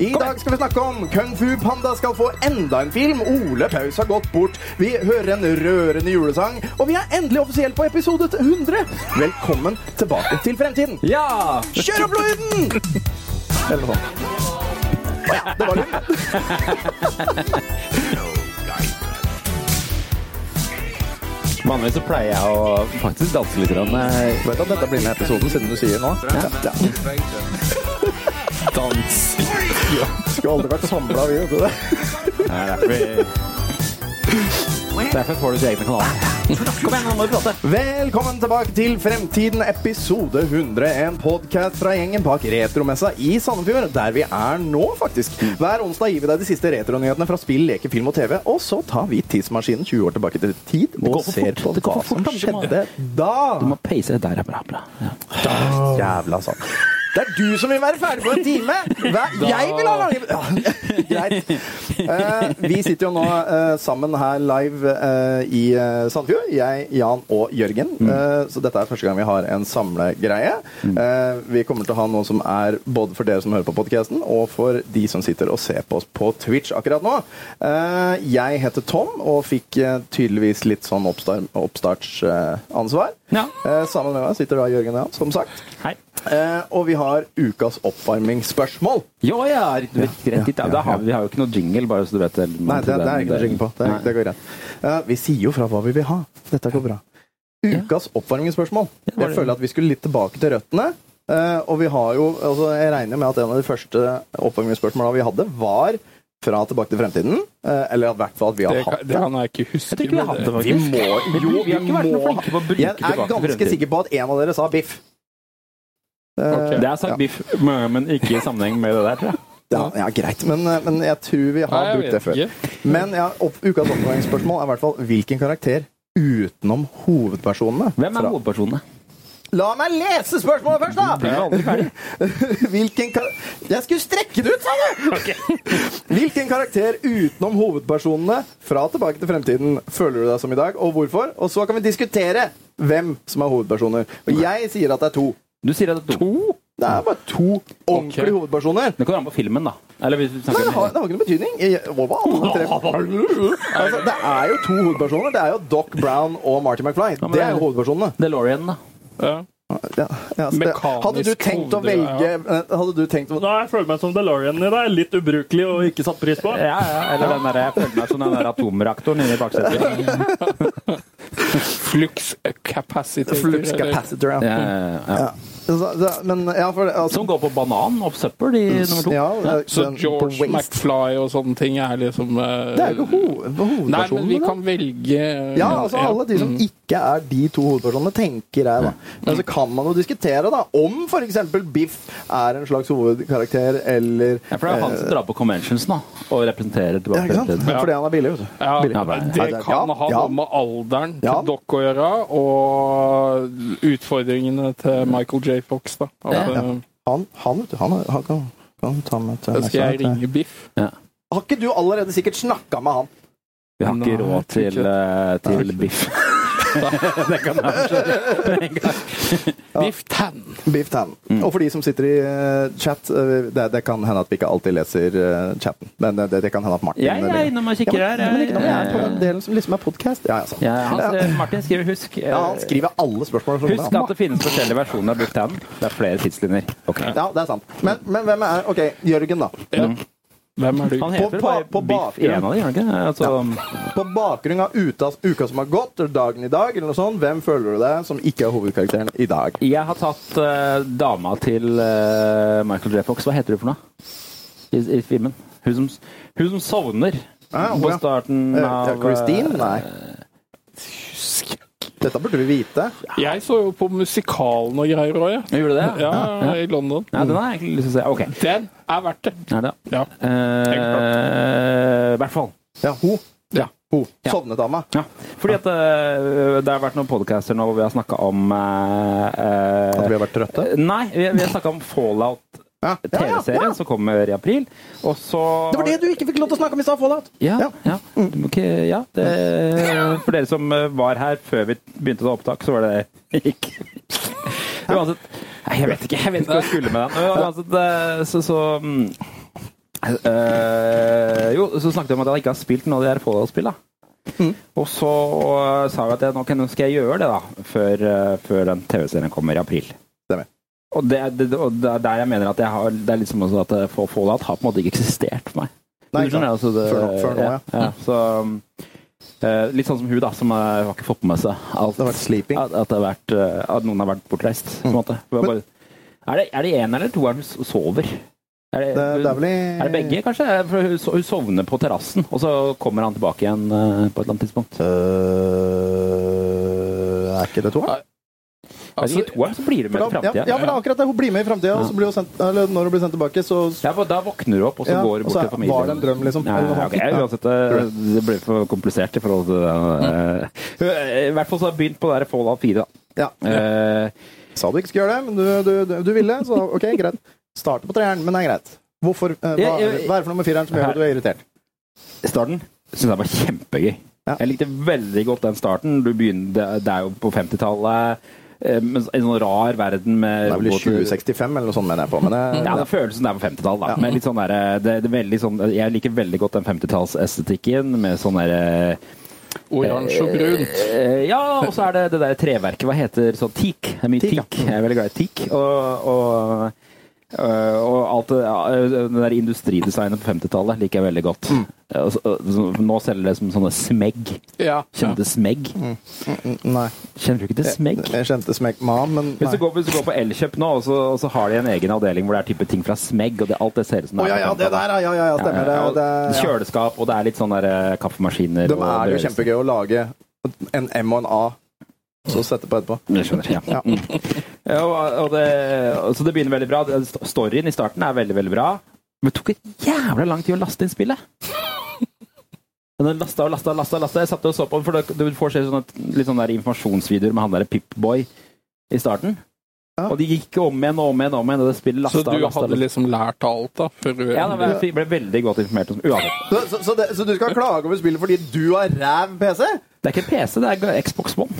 I dag skal vi snakke om Kung Fu Panda skal få enda en film. Ole Paus har gått bort. Vi hører en rørende julesang. Og vi er endelig offisielt på episode 100. Velkommen tilbake til fremtiden. Ja! Kjør opp lyden! Eller noe sånt. Å ja, det var lyden. Vanligvis så pleier jeg å faktisk danse litt. Grann. eh, Vet du at dette blir med i episoden, siden du sier nå? Ja. ja. Dans. Skulle aldri vært samla, vi, vet du det. Det er derfor vi Derfor får du til egne kanaler. Kom igjen, nå må du prate. Velkommen tilbake til Fremtiden, episode 100. En podkast fra gjengen bak retromessa i Sandefjord, der vi er nå, faktisk. Hver onsdag gir vi deg de siste retronyhetene fra spill, leker, film og TV. Og så tar vi tidsmaskinen 20 år tilbake til tid og går for ser fort. på Det går hva for som fort, Tom. skjedde da. må peise det der. er Bra, bra. Ja. Jævla sant. Det er du som vil være ferdig på en time! Hva? Jeg vil ha lang ja, Greit. Eh, vi sitter jo nå eh, sammen her live eh, i eh, Sandefjord. Jeg, Jan og Jørgen. Mm. Eh, så dette er første gang vi har en samlegreie. Eh, vi kommer til å ha noe som er både for dere som hører på podkasten, og for de som sitter og ser på oss på Twitch akkurat nå. Eh, jeg heter Tom og fikk eh, tydeligvis litt sånn oppstartsansvar. Eh, Ja. sammen med meg sitter da Jørgen og Jan, som sagt. Hei. Eh, og vi har ukas oppvarmingsspørsmål. Jo, ja, rett rett dit. Ja, ja, da har vi, vi har jo ikke noe jingle, bare så du vet det. Nei, det, det er ikke noe å synge på. Det, Nei. det går greit. Eh, vi sier jo fra hva vi vil ha. Dette går bra. Ukas oppvarmingsspørsmål. Jeg føler at vi skulle litt tilbake til røttene. eh, og vi har jo, altså jeg regner med at en av de første oppvarmingsspørsmålene vi hadde, var fra Tilbake til fremtiden. eh, eller i hvert fall at vi har Det, hatt kan- det kan jeg ikke Jeg huske. tror ikke vi men har hatt det, det- Vi faktisk. må- jo, vi har vi ikke vært noe må- flinke på å bruke Jeg er tilbake til ganske fremtiden. sikker på at en av dere sa biff. Eh, Ok. Det er sagt ja. biff, men men ikke i sammenheng med det der, tror jeg. Ja, ja, greit, men, eh, men jeg tror vi har Nei, jeg brukt det vet før. Men ja, opp, ukas oppvarmingsspørsmål er i hvert fall hvilken karakter utenom hovedpersonene Hvem er fra- hovedpersonene? La meg lese spørsmålet først, da! Blir jo aldri ferdig. Hvilken kar... Jeg skulle strekke det ut, sa du! Hvilken karakter utenom hovedpersonene fra Tilbake til fremtiden føler du deg som i dag, og hvorfor? Og så kan vi diskutere hvem som er hovedpersoner. Og jeg sier at det er to. Du sier at det er to. Det er bare to ordentlige Ok. hovedpersoner. Det kommer an på filmen, da. Eller hvis du Nei, snakker det har, det har ikke noen betydning. Jeg- hva var alle tre? Altså, det er jo to hovedpersoner. Det er jo Doc Brown og Marty McFly. men Det er jo det- hovedpersonene. DeLorean, da. Ja. Ja, ja, så det, Mekanisk hadde du tenkt å hode, ja. velge Hadde du tenkt å Nå har jeg følt meg som DeLorean i dag. Litt ubrukelig og ikke satt pris på. Ja, ja. Eller den der, jeg føler meg som den der atomreaktoren inne i baksetet. Flux capacity. Flux capacitor, ja. Ja, ja, ja. Ja. Så, så, men ja, for altså, Som går på banan og søppel i nummer to. ja, Så den- på George waste. McFly og sånne ting er liksom eh, Det er jo ikke ho Nei, hovedpersonen. men vi da. kan velge eh, ja, altså Alle de Mm. som ikke er de to hovedpersonene, tenker jeg, da. Men så kan man jo diskutere da om f.eks. Biff er en slags hovedkarakter, eller Ja, for det er jo han som drar på conventions nå, og representerer ja, tilbake ikke sant? fremtiden. Fordi han er billig, vet du. Ja, Ja, det bare- Ja, kan ha ja. noe med alderen til Ja. dere å gjøre, og utfordringene til Michael J. Fox. da. At, Ja. eh, Han, han, vet du, han, han kan, kan ta med til da skal jeg neste gang. ringe Biff. Ja. Har ikke du allerede sikkert snakka med han? Vi har ikke Nei, råd jeg til, tror eh, til biff. det kan være Biff Tan. Biff Tan. Mm. Og for de som sitter i eh, chat, eh, det, det kan hende at vi ikke alltid leser eh, chatten. Men det, det kan hende at Martin Jeg jeg er eller- innom og Ja, men, kikker her. eh, ja, men ikke når vi er på jeg- den delen som liksom er podcast. Ja, ja, sant. Ja, han skrev- Martin skriver 'husk'. eh, Ja, han skriver alle spørsmål. som- Husk at det finnes forskjellige versjoner av Biff Tan. Det er flere tidslinjer. Ja, det er sant. Men, men hvem er OK, Jørgen, da. Ja. Hvem er du? Han heter På- vel bare på- på Biff i en av de, gjør han ikke? Altså, På bakgrunn av uta, uka som har gått, eller dagen i dag, eller noe sånt, hvem føler du deg som ikke er hovedkarakteren i dag? jeg har tatt eh, dama til eh, Michael J. Fox. Hva heter du for noe i, i filmen? Hun som, hun som sovner Ah, på ja. starten Eh, av ja, eh, Christine? Nei. Dette burde vi vite. Jeg så jo på musikalen og greier òg, jeg. Gjorde du det? Ja, I London. Ja, den har jeg egentlig lyst til å se. Ok. Den er verdt det. Nei da. Ja. Eh, I hvert fall. Ja, hun. Ja. Hun. Ja. Sovnedama. Ja. Fordi at eh, det har vært noen podcaster nå hvor vi har snakka om eh, eh, At vi har vært trøtte? Nei, vi, vi har snakka om Fallout. Ja. Ja, ja, TV-serien ja. som kommer i april. Og så Det var det du ikke fikk lov til å snakke om i stad, Fallout. Ja. Ja. Mm. ja. Du må ikke, ja det, for dere som eh, var her før vi begynte å ta opptak, så var det det gikk. Uansett Nei, jeg vet ikke. Jeg vet ikke hva jeg skulle med den. Uansett, eh, så, så mm, Eh, jo, så snakket jeg om at jeg ikke har spilt noe av de her Fallout-spillene. Og så eh, sa jeg at jeg, nå kan- nå skal jeg gjøre det, da, før, eh, før den TV-serien kommer i april. Stemmer. Og det, er- det, og det er der jeg mener at jeg har, det er litt som også at eh, Fallout har på en måte ikke eksistert for meg. Nei, Du skjønner, altså det- Før nå- før nå, ja. så, um, eh, litt sånn som hun, da, som eh, har ikke fått med seg alt. Det har vært sleeping. Mm. At, at, det har vært, eh, at noen har vært bortreist. på en måte. Bare, bare, er det, er det en eller toeren hun s- sover? Er det, Det, det er vel i er det begge, kanskje? Eh, For hun, so- hun sovner på terrassen, og så kommer han tilbake igjen eh, på et eller annet tidspunkt. Øh, er ikke det to? da? er det ikke toeren, så blir det med For til da, ja, framtida. ja, men det er akkurat det. Hun blir med i framtida, og så blir hun sendt, eller når hun blir sendt tilbake, så Ja, for da våkner du opp, og så Ja, går og du bort så til familien. var det en drøm, liksom. Ja, Eller noe ja, sånt. ok, uansett, eh, det, det ble for komplisert i forhold til Mm. det. eh, I hvert fall så har jeg begynt på det der Fallout 4. da. Ja. Eh, Sa du ikke skulle gjøre det, men du, du, du, du ville, så ok, greit. Starte på treeren, men det er greit. Hvorfor, eh, hva, Jeg- jeg- hva er det for noe med fireren som gjør at du er irritert? starten syns jeg var kjempegøy. Ja. Jeg likte veldig godt den starten. Du begynner, det- det er jo på 50-tallet. eh, med En sånn rar verden med Det er vel i roboter. 2065 eller noe sånt, mener jeg på. Men det, Ja, det er følelsen der på 50-tallet. da. Med litt sånn der, det, det er veldig sånn, jeg liker veldig godt den 50-tallsestetikken med sånn derre Oransje og brun. Eh, Ja, og så er det det der treverket. Hva heter sånn teak? Det er mye Teak, teak. ja. Jeg er veldig glad i teak. Og, og, øh, og alt det ja, øh, den der industridesignet på 50-tallet liker jeg veldig godt. Mm. Og så- og så- Nå selger det som sånne smegg. Ja. Kjenner du til smegg? Mm, Nei. Kjenner du ikke til smegg? Jeg kjente smekk ma, men Hvis nei. du, går, hvis du går på Elkjøp nå, og så, og så har de en egen avdeling hvor det er type ting fra smegg, og det, alt det ser ut som Å ja, ja, det der, ja, ja, ja, stemmer det. det ja. Kjøleskap, og det er litt sånn der eh, kaffemaskiner. De og er jo brødrister. kjempegøy å lage en M og en A, så sette på etterpå. Jeg skjønner. Ja. Ja. Mm. Ja, og, og det, og så det begynner veldig bra. Det- Storyen i starten er veldig, veldig bra. Men det tok et jævla lang tid å laste inn spillet. Men Den lasta og lasta og lasta. og lasta. Jeg satt og så på den, for det- du får se sånne, litt sånne der informasjonsvideoer med han derre Pip-boy i starten. Ja. Og de gikk om igjen og om igjen, og om igjen, og det spillet lasta Så og du lasta. og hadde lasta. liksom lært av alt, da? Før du Ja, da, men jeg ble veldig godt informert. om- Uansett. Så, så, så, det, så du skal klage over spillet fordi du har ræv PC? Det er ikke PC, det er Xbox One.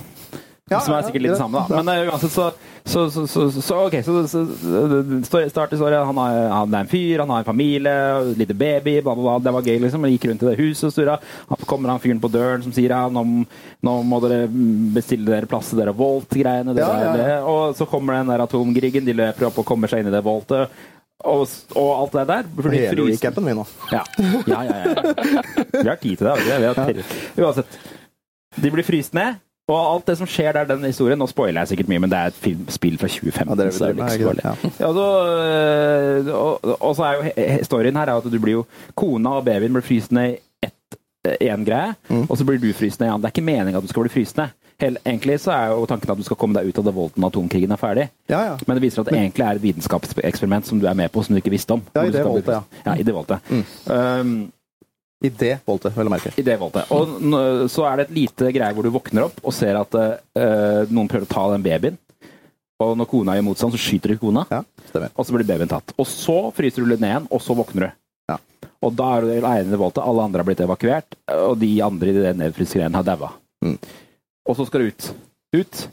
Ja, som er ja, sikkert litt det greit. samme, da. Men eh, uansett, så, så, så, så, så, så OK, så, så, så story- start i storyen. Han, har- han er en fyr, han har en familie, en liten baby, bla, bla, bla. Det var gøy, liksom. Han gikk rundt i det huset og surra. Så kommer han fyren på døren som sier ja, nå, nå må dere bestille dere plass til dere Volt-greiene. det Ja, ja, er ja. det. Og så kommer den der atomkrigen, de løper opp og kommer seg inn i det Voltet. Og, og alt det der. Fordi Hele frysen- weekenden min nå. ja. Ja, ja, ja. Vi har tid til det. vet du. Vi har tid. Uansett. De blir fryst ned, og alt det som skjer der, den historien Nå spoiler jeg sikkert mye, men det er et film, spill fra 2015. Ja, det er det vi så det driver med, er ikke så ikke sant? farlig. Ja, så, øh, og, og så er jo he- he- storyen her er at du blir jo Kona og babyen blir fryst ned i ett- én greie, Mm. og så blir du fryst ned i en annen. Det er ikke meningen at du skal bli fryst ned. Hele, egentlig så er jo tanken at du skal komme deg ut av det volden når atomkrigen er ferdig. Ja, ja. Men det viser at det egentlig er et vitenskapseksperiment som du er med på, som du ikke visste om. Ja, i Hvor du det skal bli voldet, ja. Mm. fryst- ja. I det voldet. Um, I det boltet, vel å merke. i det valgte. Og n- så er det et lite greie hvor du våkner opp og ser at eh, noen prøver å ta den babyen. Og når kona gjør motstand, så skyter du kona, Ja, stemmer. og så blir babyen tatt. Og så fryser du litt ned igjen, og så våkner du. Ja. Og da er du alene i det voltet. Alle andre har blitt evakuert, og de andre i den nedfryste greien har daua. Mm. Og så skal du ut. Ut.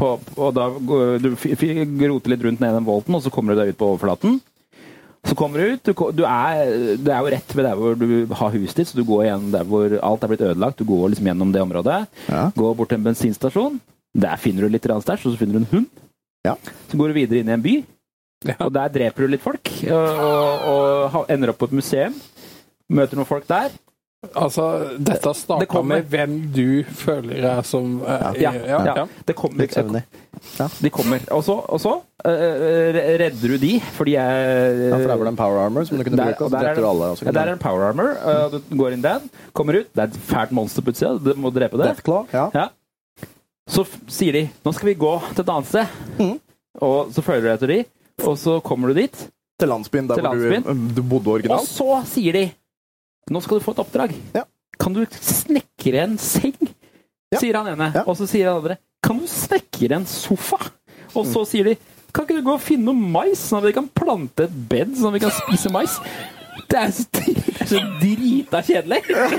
På, og da går, du f- f- roter litt rundt ned i den volten, og så kommer du deg ut på overflaten. Så kommer du ut. Du, ko- du er, det er jo rett ved der hvor du har huset ditt, så du går igjen der hvor alt er blitt ødelagt. Du går liksom gjennom det området. Ja. Går bort til en bensinstasjon. Der finner du litt grann stæsj, og så finner du en hund. Ja. Så går du videre inn i en by, Ja. og der dreper du litt folk. Og, og, og ha- ender opp på et museum. Møter noen folk der. Altså, dette Det starta kommer. med hvem du føler er som eh, Ja, i- ja. ja. Det kommer, Litt søvnig. de kommer. Og så, og så eh, redder du de, fordi jeg Ja, for der var det en power armor som du kunne Der- bruke, og der så er drepte det- du alle. Og så Ja, kunne der er en power armor. eh, Du går inn den, kommer ut. Det er et fælt monster på utsida. Du må drepe det. Deathclaw, ja. Ja. Så f- sier de 'nå skal vi gå til et annet sted', Mm. og så følger du etter de, og så kommer du dit, Til landsbyen der Til hvor du, du bodde og originalt. så sier de 'nå skal du få et oppdrag'. Ja. Kan du snekre en seng? Ja. sier han ene. Ja. Og så sier han andre 'kan du snekre en sofa'? Og så sier de 'kan ikke du gå og finne noe mais, sånn at vi kan plante et bed, sånn at vi kan spise mais'? Det er så, det er så drita kjedelig!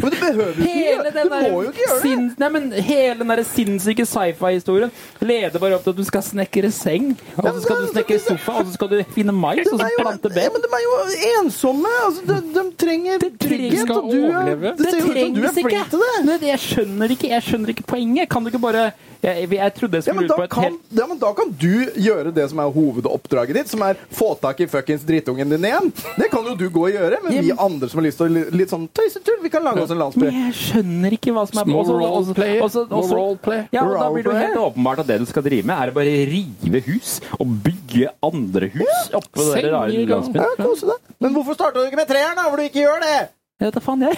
Men du behøver jo ikke Hele gjøre det! den Du må jo ikke der gjøre det! sinns- Nei, men hele den der sinnssyke sci-fi-historien leder bare opp til at du skal snekre seng, og så skal du snekre sofa, og så skal du finne mais, og De så er, jo, plante ja, bed. men de er jo ensomme! Altså, de, de trenger trygghet, skal og du er, overleve. det ser jo ut som du er trengs flink til det! Men jeg skjønner ikke, jeg skjønner ikke poenget. Kan du ikke bare Jeg, jeg trodde jeg Ja skulle men, ut på da et kan, helt ja, men da kan du gjøre det som er hovedoppdraget ditt, som er få tak i fuckings drittungen din igjen. Det kan jo du gå og gjøre, men vi andre som har lyst til å li- litt sånn tøysetull, vi kan lage oss en landsby. Men jeg skjønner ikke hva som er Små også- også- roleplayer. også- Små også- roleplay. Ja, og da blir det jo helt Roleplay. åpenbart at det du skal drive med, er å bare rive hus og bygge andre hus oppå den rare Senger, landsbyen. Ja, kose deg. Men hvorfor starta du ikke med treeren, da, hvor du ikke gjør det? Jeg vet da faen, jeg.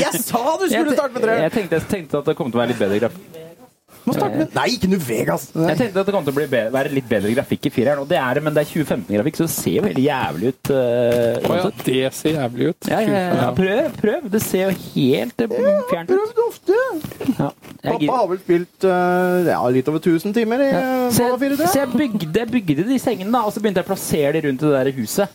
Jeg sa du Jeg, skulle starte med jeg treeren! tenkte, jeg tenkte at det kom til å være litt bedre grafikk. Må starte med Nei, ikke nu Vegas! Jeg Nei. tenkte at det kom til å bli bedre, være litt bedre grafikk i fireren, og det er det, men det er 2015-grafikk, så det ser jo helt jævlig ut. eh, Å ja, uansett. det ser jævlig ut. ja, ja, eh, ja, Ja. prøv, prøv. Det ser jo helt eh, fjernt ut. Prøv det ofte! Ja. Jeg Pappa gidder- har vel spilt eh, ja, litt over 1000 timer i eh, Så Fallout 4, jeg, tror så jeg. jeg bygde, jeg bygde de sengene, da, og så begynte jeg å plassere de rundt i det der huset.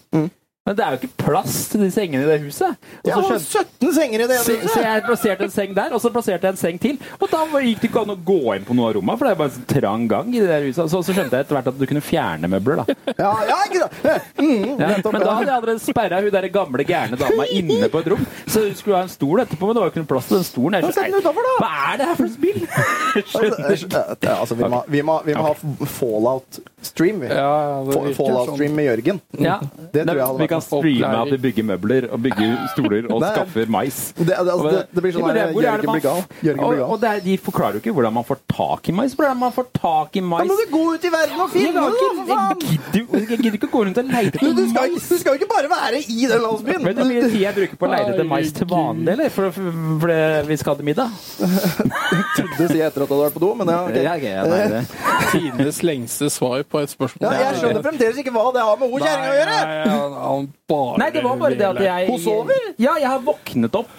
Men det er jo ikke plass til de sengene i det huset. Og Jeg så har skjønte 17 senger i det så, så huset! jeg plasserte en seng der, og så plasserte jeg en seng til. Og da var- gikk det ikke an å gå inn på noe av rommene, for det er bare en sånn trang gang i det der huset. Så, så skjønte jeg etter hvert at du kunne fjerne møbler, da. Ja, ja, ikke sant? Mm, Ja, nettopp, men da ja. hadde jeg allerede sperra hun der gamle gærne dama inne på et rom. Så hun skulle ha en stol etterpå, men det var jo ikke noe plass til den stolen. Jeg Da setter skjønner- den utenfor, da. Hva er det her for et spill? Jeg skjønner Altså, ikke. eh, altså, vi må, vi må, vi må ha Fallout-stream. vi. Ja, ja, det Fa- virker Fallout-stream med Jørgen. Ja. Det tror jeg hadde sånn. vi vært kan streame at vi bygger møbler og bygger stoler og Nei. skaffer mais. Det, det, altså, det, det blir sånn Ja, men her det- hvor er det Jørgen man- blir gal. Jørgen blir Og, og gal. det er, de forklarer jo ikke hvordan man får tak i mais. Hvordan man får tak i Da mais må du gå ut i verden og Jeg finne har det, da, for ikke- jeg faen! gidder jo- jeg gidder ikke å gå rundt og leite Du, du, etter skal, mais. du skal jo ikke bare være i den landsbyen! Vet du hvor mye tid jeg bruker på å leite etter mais til vanlig, eller? For, for, for det- vi skal ha til middag? Det sier jeg etter at du hadde vært på do, men ja, ok. Ja, ok, ja, nei, det- Tidenes lengste svar på et spørsmål. ja, Jeg skjønner fremdeles ikke hva det har med hun kjerringa å gjøre! Nei, han- han bare Nei, det var bare det at jeg Hun sover? Ja, jeg har våknet opp.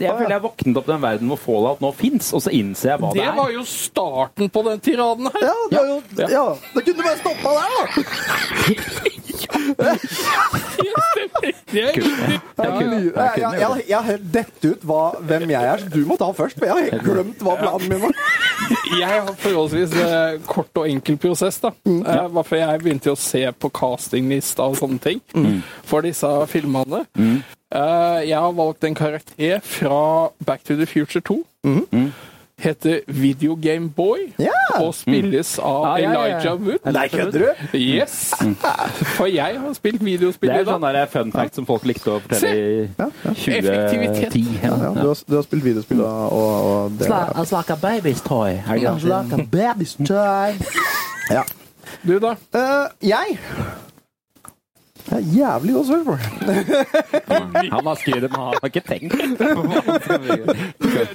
Jeg føler jeg har våknet opp i den verden hvor Fallout nå fins, og så innser jeg hva det, Det var er. jo starten på den tiraden her. Ja, det, var jo, ja. det kunne du bare stoppa der, da! Det er riktig. Jeg Jeg, kunne- jeg jeg, kunne gjort jeg, jeg har helt dett ut hva, hvem jeg er, så du må ta først. For jeg har helt glemt hva planen min var. Jeg har forholdsvis eh, kort og enkel prosess, da. Mm. Eh, Hvorfor jeg begynte jo å se på castinglista og sånne ting Mm. for disse filmene. Eh, jeg har valgt en karakter fra Back to the Future 2. Mm. Heter Video Game Boy Mm. Ja. Mm. Ah, og spilles av Ja, ja, ja, ja. Elijah Wood. Nei, kødder du? Yes! Mm. For jeg har spilt videospill Det er jo i sånn dag. der fun fact som folk likte å fortelle i Effektivitet. 2010. Ja. Ja, du, har, du har spilt videospill da, og, og det Sla- It's like a baby's toy. Er det It's kanskje? like a baby's toy. Ja. Du, da? Eh, jeg Jeg er jævlig godt spørsmål. Han har skrevet men han har ikke tenkt.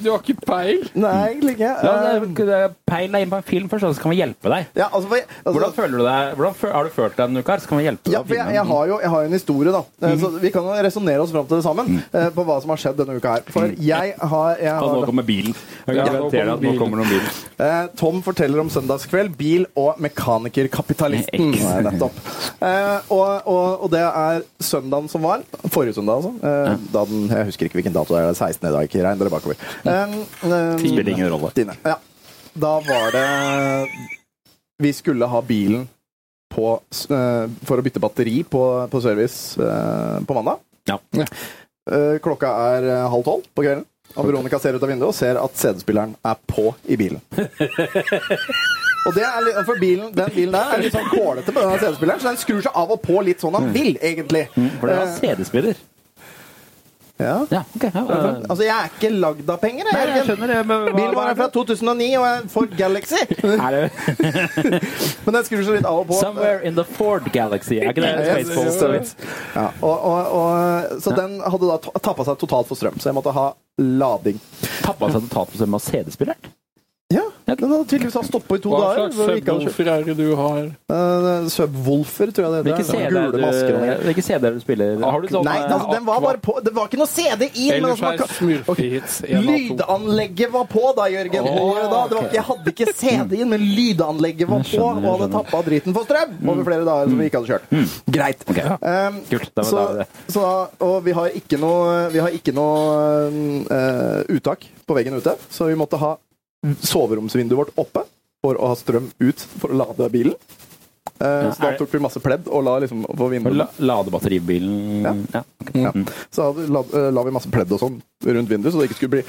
Du har ikke peil? Nei, egentlig ikke. Ja, Eh, det er- Peil deg inn på en film først, og så kan vi hjelpe deg. ja, altså, for jeg, Hvordan altså, føler du deg? Hvordan fø- har du følt deg denne uka? her? Så kan vi hjelpe deg. ja, å for finne jeg, en- jeg, har jo, jeg har jo en historie, da. Eh, Så vi kan jo resonnere oss fram til det sammen Mm. eh, på hva som har skjedd denne uka her. For jeg har, jeg Og nå har kommer bilen. Jeg Ja, nå garanterer deg at nå kommer kommer noen bil. eh, Tom forteller om søndagskveld, bil og mekanikerkapitalisten. Eks. Nei, Nettopp. Eh, og, og, og det er søndagen som var. Forrige søndag, altså. Eh, da den, jeg husker ikke hvilken dato det er. det er 16. i dag. Ikke regn dere bakover. Eh, eh, Spiller ingen rolle. Stine. Ja. Da var det Vi skulle ha bilen på, s- eh, for å bytte batteri på, på service eh, på mandag. Ja. Eh, Klokka er eh, halv tolv på kvelden. Og Veronica ser ut av vinduet og ser at CD-spilleren er på i bilen. Og det er litt, for bilen, Den bilen der er litt sånn kålete på den CD-spilleren, så den skrur seg av og på litt sånn han vil, egentlig. Mm. For det er Eh, CD-spiller. ja. Ja, ok. Ja, eh, Altså, jeg er ikke lagd av penger, Nei, jeg. jeg Jørgen. skjønner det, men hva- Bilen var fra 2009, og jeg får Galaxy. Er det Men den skrur seg litt av og på. Somewhere in the Ford Galaxy? Er ikke det Ja, Spaceballs? så vidt. Ja, og, og, og, så den hadde da ta- tappa seg totalt for strøm, så jeg måtte ha lading. Tappa seg totalt på seg med CD-spilleren? Ja, Den har tydeligvis stoppa i to Hva dager. slags hvor vi ikke hadde kjøpt. subwoofer er det du har? Eh, Subwoolfer, tror jeg det Hvilke heter. Sånne CD-er du, Gule masker og noe. hvilke CD-er du spiller? Har du sånn Nei, eh, den, den var bare på. Det var ikke noe CD i, men Ellers altså, man er kan smurfehits en av to. Lydanlegget var på da, Jørgen. Åh, Hva var det da? Det var, ok. jeg hadde ikke CD-en, men lydanlegget var på, og hadde tappa driten for strøm over flere dager som vi ikke hadde kjørt. Greit. Um, Kult, da var- så, da var det. så, og vi har ikke noe, vi har ikke noe eh, uttak på veggen ute, så vi måtte ha soveromsvinduet vårt oppe for å ha strøm ut for å lade bilen. Eh, så da tok vi masse pledd og la liksom på Og vinduet. la, lade batteribilen Ja. ja. Mm. Ja. Så hadde, la, eh, la vi masse pledd og sånn rundt vinduet, så det ikke skulle bli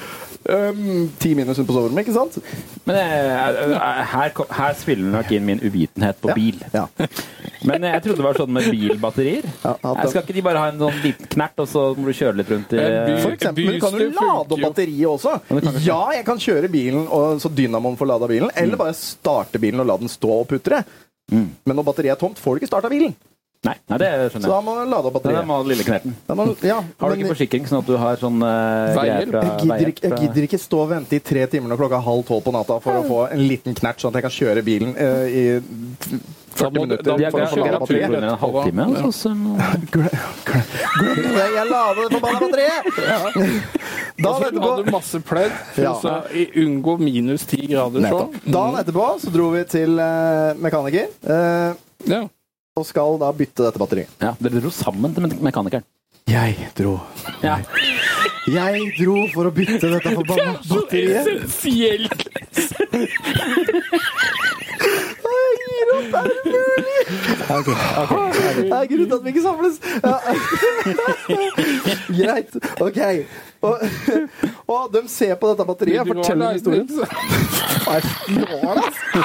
ehm, ti minus ute på soverommet, ikke sant? Men eh, eh, her, kom- her spiller nok inn min uvitenhet på bil. Ja. Men jeg trodde det var sånn med bilbatterier. Ja, at Jeg skal ikke de bare ha en sånn liten knert, og så må du kjøre litt rundt i En Eh, For bil- eksempel, men du kan jo Booster lade opp funker jo. batteriet det også. kan du Mm. Ja, jeg kan kjøre bilen og, så dynamoen får lada bilen, eller bare starte bilen og la den stå og putre. Men når batteriet er tomt, får du ikke starta bilen. Nei, nei, det Så skjønner da jeg. må du lade opp Det er batteriet. den lille knerten. Da må, ja, Har du men- ikke forsikring, sånn at du har sånn eh, greier Veihjelp? fra jeg gidder, ikke, veihjelp jeg fra- gidder ikke stå og vente i tre timer når klokka er halv tolv på natta for å få en liten knert, sånn at jeg kan kjøre bilen eh, i 40 da- minutter. De da- har for å få kjørt lada opp til batteriet. en halvtime. altså, så- Glem glem det, jeg lader det forbanna batteriet! Dagen Altså, etterpå hadde du masse pledd for Ja. å så i- unngå minus ti grader sånn. Nettopp. Dagen etterpå så dro vi til eh, mekaniker eh, Ja. og skal da bytte dette batteriet. Ja, dere dro sammen til me- mekanikeren. Jeg dro. Ja. Jeg dro for å bytte dette forbanna batteriet. Essensielt! Jeg gir opp! Er det mulig? Det er grunnen til at vi ikke samles. Ja. Greit. OK. Og, og de ser på dette batteriet. Jeg forteller dem historien. Nei, det var det, altså.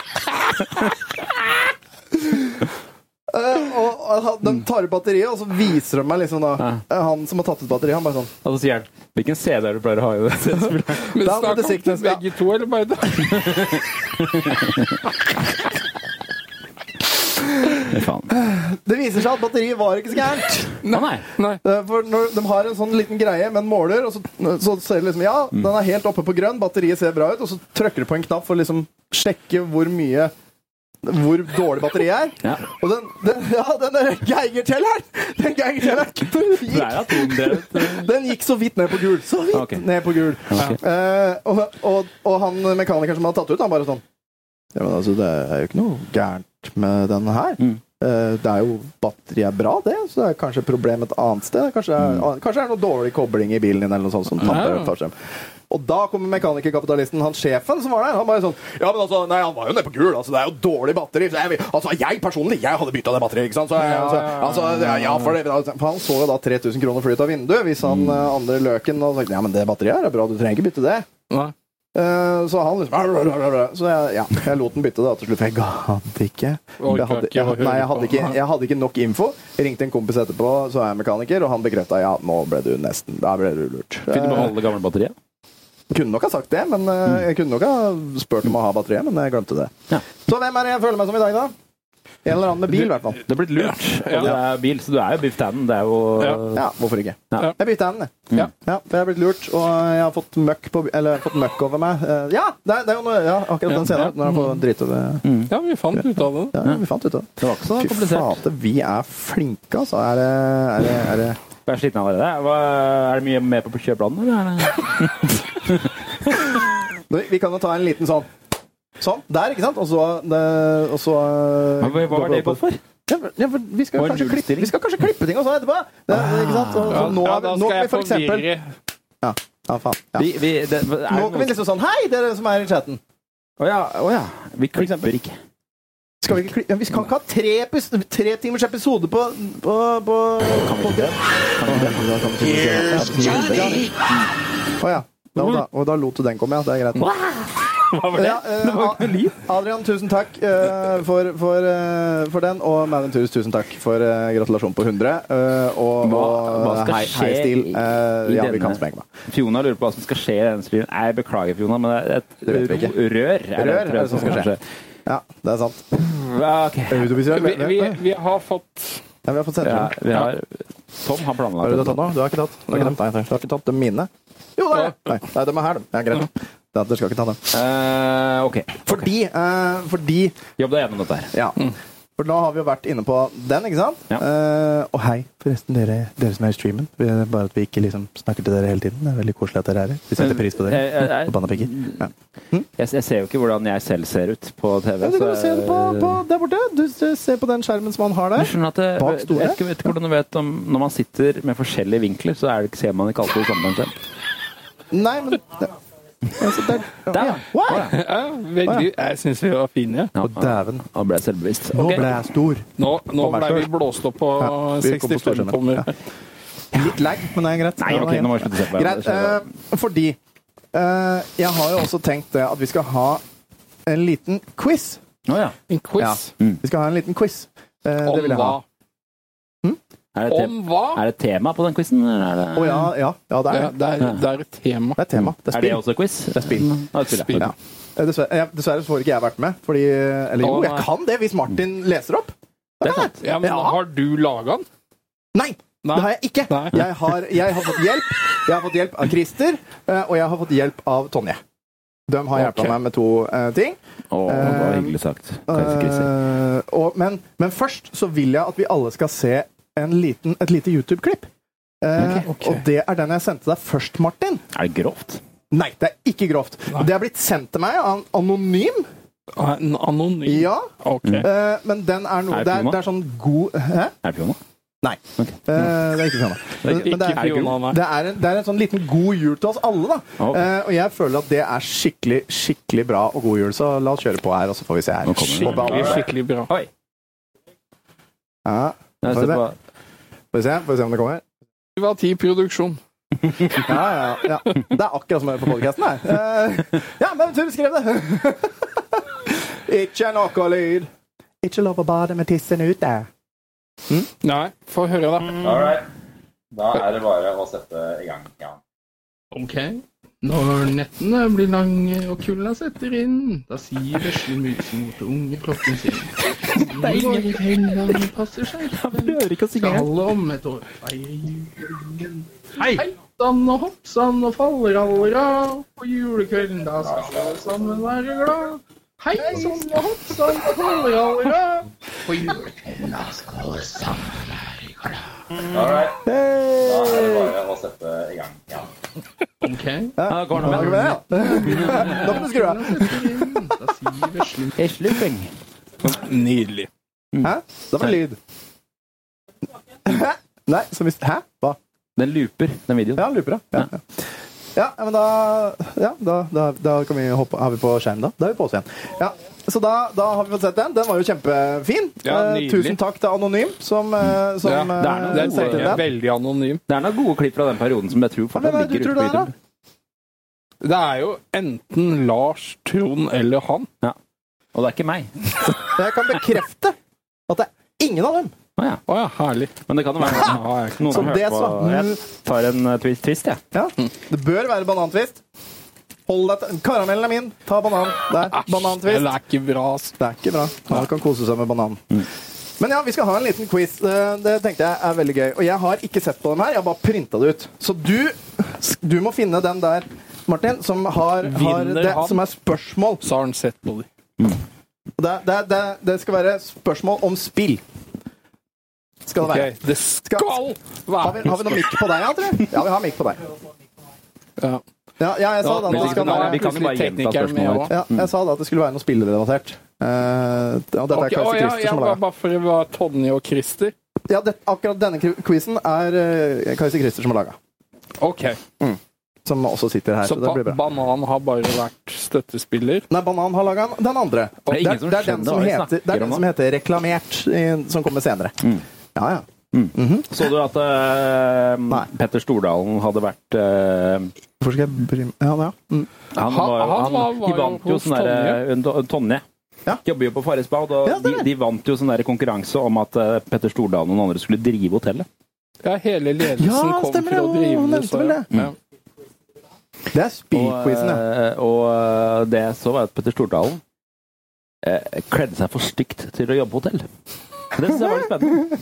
Eh, og, og han- de tar ut batteriet, og så viser de meg liksom da eh, Han som har tatt ut batteriet, han bare sånn Og så sier han Hvilken CD er det du pleier å ha i det? Men Da- snakk det ser om ikke ut som- ja. begge to, eller bare da? Fy faen. Det viser seg at batteriet var ikke så gærent. Å, nei. Nei. Eh, For når de har en sånn liten greie med en måler, og så, så ser det liksom Ja, Mm. den er helt oppe på grønn, batteriet ser bra ut, og så trykker du på en knapp for å liksom sjekke hvor mye hvor dårlig batteriet er. Ja. Og den, den, ja, den der geigertelleren! Den geigertelleren Det gikk er atomdrevet. Den gikk så vidt ned på gul. Så vidt Ok. ned på gul. Eh, og, og, og han mekanikeren som hadde tatt ut, han bare sånn Ja, men altså, det er jo ikke noe gærent med den her. Mm. Eh, det er jo Batteriet er bra, det, så det er kanskje et problem et annet sted. Kanskje det er, kanskje det er noe dårlig kobling i bilen din, eller noe sånt. som tapper Ja. tar frem. Og da kommer mekanikerkapitalisten, han sjefen som var der, han bare sånn Ja, men altså, nei, han var jo nede på gul, altså, det er jo dårlig batteri. Så jeg, vil- altså, jeg personlig, jeg hadde bytta det batteriet, ikke sant. Så, jeg, så, altså, ja, ja, for, det, altså, for han så jo da 3000 kroner fly ut av vinduet hvis han eh, andre løken hadde sagt Ja, men det batteriet her er bra, du trenger ikke bytte det. Nei. Eh, så han liksom Så jeg, ja, jeg lot den bytte det da til slutt, for jeg gadd ikke. Orker Jeg hadde, ikke jeg, å høre nei, jeg hadde, på. ikke, jeg hadde ikke nok info. Jeg ringte en kompis etterpå, så er jeg mekaniker, og han bekrefta ja, nå ble du nesten Da ble du lurt. Fikk du Eh, beholde det gamle batteriet? kunne nok ha sagt det, men Mm. eh, jeg kunne nok ha spurt om å ha batteriet, men jeg glemte det. Ja. Så hvem er det jeg føler meg som i dag, da? En eller annen med bil, i hvert fall. Det er blitt lurt. Ja. Og det er bil, så du er jo biff tannen. Det er jo Ja, hvorfor ikke? Ja. Jeg bytta hendene. Ja. Ja, for jeg har blitt lurt, og jeg har fått møkk, på, eller, fått møkk over meg. Eh, Ja, det er, det er jo noe, ja, akkurat den scenen når han får drit over Ja, vi fant ut av det. ja, vi fant ut av det. Mm. Det var ikke så Fy komplisert. flate, vi er flinke, altså. Er det, er det, er det Jeg er sliten allerede. Hva- Er det mye mer på kjøreplanen, eller? er det- Nå, Vi kan jo ta en liten sånn. Sånn, der, ikke sant? Og så, det, og så eh, Hva hva var det går godt vi opp- for? Ja, for- ja, for vi, skal Var det kanskje klippe, nullstilling? vi skal kanskje klippe ting også etterpå! Det, ikke sant? Så, så nå, Ja, er vi, da nå skal kan jeg vi for eksempel forvirre. ja, ja, faen. Ja. Vi, vi, det, er det Nå kan vi noen- liksom sånn Hei, dere som er i chatten! Å ja, å ja. Vi klipper ikke. Skal vi, ikke, kli- ja, vi kan ikke ha tre, epis- tre timers episode på, på, på Å ja. Da, da, og da lot du den komme, ja. Det er greit. Hva var det? Ja, eh, Adrian, tusen takk eh, for, for, eh, for den. Og Maventurus, tusen takk for eh, gratulasjon på 100. eh, og Hva- hva og skal hei, hei, skje stil. Eh, i- i ja, vi denne- kan sprenge meg. Fiona lurer på hva som skal skje i denne streamen. Jeg beklager, Fiona, men det er Det vet et vi ikke. rør. Rør er det som skal skje. Ja, det er sant. Ja, ok. Er du visuell? Vi, vi, Ja, vi har fått vi har fått sett Ja, den. vi har Tom Har har du planlagt det tatt nå? Du har ikke tatt? Du har ikke tatt, nei, du har ikke tatt de mine? Jo, det er det. Nei, nei, de er her, de. Ja, greit. Da, dere skal ikke ta den. Eh, ok. Fordi, eh, fordi Jobb deg gjennom dette her. Mm. Ja. For nå har vi jo vært inne på den, ikke sant? Ja. Eh, og hei, forresten, dere, dere som er i streamen. Vi- Bare at vi ikke liksom snakker til dere hele tiden. Det er veldig koselig at dere er her. Vi setter Men- pris på dere. Jeg- jeg- jeg- Forbanna pigger. Ja. eh, hm? Jeg, jeg ser jo ikke hvordan jeg selv ser ut på TV. Ja, du kan jo så- se det på, på der borte. Du, du ser på den skjermen som han har Jeg der. skjønner at det, Bak jeg, store. vet ikke, vet ikke hvordan du vet om Når man sitter med forskjellige vinkler, så er det, ikke- ser man ikke alltid sammenhengen selv. Nei, men det, altså, der. Der, ja. Wow! Ja, veldig, jeg syns vi var fine. Ja, Å, dæven. Nå ble jeg selvbevisst. Nå Ok. ble jeg stor. Nå, nå På ble vi Merkur. blåst opp på Ja, vi kom på 65 tommer. storskjermen. Litt lag, men det er greit. Nei, ok, nå må jeg slutte å se på Greit, eh, fordi eh, jeg har jo også tenkt det at vi skal ha en liten quiz. Å ja. En Ja. quiz Mm. Vi skal ha en liten quiz. Eh, det om vil jeg hva? ha. Er det, Om te hva? er det tema på den quizen? eller Er det, Å ja, ja, ja, det Ja, er det er, det er et tema. det er tema. Det er er det spill. også quiz? Det er spill. Ja, det er spill, Spill. ja. Ja. Eh, Dessverre, jeg, dessverre så får ikke jeg vært med, fordi Eller jo, Å, nei. jeg kan det hvis Martin leser opp. Det er sant. Ja, men eh, Ja. har du laga den? Nei! Nei. Det har jeg ikke. Nei. Jeg har, jeg har fått hjelp. Jeg har fått hjelp av Christer, eh, og jeg har fått hjelp av Tonje. De har hjulpet Ok. meg med to eh, ting. Å, det var Eh, hyggelig sagt. Kaiser Christer. Eh, og, men, men først så vil jeg at vi alle skal se en liten, et lite YouTube-klipp. Eh, Ok. Og det er den jeg sendte deg først, Martin. Er det grovt? Nei, det er ikke grovt. Det er blitt sendt til meg av en anonym. Ah, En anonym? Ja, Ok. eh, men den er noe Er det det, er, Fiona? det er sånn god Hæ? Er det Fiona? Nei. Eh, det er ikke Fiona. Det er Men det Ikke er, Fiona, nei. det, er en, det er en sånn liten god jul til oss alle, da. Ok. Eh, og jeg føler at det er skikkelig, skikkelig bra og god jul, så la oss kjøre på her, og så får vi se her. Nå kommer den. Og da- Skikkelig, skikkelig bra. Oi! Ja, Jeg ser på, får vi se, får vi se om det kommer. Syv av ti produksjon. Ja, ja, ja. Det er akkurat som det er på podkasten her. Eh, ja, men Tore skrev det! Ikke noe lyd. Ikke lov å bade med tissen ute. Nei, få høre, da. Da er det bare å sette i gang. Ok. Når nettene blir lange og kulda setter inn, da sier vesle musemor unge klokken sin. Det er ingen helgen passer seg. Prøver ikke å synge. Skal alle om et år feire julen. Hei! Heitan og hoppsan og fallerallera. På julekvelden da skal alle sammen være glad. Hei sann og hoppsan og fallerallera. På julekvelden da skal alle sammen være glad. Ok. Ja, går Da det med? får du skru av. Da sier vesle Eslupeng. Nydelig. Mm. Hæ? Det var lyd. Hæ? Nei, så hvis Hæ? Hva? Den looper, den videoen. Ja, han looper, ja. ja. Ja, ja, men da Ja, da, da, da kan vi hoppe Er vi på skjerm, da? Da er vi på oss igjen. Ja, så da, da har vi fått sett den. Den var jo kjempefin. Ja, Eh, nydelig. tusen takk til Anonym, som, eh, som Ja, eh, Mm. det er noe- sendte inn den. veldig anonym. Det er noen gode klipp fra den perioden som jeg tror fortsatt Hvem er det du ligger ute tror på det er, da? YouTube. Det er jo enten Lars, Trond eller han. Og det er ikke meg. Jeg kan bekrefte at det er ingen av dem Å, ja. Å ja, herlig. Men det kan jo være noen, noen som har det hørt på. sa. Jeg tar en eh, twist, twist jeg. Ja. Det bør være banantvist. Hold deg til Karamellen er min. Ta banan. Der. Det Banantvist. er ikke bra. ass. Det er ikke bra. Man kan kose seg med banan. Mm. Men ja, vi skal ha en liten quiz. Det, det tenkte jeg er veldig gøy. Og jeg har ikke sett på dem her, jeg har bare printa det ut. Så du, du må finne den der, Martin, som har, har Vinner det han? som er spørsmål. Mm. Så har han sett på de. Det, det, det, det skal være spørsmål om spill. Skal det Ok, være. Det skal Har vi, være har vi noe mikk på deg, André? Ja, vi har mikk på deg. Ja. Ja, ja jeg sa da Ja, at men det vi skal kan være være- Vi kan jo bare gjenta Plutselig teknikeren med spørsmålet. også. Ja, jeg sa da at det skulle være noe spillrelatert. Uh, og dette er Ok, å, Kaiser ja, Christer ja, som har bare laget. bare for å være Tonje og Christer. Ja, det, akkurat denne kri- quizen er uh, Kaiser Christer som har laga. OK. Som også sitter her. Så, Mm. Så det ba blir bra. Banan har bare vært støttespiller. Nei, Banan har laga den andre. Det er ingen som det er den skjønner som hva vi heter, det snakker er den om nå. som heter Reklamert, i- som kommer senere. Mm. Ja, ja. Mm. Så du at eh, Nei. Petter Stordalen hadde vært eh, Hvorfor skal jeg bry meg Ja, ja. Mm. Han, Han- var, jo- han han, var- var de vant jo jo hos sånn derre Tonje. Tonje. Ja. Jobber jo på Farrisbad, og Ja, de, stemmer. de vant jo sånn derre konkurranse om at eh, Petter Stordalen og noen andre skulle drive hotellet. Ja, hele ledelsen Ja, kom stemmer for det, å hun drive nevnte så- vel det. Ja. Det er Og, spillquizen, ja. eh, Mm. og eh, det jeg så, var at Petter Stordalen eh, kledde seg for stygt til å jobbe på hotell. Det synes jeg var litt spennende.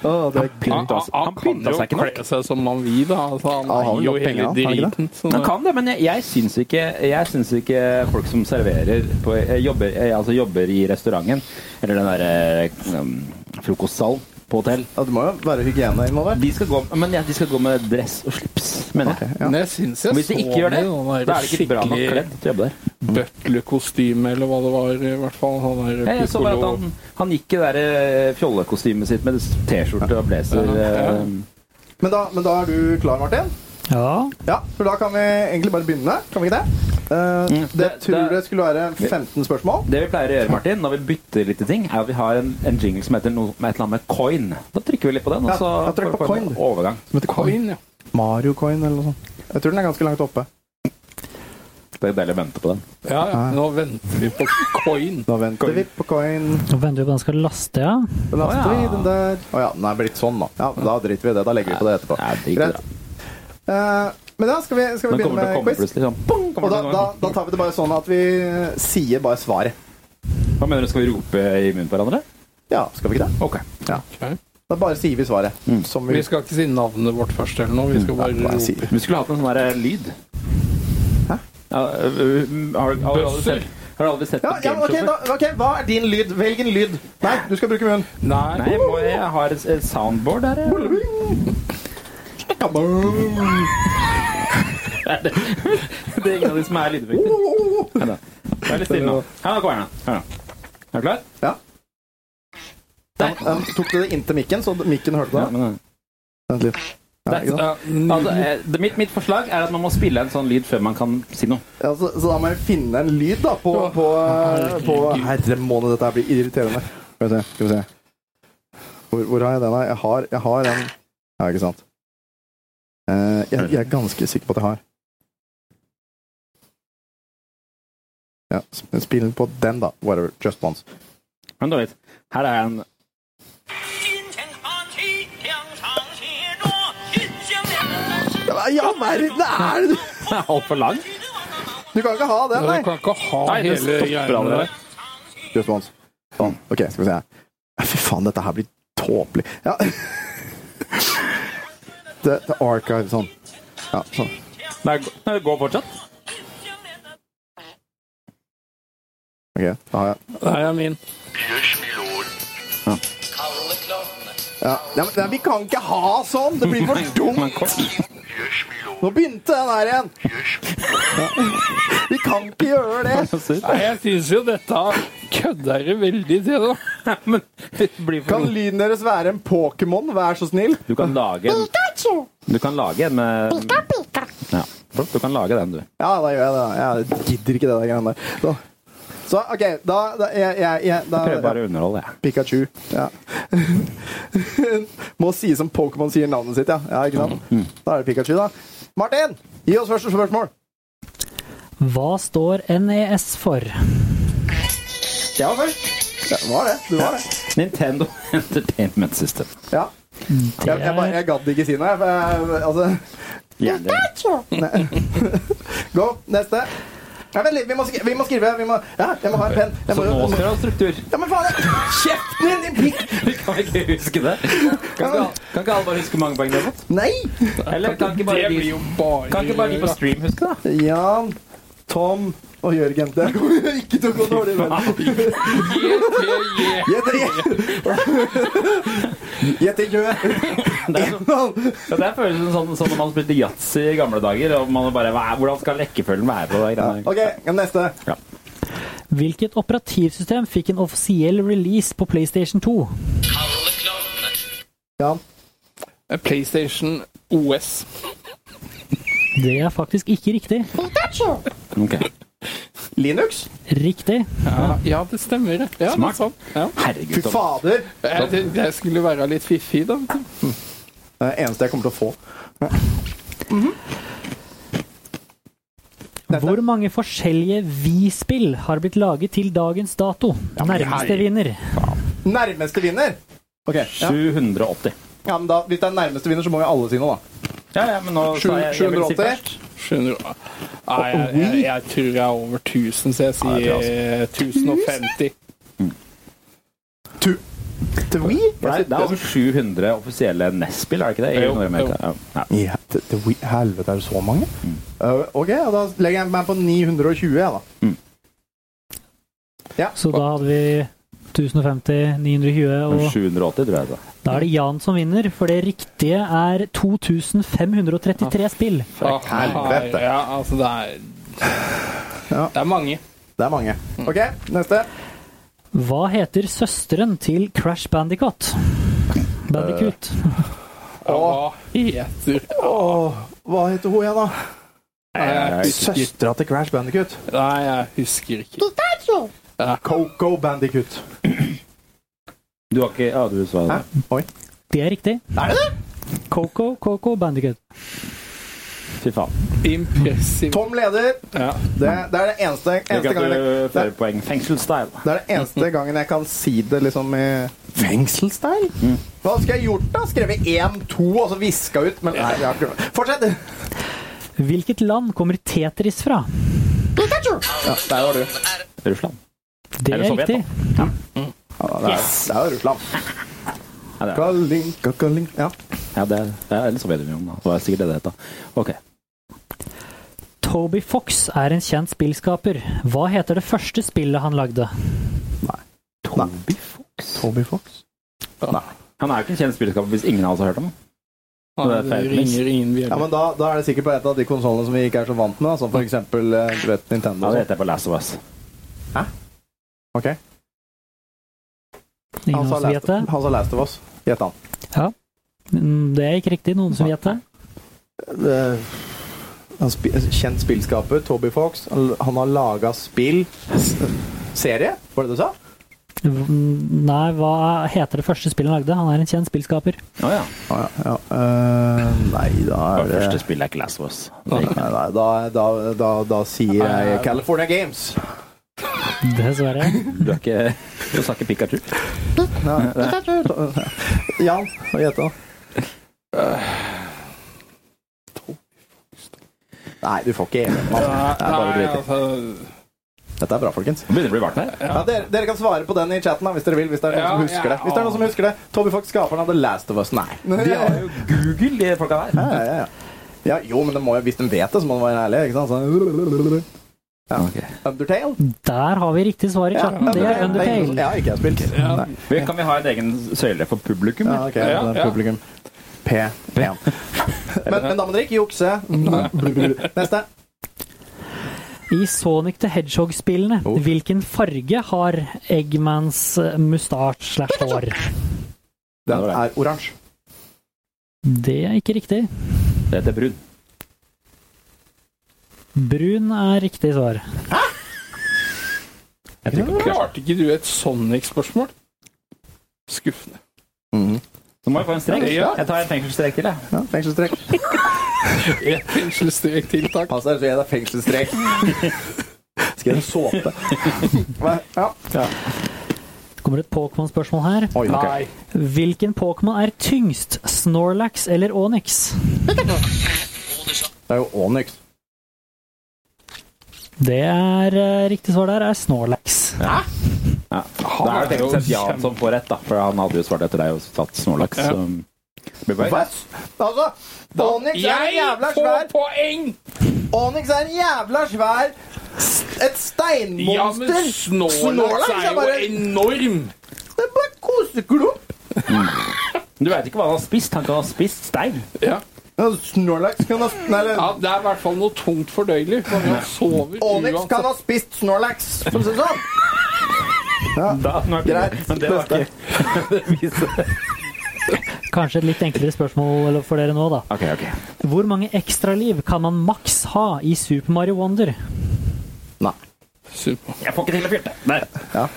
Å, det er Han, pynt, han, altså. han Han kan pynta jo seg ikke nok. kle seg som man vil, da. Altså, han Ja, han har er jo vel nok hele penger, han, har han ikke driten. sånn så- Han kan det, men jeg, jeg syns ikke, jeg syns ikke folk som serverer på, eh, jobber, eh, altså jobber i restauranten, eller den derre um, frokostsalen på hotell Ja, det må jo være hygiene involvert. de skal, gå, men ja, de skal gå med dress og slips, mener jeg. Ja. Men jeg syns jeg Og hvis de ikke gjør det, da er det ikke bra nok kledd til å jobbe der. butlerkostyme, eller hva det var, i hvert fall. Han der Jeg, jeg så bare at piccolo- han, han gikk i det der eh, fjollekostymet sitt med T-skjorte og blazer. Ja. eh, Men da, men da er du klar, Martin? Ja. Ja, for da kan vi egentlig bare begynne. Kan vi ikke det? Eh, Mm. det det- tror det- jeg skulle være 15 spørsmål. Det vi pleier å gjøre, Martin, når vi bytter litt i ting, er at vi har en, en jingle som heter noe med et eller annet med coin. Da trykker vi litt på den, Ja, og så da trykker jeg på får vi en coin. overgang. Som heter Coin, ja. Mario Coin eller noe sånt. Jeg tror den er ganske langt oppe. Det er deilig å vente på den. ja, ja. Nå venter vi på coin. Da venter vi på coin. Nå venter vi på den skal laste, ja. Da laster Å, ja. vi den der. Å ja, den er blitt sånn, da. Ja, Da driter vi i det. Da legger vi på det etterpå. Nei, det er ikke Greit. Eh, men da skal vi, skal vi Den begynne kommer til å med komme quiz. plutselig sånn. Pong, Og kommer da, det da, noe. da tar vi det bare sånn at vi sier bare svaret. Hva mener du, skal vi rope i munnen på hverandre? Ja, skal vi ikke det? Ok. Ja. Ok. Da bare sier vi svaret. Mm. Som vi, Vi skal ikke si navnet vårt først eller noe. Vi skal bare bare si. rope. Vi skulle hatt en sånn der eh, lyd. Hæ? Ja, øh, øh, har, du- har, du aldri Bøsser. sett, har du aldri sett Ja, på ja, ok, gameshowet? da, ok, Hva er din lyd? Velg en lyd. Nei, du skal bruke munnen. Nei, Nei, jeg, må, jeg har et et soundboard der. jeg. Det er ingen av de som er Oh, lydeffekter. Nei da. Vær litt stille nå. Her nå kommer den. da. Her nå. Er du klar? Ja. Der. Um, tok du det inntil mikken, så mikken hørte Ja, det? men, uh, Vent litt. Ja, ikke sant? ja, Altså, nydelig. eh, det, mitt, mitt forslag er at man må spille en sånn lyd før man kan si noe. Ja, så, så da må jeg finne en lyd da på, på, eh, på Herre måned, dette her blir irriterende. Skal vi se. Skal vi se. Hvor, hvor har jeg den? da? Jeg har, jeg har en Ja, ikke sant. Eh, jeg, jeg er ganske sikker på at jeg har. Ja, sp- spill den på den, da. Whatever. Just once. Men dårlig. Her er en 金钱看齐，两场且着，金香两人是 Ja, I all verden er det Den er altfor lang. Du kan ikke ha den, Ja, nei! Du kan ikke ha Nei, det hele stopper greia aldri. der. Just once. Sånn. Ok, skal vi se her. Ja, Fy faen, dette her blir tåpelig. Ja. The, the Archive, sånn. Ja, sånn. Nei, gå- nei, det går fortsatt. Ok, da har jeg. Nei, jeg er min. Ja. Nei, men, nei, vi kan ikke ha sånn! Det blir for Men dumt! kort. Nå begynte den her igjen! Ja. Vi kan ikke gjøre det! Nei, jeg syns jo dette kødder det veldig til, da. Men det blir for Kan lyden deres være en Pokémon, vær så snill? Du kan lage en Du kan lage en med ja. Du kan lage den, du. Ja, da gjør jeg det. Jeg gidder ikke det der greiene der. Så, så OK, da, da jeg, jeg, jeg, da, Prøver bare å underholde, jeg. Pikachu. Ja. Må si som Pokémon sier navnet sitt, ja. ja ikke Mm. sant? Da er det Pikachu, da. Martin, gi oss første spørsmål. Hva står NES for? Jeg var først. Ja, det var det. Du var det. Nintendo Entertainment System. Ja. Jeg, jeg, bare- jeg gadd ikke si noe, jeg. for jeg- Altså Gjerne. Gå. Neste. Nei, vent litt, vi må, skri vi må skrive. Vi må, ja, jeg må ha en penn. Jeg Så må, nå skal du ha struktur. ja, men faen! jeg- Kjeften din, din pikk! Vi kan ikke huske det. Kan ikke, kan ikke alle bare huske hvor mange poeng de har fått? Nei! Eller kan ikke Det bare blir de, jo bare kan ikke bare de på stream huske det? Jan, Tom og Jørgen. Det kommer ikke til å gå dårlig. Men. Yeah, Gjett det! Gjett Det er så- det! Ja, det føles som sånn, sånn når man spilte yatzy i gamle dager. Og man bare, hva, er- Hvordan skal lekkefølgen være på det? greiene der? OK, neste. Hvilket operativsystem fikk en offisiell release på PlayStation 2? Jan. yeah. Eh, PlayStation OS. Det er faktisk ikke riktig. Ok. Linux? Riktig. Ja, ja det stemmer. det. Ja, det Smart. er sånn. Ja. Fy Herregud. Tom. fader! Jeg, tenkte jeg skulle være litt fiffig, da. vet du. Det er det eneste jeg kommer til å få. Hvor mange forskjellige Vi-spill har blitt laget til dagens dato? Nærmeste vinner. Nærmeste vinner! Ok, ja. 780. ja, men da, Hvis det er nærmeste vinner, så må jo alle si noe, da. Ja, ja, men nå sa jeg, jeg vil si 780? først. Skjønner du? Nei, jeg, jeg, jeg altså- tror jeg er over 1000, så jeg Ja, jeg tror sier eh, 1050. To, to we? For det, er- det er over 700 offisielle NES-spill, er det ikke det? i Jo, Nord-Amerika? Ja. Ja. Ja, til, til Wii. Helvete, er det så mange? Uh, ok, ja, da legger jeg meg på 920, jeg, da. Så da hadde vi 1050, 920 og 780, tror jeg det er. Da er det Jan som vinner, for det riktige er 2533 spill. Ah, helvete. Ja, altså, det er Ja. Det er mange. Det er mange. Ok, neste. Hva heter søsteren til Crash Bandicoot? Bandicoot. Ja, Hva heter Åh, hva heter hun igjen, da? Nei, jeg husker, Søstera til Crash Bandicut. nei, jeg husker ikke. Coco Bandicut. Du har ikke Ja, du sa det. Eh, Hæ? Oi. Det er riktig. Er det det? Coco, Coco Bandicoot. Fy faen. Impressiv. Tom leder. Ja. Det, det er det eneste, Jeg eneste gangen jeg, gratulerer det, flere poeng. Fengselsstyle. det er det Mm-hmm. eneste gangen jeg kan si det liksom i Fengselsstyle? Hva skulle jeg gjort, da? Skrevet 1, 2 og så viska ut? Men nei, jeg har ikke Fortsett! Hvilket land kommer Tetris fra? Der var du. Russland. Det Er er det Sovjet, riktig. Ja, Ah, det, er, det er jo Russland. Ja, det er- Kalinka, kalinka. Ja. Ja, det er, det er eller Sovjetunionen, da. Det var sikkert det det het, da. Ok. Toby Fox er en kjent spillskaper. Hva heter det første spillet han lagde? Toby Fox. Toby Fox. Han er jo ikke en kjent spillskaper hvis ingen av oss har hørt om han. Ja, Det ringer ingen Ja, bjelle. men da, da er det sikkert på et av de konsollene som vi ikke er så vant med, da, som for eksempel eh, du vet, Ja, Nintendo. det og sånt. heter jeg på Last of Us. Ok. Ingen Han av sa oss vet Last- det. han sa Last of Us. Gjett han. Mm, Det er ikke riktig. Noen som vet det? Eh, han spi eh, kjent spillskaper, Toby Fox. Han han har laga spill S- Serie, var det det du sa? Mm, Nei, hva heter det første spillet han lagde? Han er en kjent spillskaper. Å ja. Ja, ja. eh, nei, da Det er det første spillet er ikke Last of Us. Det gikk Nei, nei, da, da, da, da sier jeg California Games. Dessverre. Du er ikke Du sa ikke Pikachu? Jan, hva gjetter du? Nei, du får ikke hele. Nei, bare å nei, drite. altså, Dette er bra, folkens. Det begynner å bli varmt her. Ja, dere, dere kan svare på den i chatten da, hvis dere vil. Hvis det er noen Ja, som husker ja. det. Hvis det er noen som husker det Toby Fox, skaperen av The Last of Us. Nei. De har jo Google, de folka der. Ja, ja, ja. ja, jo, men det må jo, hvis de vet det, så må de være ærlige. Ikke sant? Sånn. Ja. Undertale? Der har vi riktig svar i chatten. Det er Undertale. Ja, ikke jeg har spilt. Nei. Vi- Kan vi ha en egen søyle for publikum? Ja, eller? ok, det er ja. publikum. P1. Men, men Dominic, jukse. Neste. I Sonic the Hedgehog-spillene, Oh. hvilken farge har Eggmans eh, mustasje slash hår? Den er oransje. Det er ikke riktig. Det heter brun. Brun er riktig svar. Jeg tror ikke klart. Klarte ikke du et Sonic-spørsmål? Skuffende. Mhm. Så må jeg få en strek. Ja. Jeg tar en fengselsstrek til, jeg. Ja, fengselsstrek. Et fengselsstrek til, takk. Pass deg, så gir jeg deg fengselsstrek. Skal jeg ha såpe? Hva- Ja. Det kommer et Pokémon-spørsmål her. Oi, ok. Nei. Hvilken Pokémon er tyngst? Snorlax eller Onyx? Det er jo Onyx. Det er eh, riktig svar der er Snorlax. Ja. Da er det er jo teknisk sett Jan kjempe- som får rett, da. For han hadde jo svart etter deg og tatt Snorlax. Ja. Så det blir Hva? bare Altså, Onyx er en jævla Jeg svær får poeng! Onyx er en jævla svær Et Ja, men steinmonster! Snorlax er jo enorm! Det er bare koseklump! Mm. Du veit ikke hva han har spist. Han kan ha spist stein. Ja. Snorlax kan ha sp- nei, eller, Ja, det er i hvert fall noe tungt fordøyelig. for Han sover Onyx kan ha spist Snorlax, for å si det sånn! Da, nå er ikke Greit. det- Men det var ikke det viser- Kanskje et litt enklere spørsmål for dere nå, da. Ok, ok. Hvor mange ekstraliv kan man maks ha i Super Mario Wonder? Nei. Super. Jeg får ikke til å fyrte. Nei. Ja.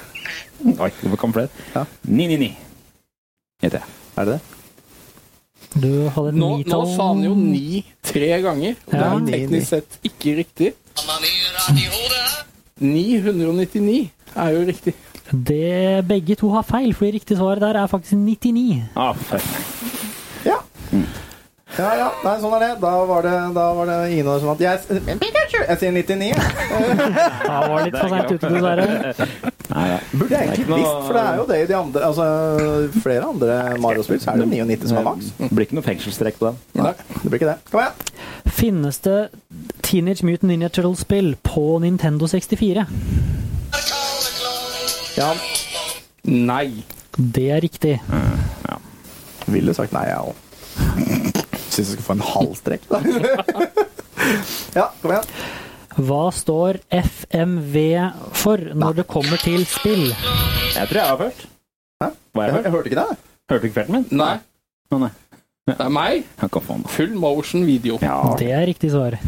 Oi, det kom flere. Ja. 999 heter jeg. Er det det? Du hadde et Nå, nå nitall sa han jo ni tre ganger. og Det Ja. er teknisk sett ikke riktig. Bananer i hodet. 999 er jo riktig. Det begge to har feil, fordi riktig svar der er faktisk 99. Ah, fuck. Ja. Ja, ja. Nei, sånn er det. Da var det, da var det ingen av dere som vant. Jeg, s- Pikachu! jeg sier 99. jeg. Ja, var litt for sent ute, dessverre. Nei, nei. Burde jeg egentlig Det er ikke noe- visst, for det er jo det i de andre Altså, flere andre Mario-spill, så er det jo 99 som er maks. Det blir ikke noe fengselsstrekk på den. Nei, det blir ikke det. Kom igjen! Finnes det Teenage Mutant Ninja Turtles-spill på Nintendo 64? Ja, Nei. Det er riktig. ville sagt nei, jeg òg. Syns jeg skal få en halv strekk, da. Ja, kom igjen. Hva står FMV for når det kommer til spill? Jeg tror jeg har ført. Hæ? Hva har Jeg, jeg jeg hørt? hørte ikke det. Hørte du ikke felten min? Nei. Å, nei. Det er meg. Ja, Hva faen, da? Full motion video. Ja. Det er riktig svar.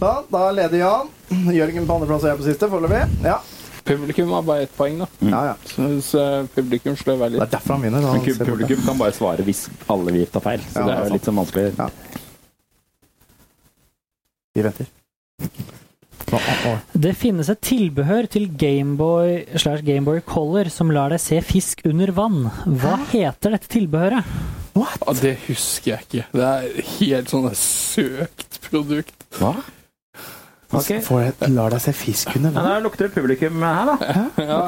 Da, da leder Jan. Jørgen på andreplass og jeg på siste, foreløpig. Ja. Publikum har bare ett poeng, da. ja, ja. Så, så eh, publikum sløver Det litt. er derfor han vinner. da. Mm. Men kub- publikum kan bare svare hvis alle vi tar feil, så Ja, det det er er jo litt sånn vanskelig. Ja. Vi venter. Hva- hva- hva- Det finnes et tilbehør til Gameboy slash Gameboy Color som lar deg se fisk under vann. Hva heter dette tilbehøret? Ja, Ah, det husker jeg ikke. Det er helt sånn søkt produkt. Hva? Ok. Får jeg, lar deg se fisk under Ja, vann? da lukter det publikum her, da. Nå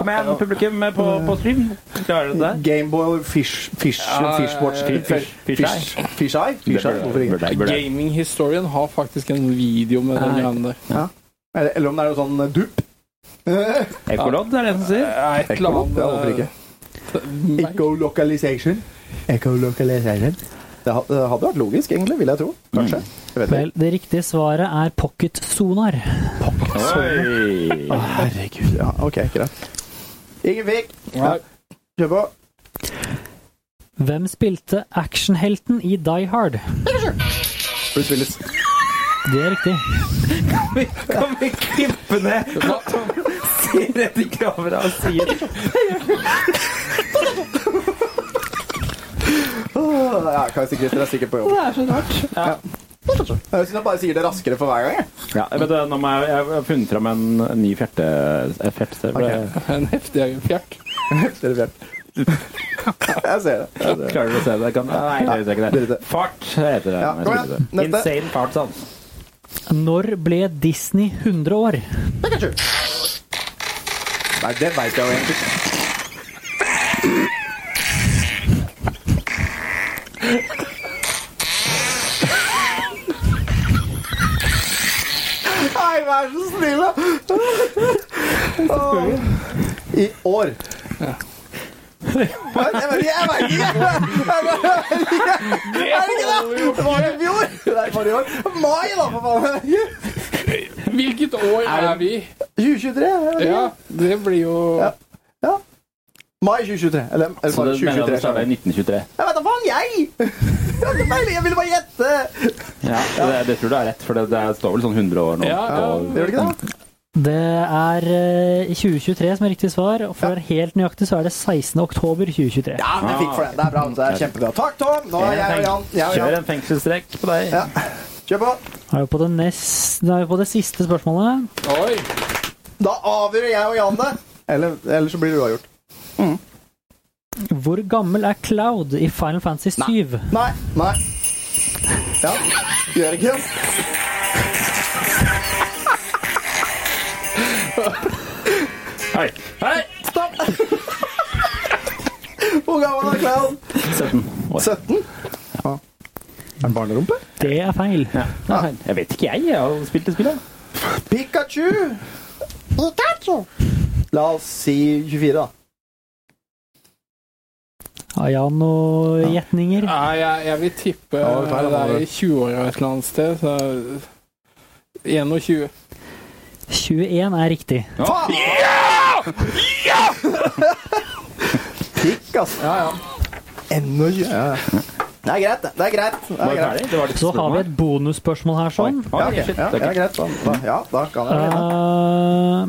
Kom igjen, publikum på, på stream. Klarer du det? Gameboy Fish Fish Ja, Fishwatch ja, ja. eh, Fish Fish- Fish Fish Eye? Fish Eye? Hvorfor ikke? Gaming-historien har faktisk en video med den Nei. greia der. Eller, eller om det er noe sånn eh, dupp? Ekkolodd er det som sier. Nei, et eller Ekkolopp? annet Ja, hvorfor ikke? Echo-localization. Echo-localization. Det ha- det hadde vært logisk, egentlig, vil jeg tro. Kanskje. Jeg vet ikke. Vel, det riktige svaret er pocket sonar. Oi. Herregud. Ja, ok, greit. Ingen fikk. Nei. Kjør på. Hvem spilte actionhelten i Die Hard? Bruce Willis. Det er riktig. Kan vi klippe ned at han sier rett i kameraet og sier Åh, Ja, Kajsa Christer er sikkert på jobb. Det er så rart. Ja. Jeg synes jeg bare sier det raskere for hver gang. jeg. ja, vet du, nå må jeg, jeg har funnet fram en ny fjerte... eh, fjertestøvel. Ok. En heftig fjerk. Dere vet. Jeg ser det. Jeg ser det. Klarer du å se det? Kan... Nei, jeg ser ikke det. Drit i. Fart heter det. Ja, Jeg kom tror igjen. ikke det. Neste. Insane fart, sånn. Når ble Disney 100 år? Nei, det vet jeg jo egentlig. Nei, vær så snill, da! Åh. I år. Jeg vet ikke! Jeg vet ikke! Jeg vet ikke. Er det ikke det? Det var i fjor! Nei, det var i år. Mai, da, for faen! Hvilket år er vi? 2023? jeg vet ikke. Ja, det blir jo Ja. Ja. Mai 2023. Eller, eller Så bare du mener at 2023. det startet i 1923? Jeg vet da faen, jeg! Jeg hadde peiling, Jeg ville bare gjette! Ja, det, det tror du er rett, for det, det står vel sånn 100 år nå. Ja, ja. på- Gjør det ikke det? Det er eh, 2023 som er riktig svar, og for å være helt nøyaktig så er det 16. oktober 2023. Ja, men jeg fikk for det. Det er bra. Det er kjempebra. Takk, Tom! Nå er jeg og Jan. Jeg og Kjør Jan. en fengselsstrekk på deg. Ja. Kjør på. Da er vi på det, nest, da er vi på det siste spørsmålet. Oi! Da avgjør jeg og Jan det. Eller, eller så blir det uavgjort. Mm. Hvor gammel er Cloud i Final Fantasy 7? Nei. Nei. Ja. Gjør ikke det. Hei. Hei! Hvor gammel er Clown? 17 år. 17? Ja. Er det barnerumpe? Det er feil. Jeg vet ikke, jeg. Jeg har jo spilt det spillet. Pikachu! Pikachu! La oss si 24, da. Har Jan noen gjetninger? Nei, jeg, jeg vil tippe Ja, det er feil, det det er er. i 20-åra et eller annet sted. Så 21. 21 er riktig. Faen! Ja! Pikk, altså. Ja, ja. Ennå ikke. Det er greit, det. Det er greit. Det er Var det greit. ferdig? Det var litt Så har vi et bonusspørsmål her sånn. Ja, Oi, ok. shit. ja, ja, Det er ikke- greit. Da, da, ja, da kan jeg vinne. Eh,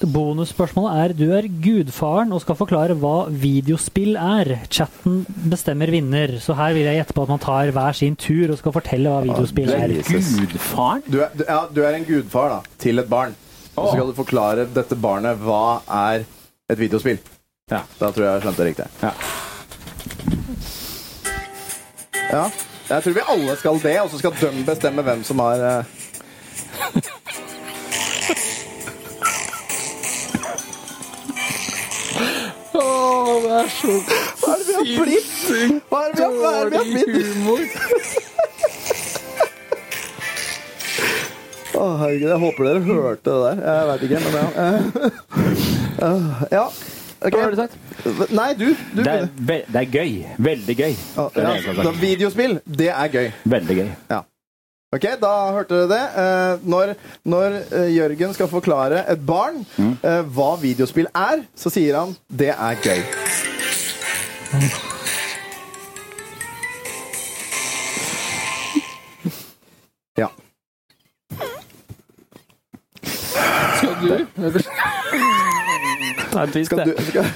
bonusspørsmålet Eh, er du er gudfaren og skal forklare hva videospill er. Chatten bestemmer vinner, så her vil jeg gjette på at man tar hver sin tur og skal fortelle hva videospill er. Gudfaren? Du er, du, ja, du er en gudfar da, til et barn. Og så skal du forklare dette barnet hva er et videospill. Ja. Da tror jeg jeg skjønte det riktig. Ja. Ja. Jeg tror vi alle skal det, og så skal de bestemme hvem som har eh, det er så Hva er det vi har blitt? Hva er det vi har, hva er det vi dårlig har blitt? humor. Å, herregud, jeg håper dere hørte det der. Jeg veit ikke, men ja. Eh, ja. ok. Hva har du sagt? Nei, du. du Det er, begynner. ve det er gøy. Veldig Ja, gøy. Det er det ja. jeg skal Da, si. videospill, det er gøy. Veldig gøy. Ok, da hørte dere det. Eh, Når, når eh, Jørgen skal forklare et barn eh, hva videospill er, så sier han 'det er gøy'. Ja. Skal du? Eller? Det er trist, Skal du, det. skal,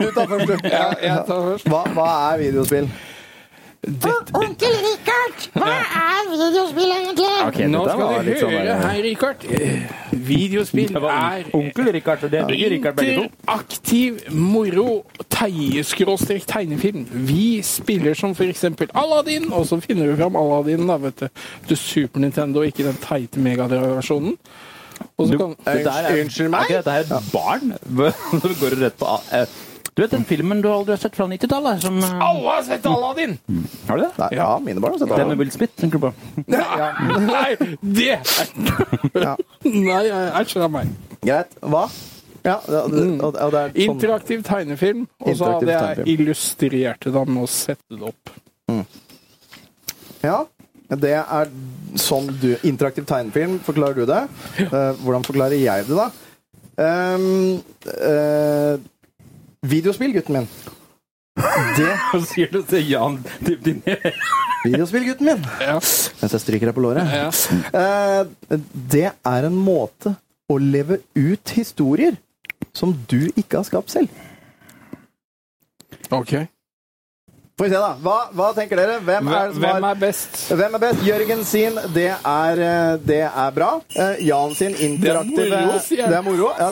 du tar først, du. Ja, jeg tar først. Hva, hva er videospill? Onkel Richard, hva er videospill egentlig? Ok, dette Nå var skal du litt sånn høre der- her, Richard. Eh, Videospill Det var er onkel Richard, og det blir Richard begge to. Interaktiv moro teie-skråstrek tegnefilm. Vi spiller som for eksempel Aladdin, og så finner du fram Aladdin, da, vet du. Til Super Nintendo, ikke den teite megadraversjonen. Og så kan Det der er- Unnskyld meg? Er ikke dette her et barn? Så går du rett på A- eh, Du vet den filmen du aldri har sett fra 90-tallet? som, eh, Mm. Alle har sett Aladdin! Har du det? Nei, ja, mine barn har sett Den med det. Will Smith, tenker du på? Nei, det Ja. Nei, æsj av meg. Greit. Hva? Ja, det, det, Mm. og, og det er sånn Interaktiv tegnefilm, og Interaktiv så hadde tegnefilm. jeg altså, illustrert det da med å sette det opp. Mm. Ja, det er sånn du Interaktiv tegnefilm, forklarer du det? Eh, hvordan forklarer jeg det, da? Ehm, eh, videospill, gutten min. Det Hva sier du til Jan Dibdiner? Videospill, gutten min. Ja. Mens jeg stryker deg på låret. Ja. Eh, det er en måte å leve ut historier som du ikke har skapt selv. OK. Får vi se, da. Hva, hva tenker dere? Hvem er det som har Hvem er best? Hvem er best? Jørgen sin, det er, eh, det er bra. Eh, Jan sin interaktive Det er moro, sier jeg. Det er moro, ja.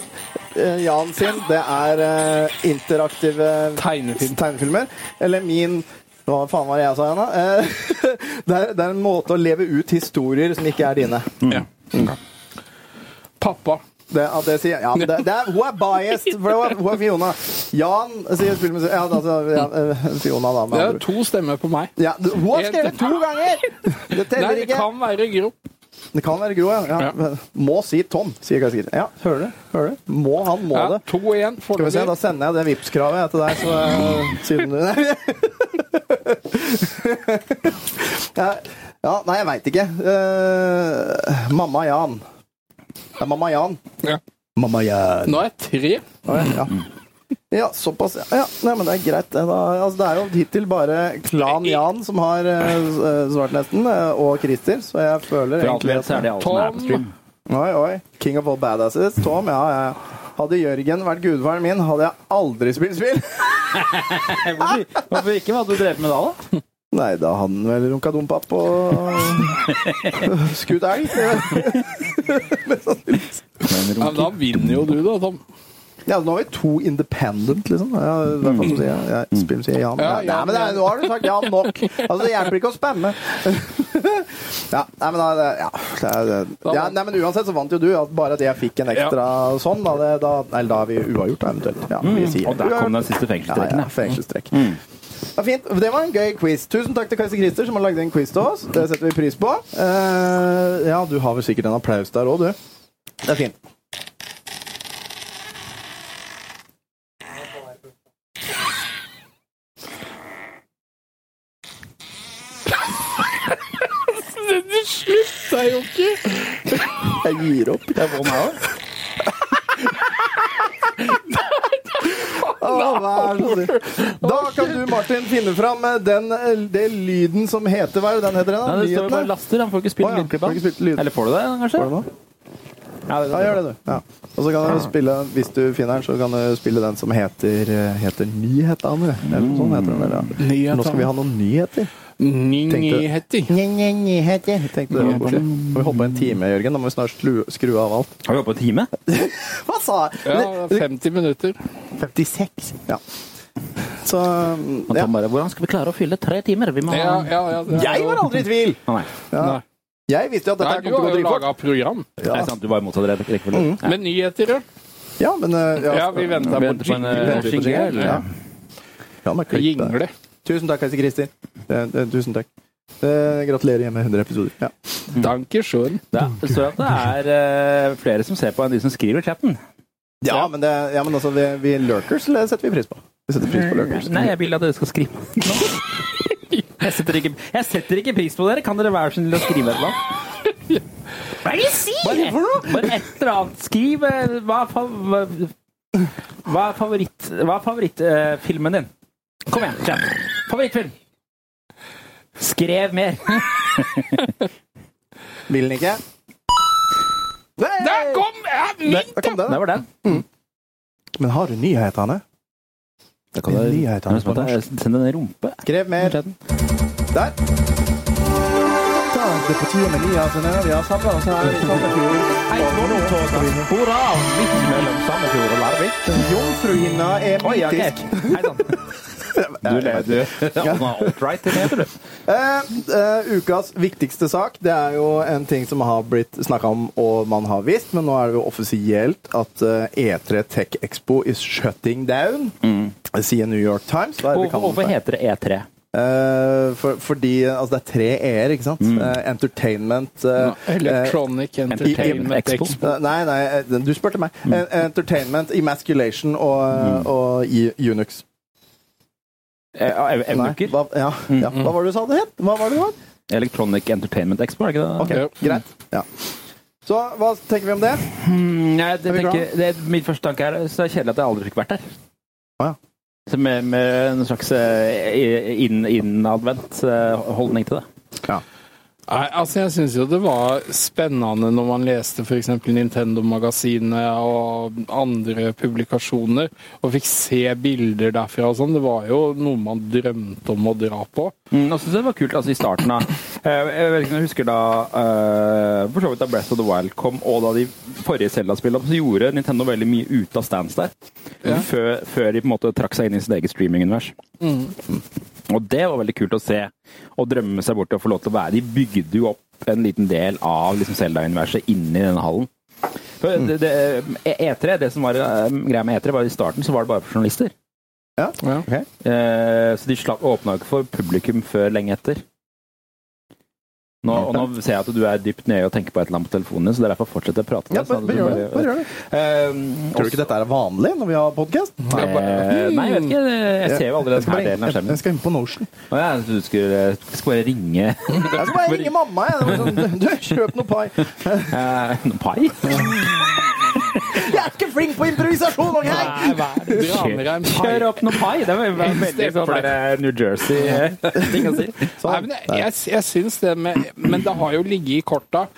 Eh, Jan sin, det er eh, interaktive Tegnefilm. tegnefilmer. Eller min Hva faen var det jeg sa igjen, da? Eh, det, er, det er en måte å leve ut historier som ikke er dine. Mm. Ja. Pappa. Det, ja, det sier, ja, det, det er, hun er biased, for hun er, hun er Fiona. Jan sier spillmusikk Ja, altså, ja, eh, Fiona, da. Med Det andre. er ord. to stemmer på meg. Ja, du- hun har skrevet to ganger! Det Nei, teller det ikke. kan være Gro. Det kan være Gro, ja. ja. Ja. Må si Tom, sier Kai Sigurd. Ja, hører du? Hører du? Må han, må Ja, det. to igjen. Skal vi se, da Foreløpig. sender jeg det Vipps-kravet jeg, til deg, så eh, siden du Nei. Ja, nei, jeg veit ikke. Eh, mamma Jan. Det er mamma Jan. Ja. Mamma Jan. Nå er jeg tre. Å, Ja. ja, såpass. Ja, ja nei, men det er greit. det Da. Altså, det er jo hittil bare Klan Jan som har eh, s- svart, nesten, eh, og Christer, så jeg føler For alt vi vet, så er det alt som er på stream. Oi, oi. King of all badasses. Tom, ja, ja. Hadde Jørgen vært gudfaren min, hadde jeg aldri spilt spill. Hvorfor, hvorfor ikke? Hva hadde du drevet med da? da? Nei, da hadde han vel runka dompap og skutt elg. Ja, men da vinner jo du, da, Tom. Ja, nå er vi to independent, liksom. Ja, i hvert fall så sier jeg, jeg spiller, sier Jan. Ja, Ja, nei, men det, er- nå har du sagt Jan nok. Altså, det hjelper ikke å spamme. Ja, nei, men, da- ja, det er- eh, ja, nei, men uansett så vant jo du. At bare at jeg fikk en ekstra sånn, da, det, da, eller da er vi uavgjort, da, eventuelt. Ja, vi sier Mm, Og der uavgjort. kom den siste Ja, fengselstrekken. Mm. ja, fengselstrekk. Ja, fint. Det var en gøy quiz. Tusen takk til Kajse Christer som har lagd en quiz til oss. Det setter vi pris på. Eh, ja, du har vel sikkert en applaus der òg, du. Det er fint. Det er jo ikke Jeg gir opp. Det var meg også. Å, vær så snill. Da kan du, Martin, finne fram eh, den, eh, det lyden som heter Hva er det den heter? Nei, Da? det står jo bare Nyhetene? laster. Han får ikke spille Å, ja. lydklipp. Får ikke spilt lyd. Eller får du det, kanskje? Var det noe? Ja, det, Ja, gjør det, du. Ja. Og så kan du spille, hvis du finner den, så kan du spille den som heter, eh, heter Nyhetene. Eller noe sånt heter den vel, ja. Nyhetene. Nå skal vi ha noen nyheter. Nyheter. Nyheter. Tenkte det var koselig. Og vi holdt på en time, Jørgen. Da må vi snart slu, skru av alt. Har vi holdt på en time? Hva sa Ja, jeg? det er 50 minutter. 56. Ja. Så Han ja. tar bare, Hvordan skal vi klare å fylle tre timer? Vi må ha Ja, ja, ja, det er Jeg jo- var aldri i tvil! Å, Nei, Ja. Nei. Jeg visste jo at dette Nei, her du kom til å har gå jo dritfort. laga program. Mm. det er sant. Du var i motsatt rett- rekkefølge. Ja. Men nyheter, ja. Mm. Ja, men eh, ja, Ja, vi venter Vi på venter på en jingle. eh, Venter på jingle, jingle. ja. Ja, men klipp det. Jingle. Tusen takk, Heise Kristin. Eh, eh, Tusen takk. Eh, gratulerer igjen med 100 episoder. Ja. Danke schön. Det er- det står at det er eh, flere som ser på enn de som skriver i chatten. Ja, men, det, ja, men altså, vi, vi lurkers eller setter vi pris på. Vi setter pris på lurkers. Mm, Nei, jeg vil at dere skal skrive. Jeg setter, ikke, jeg setter ikke pris på dere. Kan dere være så snill å skrive et eller annet? Hva er det du sier? Bare et eller annet. Skriv eh, Hva er, fav hva er favoritt... Hva er favorittfilmen din? Kom igjen, kjenn. Favorittfilm. Skrev mer. Vil den ikke? Nei! Der kom jeg! Der kom den. Det var den. Men har du nyhetene? Det kan du- nyhetene på norsk. Send en rumpe. Skrev mer. Der. Da er det på tide med nyhetene. Vi har samla oss her i Sandefjord. Hurra! Midt mellom Sandefjord og Larvik. Jomfruhinna er Oi, ok. mytisk. Hei sann. Du ler, du. Alt-right, heter du. Eh, eh, ukas viktigste sak Det er jo en ting som har blitt snakka om og man har visst, men nå er det jo offisielt at eh, E3 Tech Expo is shutting down. Sier New York Times. Hva er det vi Hvorfor, kaller hvorfor det? heter det E E3? Eh, for, fordi altså, det er tre E-er, ikke sant? Mm. Eh, entertainment eh, Electronic Entertainment Entertainment Expo. Expo. Mm. eh, Nei, nei, eh, du spurte meg. Eh, Entertainment, emasculation og, og i- Unix. Eh, Nei, Eunuker? hva, ja, Mm. ja. hva var det du sa det het? Hva var det det var? Electronic Entertainment Expo, er det ikke det? Ok, Ja. greit. Ja. Så hva tenker vi om det? Mm, nei, det, Er vi tenker, det, er- min første tanke er så er det kjedelig at jeg aldri fikk vært der. Å, ja. Så med, med en slags eh, inn- innadvendt eh, holdning til det. Nei, altså jeg syns jo det var spennende når man leste f.eks. Nintendo-magasinet og andre publikasjoner, og fikk se bilder derfra og sånn. Det var jo noe man drømte om å dra på. Mm, og så synes jeg det var kult altså, i starten av eh, Jeg vet ikke om jeg husker da eh, For så vidt da Breath of the Wild kom, og da de forrige Zelda-spillene kom, så gjorde Nintendo veldig mye ut av stands der. Før, før de på en måte trakk seg inn i sitt eget streamingunivers. Mm. Og det var veldig kult å se og drømme seg bort til å få lov til å være De bygde jo opp en liten del av liksom, Zelda-universet inni denne hallen. For det, det, E3, det som var eh, greia med E3, var at i starten så var det bare for journalister. Ja. Eh, så de slapp åpna ikke for publikum før lenge etter. Nå, og nå ser jeg at du er dypt nede og tenker på et eller annet på telefonen din, så det er derfor fortsetter jeg å prate. til deg, sånn at du bare- Eh, Tror du ikke dette er vanlig når vi har Mm. podkast? også- eh, Nei, jeg vet ikke. Jeg ser jo aldri den Hmm. Jeg skal bare her inn- delen av jeg skjermen. skal inn på Notion. Å ja, så du skulle, du skulle bare ringe Jeg skal bare ringe mamma. Jeg. Det var Sånn, du, kjøp noe pai. eh, noen pai? Jeg er ikke flink på improvisasjon! ok? Dra med deg en pai. Kjør opp noen pai! Det var var veldig sånn der, eh, New Jersey-ting å si. Sånn. Nei, men jeg, jeg, jeg syns det med Men det har jo ligget i korta.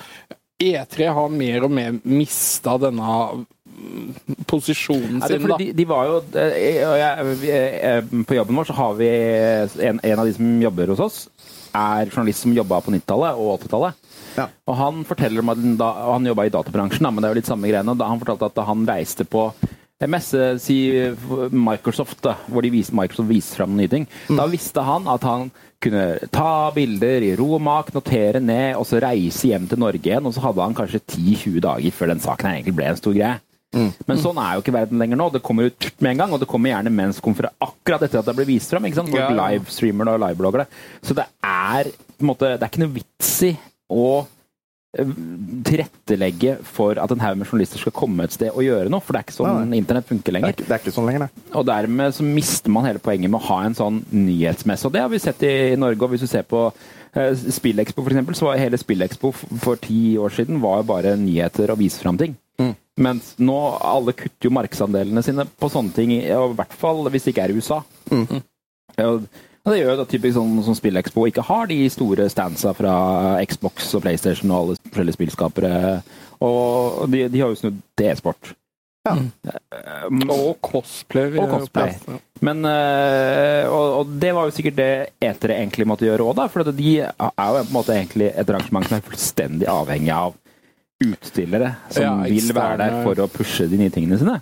E3 har mer og mer mista denne mm, posisjonen Ja, det, er sin, da. fordi de, de var jo eh, og jeg, vi, eh, På jobben vår så har vi eh, en, en av de som jobber hos oss, er journalist som jobba på 90-tallet og 80-tallet. Ja. Og han forteller om at den da, og han jobba i databransjen, da, men det er jo litt samme greiene. og da Han fortalte at da han reiste på en messe, si Microsoft, da, hvor de viste, Microsoft viste fram nye ting. Da visste han at han kunne ta bilder i ro og mak, notere ned, og så reise hjem til Norge igjen. Og så hadde han kanskje 10-20 dager før den saken her egentlig ble en stor greie. Mm. Men sånn er jo ikke verden lenger nå. Det kommer ut med en gang, og det kommer gjerne mens konfera akkurat etter at det blir vist fram. Ikke sant? Folk Ja, ja. livestreamer det og liveblogger det. Så det er på en måte, det er ikke noe vits i å eh, tilrettelegge for at en haug med journalister skal komme et sted og gjøre noe, for det er ikke sånn internett funker Det er, lenger. ikke, det er ikke sånn lenger, nei. Og dermed så mister man hele poenget med å ha en sånn nyhetsmesse. Og det har vi sett i i Norge. Og hvis du ser på eh, Spillekspo for eksempel, så var hele Spillekspo f- for ti år siden var jo bare nyheter og vise fram ting. Mm. Mens nå alle kutter jo markedsandelene sine på sånne ting, i- og i hvert fall hvis det ikke er i USA. Mm. Ja, og- og det gjør jo da typisk sånn som SpillExpo ikke har de store standsa fra Xbox og PlayStation og alle forskjellige spillskapere. Og de, de har jo snudd til e-sport. Um, Og cosplay. og cosplay. Men, øh, og, og det var jo sikkert det etere egentlig måtte gjøre òg, for at de er jo på en måte egentlig et arrangement som er fullstendig avhengig av utstillere som Ja, vil være der eksterne- Mm. for å pushe de nye tingene sine.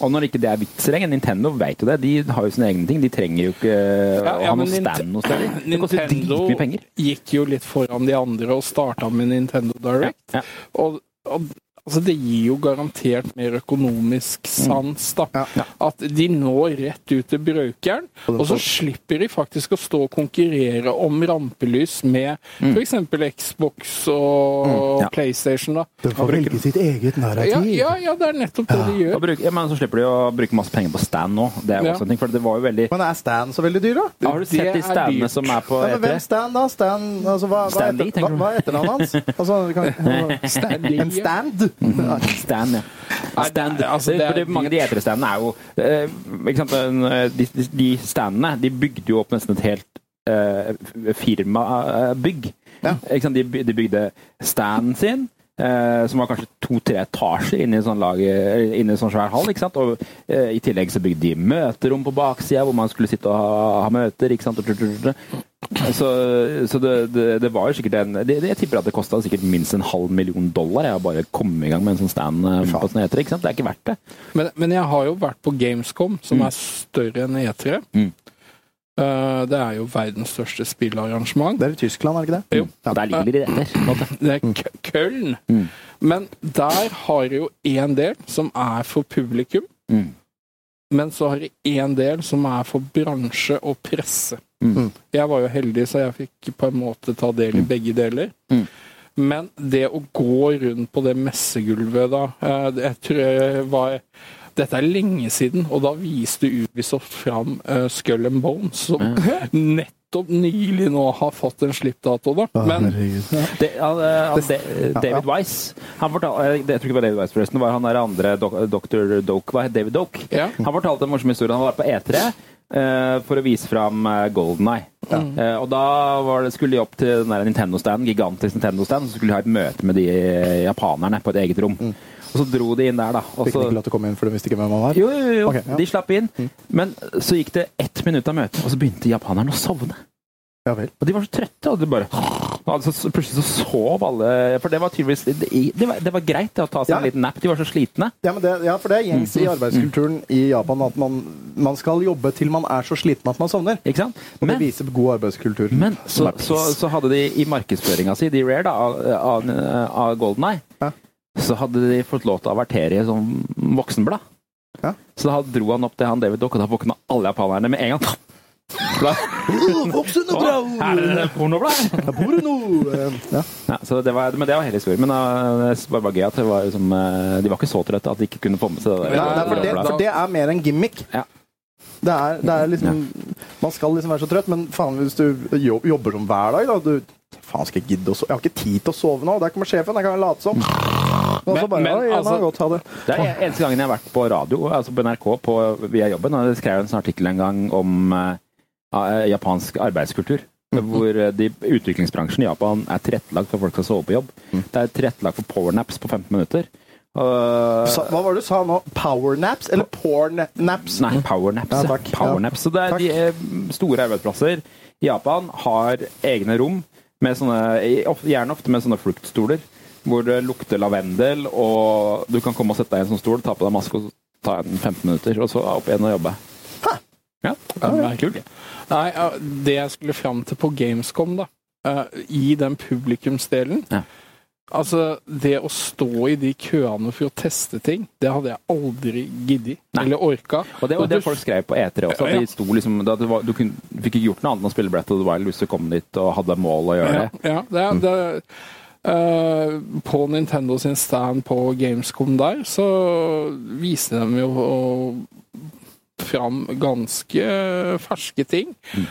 Og når ikke det er vits lenger, Nintendo vet jo det, de har jo sine egne ting. De trenger jo ikke øh, Ja, å ja, ha men noe Nint- stand noe sted. Det koster Nintendo dritmye penger. gikk jo litt foran de andre og starta med Nintendo Direct. Ja. Og, og Altså, det gir jo garantert mer økonomisk Mm. sans, da. At de når rett ut til brukeren, og så slipper de faktisk å stå og konkurrere om rampelys med f.eks. Xbox og Mm. Ja. PlayStation, da. Den får velge sitt eget Ja, narrativ. ja, ja, det er nettopp det de Da gjør. bruk- ja, men så slipper de å bruke masse penger på stand nå. Det er jo Ja. også en ting, for det var jo veldig Men er Stan så veldig dyr, da? Har du sett Det de er standene dyrt. som er på Ja, men hvem E3? Stan, da? Stan, altså, hva, hva, Stan Lee, heter, hva, tenker du? hva er etternavnet hans? Altså, kan, Stanley, en ja. stand? Stand, ja. Stand. det- altså, det er Fordi mange av de E3-standene er jo eh, ikke sant, eh, de, de- de standene de bygde jo opp nesten et helt eh, firmabygg. Ja. Ikke sant, De, by- de bygde standen sin, eh, som var kanskje to-tre etasjer inne i en sånn, lage, eller inne i en sånn svær hall. ikke sant, Og eh, i tillegg så bygde de møterom på baksida, hvor man skulle sitte og ha, ha møter. ikke sant, og tru, tru, tru, tru. Så, så det, det, det var jo sikkert en det, det, Jeg tipper at det kosta sikkert minst en halv million dollar jeg å bare komme i gang med en sånn stand. eh, på sånn etter, ikke sant? Det er ikke verdt det. Men, men jeg har jo vært på Gamescom, som Mm. er større enn E3. Mm. Eh, det er jo verdens største spillarrangement. Det er i Tyskland, er det ikke det? Mm. Jo. Eh, Og der ligger de rett der. på en måte. Det er Kø- Køln. Mm. Men der har de jo én del som er for publikum. Mm. Men så har de én del som er for bransje og presse. Mm. Jeg var jo heldig, så jeg fikk på en måte ta del i begge deler. Mm. Men det å gå rundt på det messegulvet da eh, det- Jeg tror jeg var Dette er lenge siden, og da viste Ubisoft fram eh, Skull and Bones, som nettopp nylig nå har fått en slippdato, da. Men Det, han, eh, han, Det- De- David Weiss han fortalte, eh, det- Jeg tror ikke det var David Weiss, forresten. Det var han der andre dok- dr. Doke. Hva het David Doke? Ja. Han fortalte en morsom historie. Han var på E3 eh, for å vise fram eh, Golden Eye. Eh, og da var det, skulle de opp til den der Nintendo-stand, gigantisk Nintendo-stand, så skulle de ha et møte med de eh, japanerne på et eget rom. Og så dro de inn der, da. Og Mm. Fikk så, ikke lov til å komme inn, for du visste ikke hvem han var? jo, jo, jo. Ok, ja. Mm. De slapp inn. Men så gikk det ett minutt av møtet, og så begynte japaneren å sovne. Ja vel. Og de var så trøtte, og de bare altså, så Plutselig så sov alle For det var tydeligvis Det, det, var, det var greit det, å ta seg en Ja. liten nap. De var så slitne. Mm. Ja, men det, ja, for det er gjengs i arbeidskulturen i Japan at man, man skal jobbe til man er så sliten at man sovner. Ikke sant? Og det Men, viser god arbeidskultur. men som er Mm. så, piss. så, så hadde de i markedsføringa si, de Rare, da, av, av, av Golden Eye, Ja. så hadde de fått lov til å avertere i sånn voksenblad. Ja. Så da dro han opp til han David Dock, og da våkna alle japanerne med en gang. Voksen og bra! Er det pornoblad? Porno! Ja. Ja, så det var, men det var hele historien. Men uh, det var bare gøy at det var liksom, uh, de var ikke så trøtte at de ikke kunne få med seg det. der. Nei, nei, for, det, Blablabla. for det er mer en gimmick. Ja. Det er, det er liksom Man skal liksom være så trøtt, men faen, hvis du jo- jobber som hver dag, da du, Faen, skal jeg gidde å sove? Jeg har ikke tid til å sove nå. Der kommer sjefen, jeg kan late som. Og så Men- bare men «Oi, jeg må altså- godt ha det. Det er eneste gangen jeg har vært på radio, altså på NRK, på, via jobben. Og jeg skrev en sånn artikkel en gang om eh, eh, japansk arbeidskultur. Mhm. Hvor eh, de, utviklingsbransjen i Japan er tilrettelagt for folk som sover på jobb. Mhm. Det er tilrettelagt for powernaps på 15 minutter. Uh, Sa, hva var det du sa nå? Powernaps eller pornnaps? Nei, powernaps. Ja, ja. takk. powernaps. Så det er Takk. de eh, store arbeidsplasser i Japan har egne rom, med sånne, i- of- gjerne ofte med sånne fluktstoler, hvor det lukter lavendel, og du kan komme og sette deg i en sånn stol, ta på deg maske og ta en 15 minutter, og så opp igjen og jobbe. Ja, det er kult. Nei, ja, det jeg skulle fram til på Gamescom, da, eh, i den publikumsdelen Ja. Altså, det å stå i de køene for å teste ting, det hadde jeg aldri giddet eller orka. Og det var det folk skrev på E3 også. at Ja. De sto liksom, at det var, du kunne, fikk ikke gjort noe annet enn å spille Brett of the Wild hvis du kom dit og hadde mål å gjøre. Ja, ja, det, er- det, er- eh, på Nintendo sin stand på Gamescom der, så viste de jo og, fram ganske ferske ting.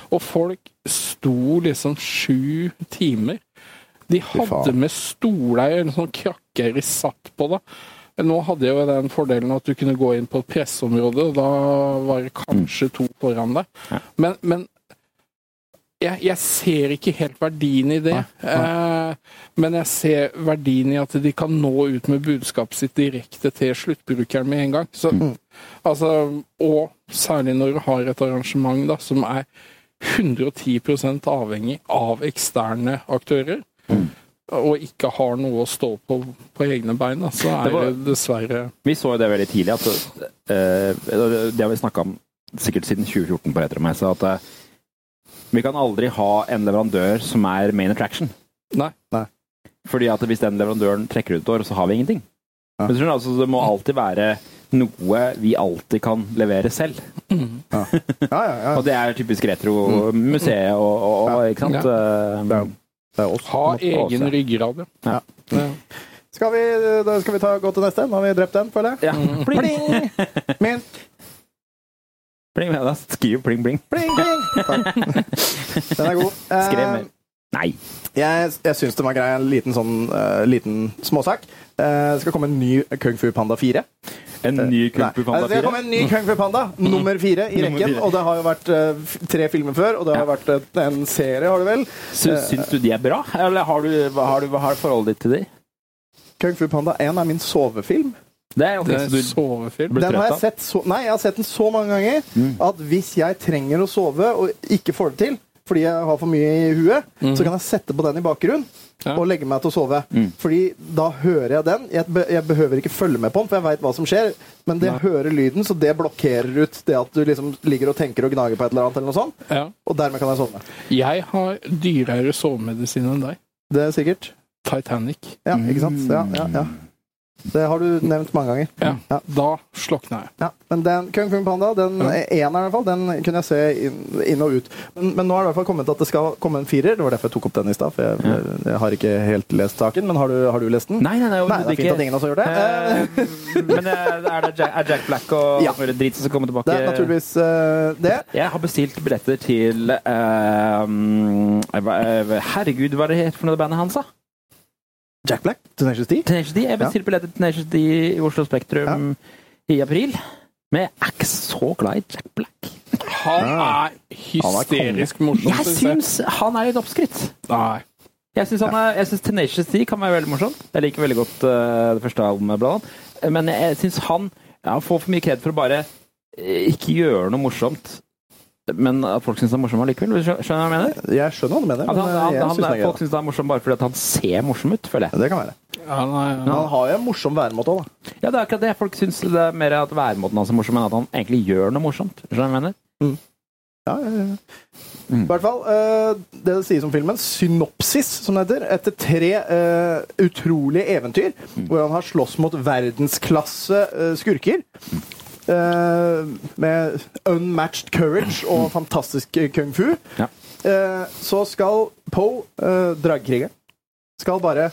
Og folk sto liksom sju timer. De hadde faen. med stoler eller sånn krakker de satt på, da. Nå hadde jeg jo den fordelen at du kunne gå inn på et presseområde, og da var det kanskje to foran deg. Men, men jeg, jeg ser ikke helt verdien i det. Eh, men jeg ser verdien i at de kan nå ut med budskapet sitt direkte til sluttbrukeren med en gang. Så, Mm. altså, og særlig når du har et arrangement da, som er 110 avhengig av eksterne aktører, Mm. og ikke har noe å stå på på egne bein, da, så er Det det, var- dessverre Vi så jo det veldig tidlig. At, eh, det har vi snakka om sikkert siden 2014 på Retromessa. At eh, vi kan aldri ha en leverandør som er main attraction. Nei. Nei. Fordi at hvis den leverandøren trekker ut et år, så har vi ingenting. Men skjønner du, altså, det må alltid være noe vi alltid kan levere selv. Ja, ja, ja. Og det er typisk retro-museet og, og, og ikke sant? Det er Eh, jo det er oss. Ha egen ryggrad, Ja. ja. Skal vi, da skal vi ta, gå til neste? Nå har vi drept den, føler jeg. Mm. Ja. Pling, Pling! Mynt. pling, ja, da skriver pling, pling. Pling, pling! Takk. Den er god. Eh, Skrev mer. Nei. Jeg, jeg syns den var grei. En liten, sånn, eh, liten småsak. Eh, det skal komme en ny Kung Fu Panda 4. En ny Kung Fu Nei, Panda Det skal 4. komme en ny Kung Fu Panda, nummer fire i Nummer rekken. fire. Og det har jo vært eh, f- tre filmer før, og det har vært et- en serie, har det vel? Syns, syns du de er bra, eller har du, hva har du, hva har forholdet ditt til de? Eh, Kung Fu Panda 1 er min sovefilm. Det er ok, Det så er du sovefilm. ble Den har trøtt jeg av. sett så, nei, jeg har sett den så mange ganger at hvis jeg trenger å sove og ikke får det til fordi jeg har for mye i huet, så kan jeg sette på den i bakgrunnen Ja. og legge meg til å sove. Fordi da hører jeg den. Jeg, be, jeg behøver ikke følge med på den, for jeg veit hva som skjer. Men det hører lyden, så det blokkerer ut det at du liksom ligger og tenker og gnager på et eller annet. eller noe sånt, Ja. Og dermed kan jeg sovne. Jeg har dyrere sovemedisin enn deg. Det er sikkert. Titanic. Ja, ikke sant? Ja, ja, ja. Det har du nevnt mange ganger. Ja. Ja. Da slokna jeg. Ja, men den, Kung Fu Panda, den Ja. eh, eneren i hvert fall, den kunne jeg se inn, inn og ut. Men, men nå er det i hvert fall kommet at det skal komme en firer. Det var derfor jeg tok opp den i stad, for jeg, jeg, har ikke helt lest saken. Men har du, har du lest den? Nei, nei, nei, Nei, det er overhodet fint at ikke. ingen også gjør det. Eh, Eh, Men eh, er det Jack, er Jack Black og Ja. alt mulig drit som skal komme tilbake? Det er naturligvis eh, det. Jeg har bestilt billetter til eh, um, hva- eh, Herregud, hva er det het for noe det bandet hans, da? Jack Black, Tenacious D. Tenacious D. Jeg bestilte billetter til Tenacious D i Oslo Spektrum i april. Men jeg er ikke så glad i Jack Black. Han er hysterisk morsom. Jeg synes jeg. syns han er litt oppskrytt. Nei. Jeg syns Tenacious D kan være veldig morsom. Jeg liker veldig godt eh, det første albumet, blant annet. Men jeg syns han ja, får for mye kred for å bare eh, ikke gjøre noe morsomt. Men at folk syns det er morsomt allikevel. Skjønner du hva jeg mener? Jeg skjønner hva du mener, At han, men eh, han, jeg han, syns den er folk grei. syns det er morsomt bare fordi at han ser morsom ut, føler jeg. Ja, Det kan være. Ja, nei, Men nei. han har jo en morsom væremåte òg, da. Ja, det er akkurat det. Folk syns det er mer at væremåten hans er morsom, enn at han egentlig gjør noe morsomt. Skjønner du hva jeg mener? Ja, ja, ja. Mm. I hvert fall, eh, det det sies om filmen, synopsis, som det heter, etter tre eh, utrolige eventyr, Mm. hvor han har slåss mot verdensklasse eh, skurker, eh, med unmatched courage og fantastisk eh, kung fu, Mm. Ja. eh, så skal Poe, eh, dragkrigeren, skal bare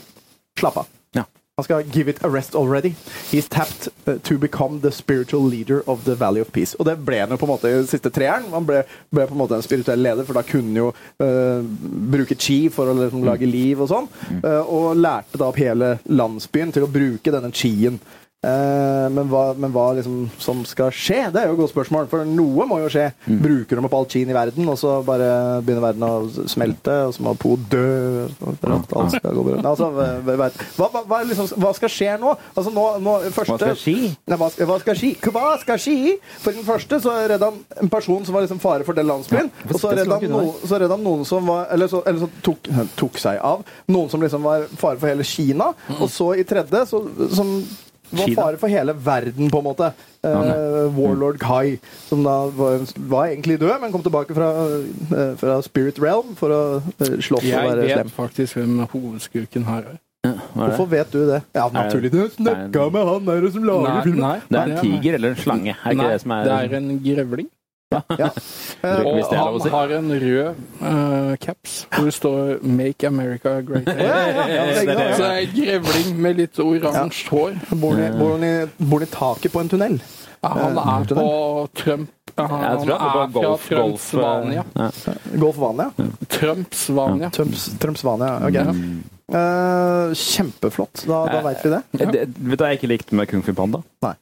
slappe av. Ja. Han skal give it a rest already. He's tapped eh, to become the spiritual leader of the Valley of Peace. Og det ble han jo på en måte i den siste treeren. Han ble, ble på en måte en spirituell leder, for da kunne han jo eh, bruke chi for å liksom, lage liv og sånn. Eh, og lærte da opp hele landsbyen til å bruke denne chien. Eh, men hva, men hva liksom, som skal skje, det er jo et godt spørsmål. For noe må jo skje. Mm. Bruker de opp all chien i verden, og så bare begynner verden å smelte, og så må Po dø for at alt skal gå bra. Nei, Altså, hva- hva, vet- hva, hva, hva, liksom, hva skal skje nå? Altså, nå, nå første, Hva skal skje? Nei, hva, skal, hva skal skje? Hva skal skje? For den første så redda han en person som var liksom fare for den landsbyen. og så det redda han, skulle han kunne noen- så redda han noen som var Eller så, eller så tok, tok seg av noen som liksom var fare for hele Kina. Og så i tredje så, som var Kina. fare for hele verden, på en måte. Eh, Warlord Kai, som da var, var egentlig død, men kom tilbake fra, eh, fra Spirit Realm for å eh, slåss og Jeg være slem. vet faktisk hvem hovedskurken her er. Hva er det? Hvorfor vet du det? Ja, naturlig. Du snakka med han der som lager filmen. Det er en tiger eller en slange, er ikke Nei, det som er, det er en grevling. Eh, Og Hvis det er lov å han si. har en rød eh, caps hvor det står 'Make America Great Again'. Ja, ja, ja, det er ikke Så det noe. er en grevling med litt oransje hår. Bor han i- bor han i- bor han i taket på en tunnel? Ja, Han er Eh, på Trump. Ja, Jeg Han tror det var er fra golf, golf eh, Trumpsvania. ja. Eh, Golfvania? Trumpsvania. Trumps, Trumpsvania, ok. Eh, kjempeflott. Da, da veit vi det. Eh, Det, Vet du hva jeg ikke likte med Kung Fu Panda? Nei.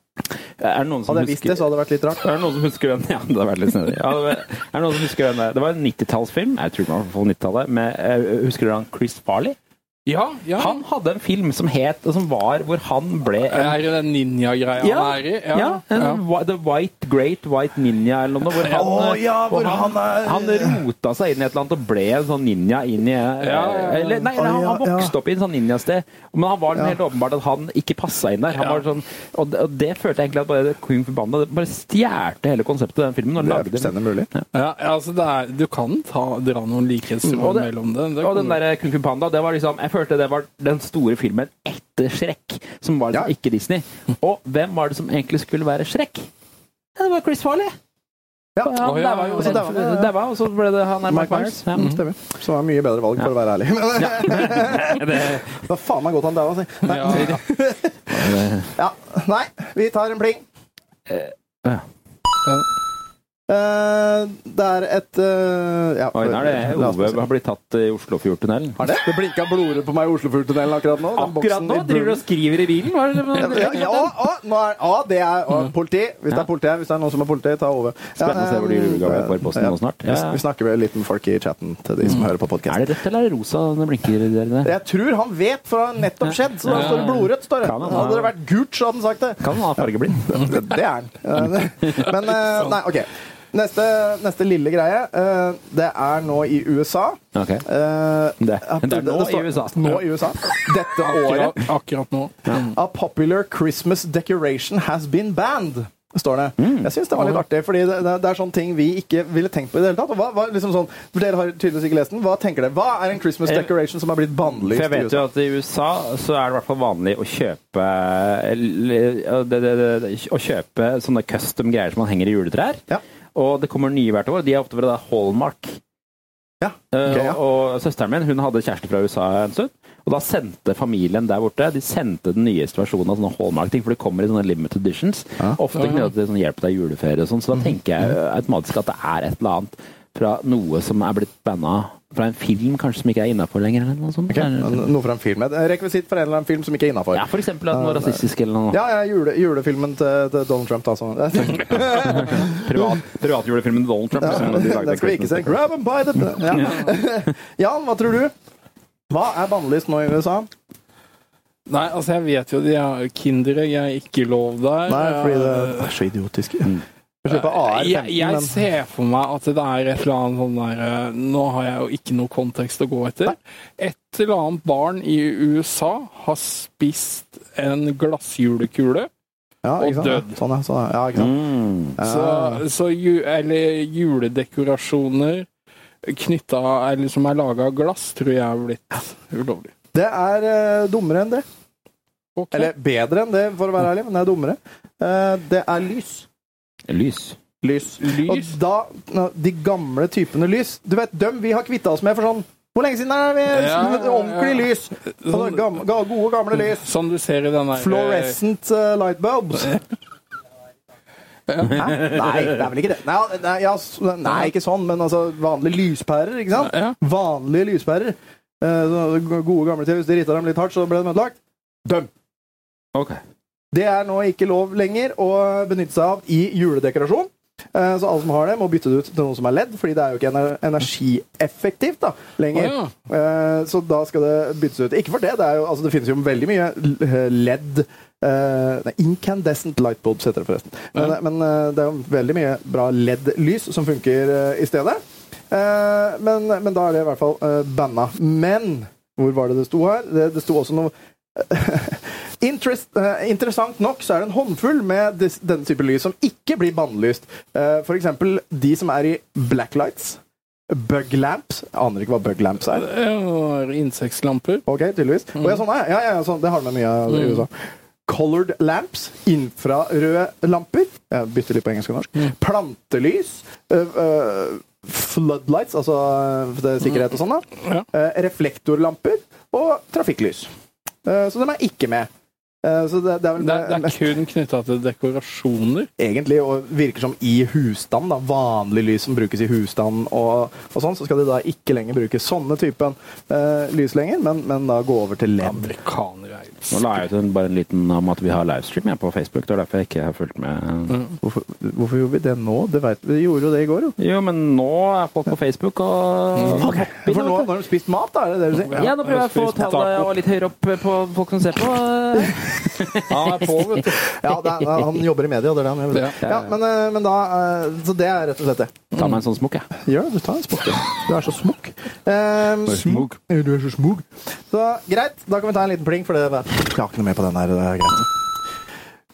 Er det noen som Hadde jeg visst husker det, så hadde det vært litt rart. er det noen som husker den? Ja, det hadde vært litt snedig. Ja, det var- er det noen som husker den? Det var en 90-tallsfilm, jeg tror det var på 90-tallet, med eh, Husker du han Chris Farley? Ja, ja. Han hadde en film som het, og som var hvor han ble en Er det den ninja-greia han er i? ja, en whi- The White Great White Ninja eller noe. Hvor han, Å, ja, hvor hvor han, han er- han rota seg inn i et eller annet og ble en sånn ninja inn i Ja, ja, ja. Eller, nei, nei, han, han Å, ja, ja. vokste opp i en sånn ninjasted, men han var Ja. helt åpenbart at han ikke passa inn der. Han Ja. var sånn, og, det- og det følte jeg egentlig at bare Queen Forbanna det bare stjerte hele konseptet i den filmen. Og, lagde, den. mulig. Ja, altså det er, du kan ta, dra noen likhetsråd Og det- mellom det. det og kan den eh, du- der Kung Fu Panda, det var liksom Jeg følte det var den store filmen etter etter Shrek, som var liksom Ja. ikke Disney. Og hvem var det som egentlig skulle være Shrek? Ja, det var Chris Farley. Ja. Og han Å, ja, daua jo og så daua han, redd- daua, og så ble det han er Mike Mike Mm, Myers. Ja. Stemmer. Så det var mye bedre valg, for å være ærlig. Men det var faen meg godt han daua, si. Nei. Ja, ja. Ja. Nei, vi tar en pling. ja. Eh, det er et eh, ja, Oi, nå er det la oss Ove se. har blitt tatt i Oslofjordtunnelen. Har det? Det blinka blodrød på meg i Oslofjordtunnelen akkurat nå. Den Akkurat boksen nå i driver du og blod- skriver i bilen! Hva er det? ja, ja, ja, å, nå er, å, det er å, politi. Hvis det er politi her, hvis det er noen som er politi, ta over. Mm. Spennende å se hvor de eh, julegavene på i posten nå snart. Vi, Ja. Mm. vi snakker vel litt med folk i chatten til de som hører på Er podkasten. det rødt eller er det rosa når det blinker der? der? Jeg tror han vet, for det har nettopp skjedd. Så da står det blodrødt. står det. Kan han ha- Hadde det vært gult, så hadde han sagt det. Kan han ha fargeblind? Det det er den. Men eh, Nei, OK. Neste, neste lille greie. eh, Det er nå i USA. Ok. Eh, at det er nå står- i USA. Nå i USA. Dette året. Akkurat, akkurat nå. A popular Christmas decoration has been banned. Står det. Mm. Jeg syns det var litt artig, fordi det, det, det er sånne ting vi ikke ville tenkt på i det hele tatt. Og hva, hva, liksom sånn, for dere har tydeligvis ikke lest den. Hva tenker dere? Hva er en Christmas Eh, decoration som er blitt For bannlyst jeg vet jo at i USA så er det i hvert fall vanlig å kjøpe eller, det, det, det, det, Å kjøpe sånne custom greier som man henger i juletrær. Ja. Og det kommer nye hvert år. De er ofte fra da Hallmark. Ja. Eh, Ok, ja. Og og søsteren min hun hadde kjæreste fra USA en stund. Og da sendte familien der borte de sendte den nyeste versjonen av sånne Hallmark-ting. For det kommer i sånne limited editions. Ofte knyttet til sånn hjelp deg i juleferie og sånn. Mm. Så da tenker jeg eh, automatisk at det er et eller annet fra noe som er blitt banna fra en film kanskje som ikke er innafor lenger. eller noe sånt. Ok, Eller- Noe fra en film. Et Rekvisitt for en eller annen film som ikke er innafor. Ja, for eksempel at noe rasistisk eller noe. Ja, ja jule, julefilmen til, til Donald Trump, altså. Privat, privatjulefilmen Donald Trump. liksom, de lagde Den skal vi ikke se. Christmas. Grab 'em by the ja. Jan, hva tror du? Hva er bannlyst nå i USA? Nei, altså, jeg vet jo de har Kinderegg er ikke lov der. Nei, fordi det er så idiotisk. Mm. Vi slipper AR-15, Eh, jeg, jeg men ser for meg at det er et eller annet sånn der eh, Nå har jeg jo ikke noe kontekst å gå etter. Et eller annet barn i USA har spist en glassjulekule. ja, og ikke sant? død. Sånn, ja. Sånn, ja. ja, ikke sant? Eh, Mm. Så, så ju, eller juledekorasjoner knytta Eller som er laga av glass, tror jeg er blitt ulovlig. Det er eh, dummere enn det. Ok. Eller bedre enn det, for å være ærlig, men det er dummere. Eh, det er lys. Lys. Lys. Og lys? da nå, De gamle typene lys Du vet, dem vi har kvitta oss med for sånn Hvor lenge siden er det vi Ja, ja, ja. Sånn- ordentlig lys? Sånne gam- ga- gode, gamle lys. Som du ser i den der Fluorescent eh, light bulbs. Hæ? Nei, det er vel ikke det. Nei, nei, ja, s- nei, ikke sånn, men altså vanlige lyspærer, ikke sant? Ja. Vanlige lyspærer. Eh, så Gode, gamle til. Hvis de ritta dem litt hardt, så ble de ødelagt. Døm! Ok. Det er nå ikke lov lenger å benytte seg av i juledekorasjon. Eh, Så alle som har det, må bytte det ut til noe som er ledd, fordi det er jo ikke ener- energieffektivt da, lenger. Å, Eh, Så da skal det byttes ut. Ikke for det, det, er jo, altså, det finnes jo veldig mye l- ledd eh, nei, Incandescent light bulbs heter det forresten. Men, men eh, det er jo veldig mye bra LED-lys som funker eh, i stedet. Eh, Men, men da er det i hvert fall eh, banna. Men hvor var det det sto her? Det, det sto også noe Eh, Interest, eh, interessant nok så er det en håndfull med dis, denne type lys som ikke blir bannlyst. Eh, for eksempel de som er i blacklights, bug lamps Jeg aner ikke hva bug lamps er. ja, Insektlamper. Ok, tydeligvis. Og ja, sånn, er jeg. ja, ja, ja, sånn, det har de med mye av i USA. Colored lamps, infrarøde lamper Jeg bytter litt på engelsk og norsk. Plantelys. øh, øh, floodlights, altså øh, for det er sikkerhet og sånn. da. Ja. Eh, reflektorlamper og trafikklys. Eh, så de er ikke med. Eh, så det, det er vel Det, er- det er kun knytta til dekorasjoner. egentlig, og virker som i husstand, da, vanlig lys som brukes i husstand og, og sånn, så skal de da ikke lenger bruke sånne typen eh, lys lenger, men, men da gå over til LED. Amerikanere er Nå la jeg ut en, bare en liten om at vi har livestream jeg, på Facebook. Det er derfor jeg ikke har fulgt med. Hvorfor, hvorfor gjorde vi det nå? Det vet, vi gjorde jo det i går, jo. Mm. Jo, men nå er folk på Facebook og For nå har de spist mat, da, er det det du sier? Ja, nå prøver jeg å få Spist tallet taco. og litt høyere opp eh, på folk som ser på. eh. Han er på, vet du. Ja, det er, han jobber i media, det er det han gjør. Ja. Ja, men, eh, men da eh, Så det er rett og slett det. Ta meg en sånn smokk, jeg. Gjør det, du tar en spott. du. Du er så smokk. Um, Smokk. Du er så smokk. Så greit, da kan vi ta en liten pling, for det eh, jeg har ikke noe mer på den her. Det er greit.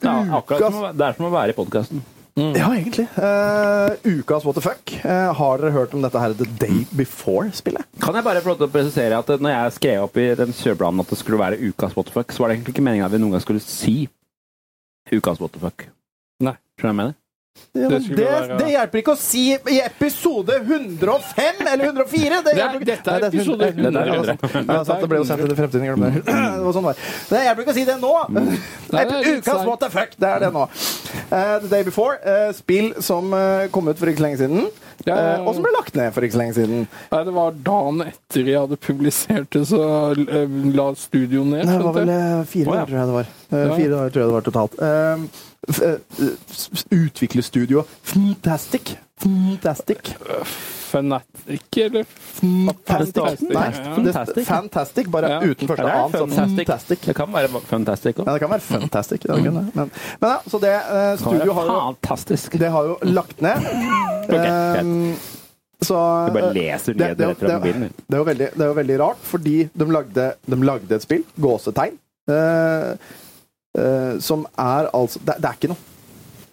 Ja, akkurat som å, det er som å være i podkasten. Mm. Ja, egentlig. Eh, ukas What the fuck. Eh, har dere hørt om dette her The Day Before-spillet? Kan jeg bare få lov til å presisere at eh, når jeg skrev opp i den kjøreplanen at det skulle være ukas what the fuck, så var det egentlig ikke meninga at vi noen gang skulle si ukas what the fuck. Nei. Skjønner du hva jeg mener? Ja, Det men skulle det, være- det hjelper ikke å si i episode 105 eller 104! Det Det er- hjelper ikke. dette er Nei, det episode Nei, det er 100. Ja, det er sant. Ja, sant, det ble jo sendt til fremtiden. jeg glemmer Det Det var sånn det var. Det hjelper ikke å si det nå! Mm. Nei, Et det er litt ukas seigt. what the fuck! Det er det nå. Eh, The Day Before, eh, spill som eh, kom ut for ikke så lenge siden, Ja, ja, ja. eh, og som ble lagt ned for ikke så lenge siden. Nei, det var dagen etter jeg hadde publisert det, så eh, la studio ned. Nei, det var skjønte vel jeg. eh, fire Å, ja. dager, tror jeg det var. Eh, Ja. Fire dager tror jeg det var totalt. Um, f- eh, s- s- Utviklerstudio Fantastic. Fantastic. Øh, Fnatic, eller? Fantastic. Fantastic. Nei, Ja. det- fantastic, bare Ja. uten første Ja, det er annen. Så fantastic. Det kan være fantastic Mm. Ja, òg. det kan være fantastic. Det er ikke det, men, men ja, så det eh, studio har jo, Fantastisk. det har jo lagt ned. greit. Um, så Du bare eh, leser det, ned det, rett fra det, mobilen. det, er jo veldig, det er jo veldig rart, fordi de lagde, de lagde et spill, gåsetegn, eh, eh, som er altså det, det er ikke noe.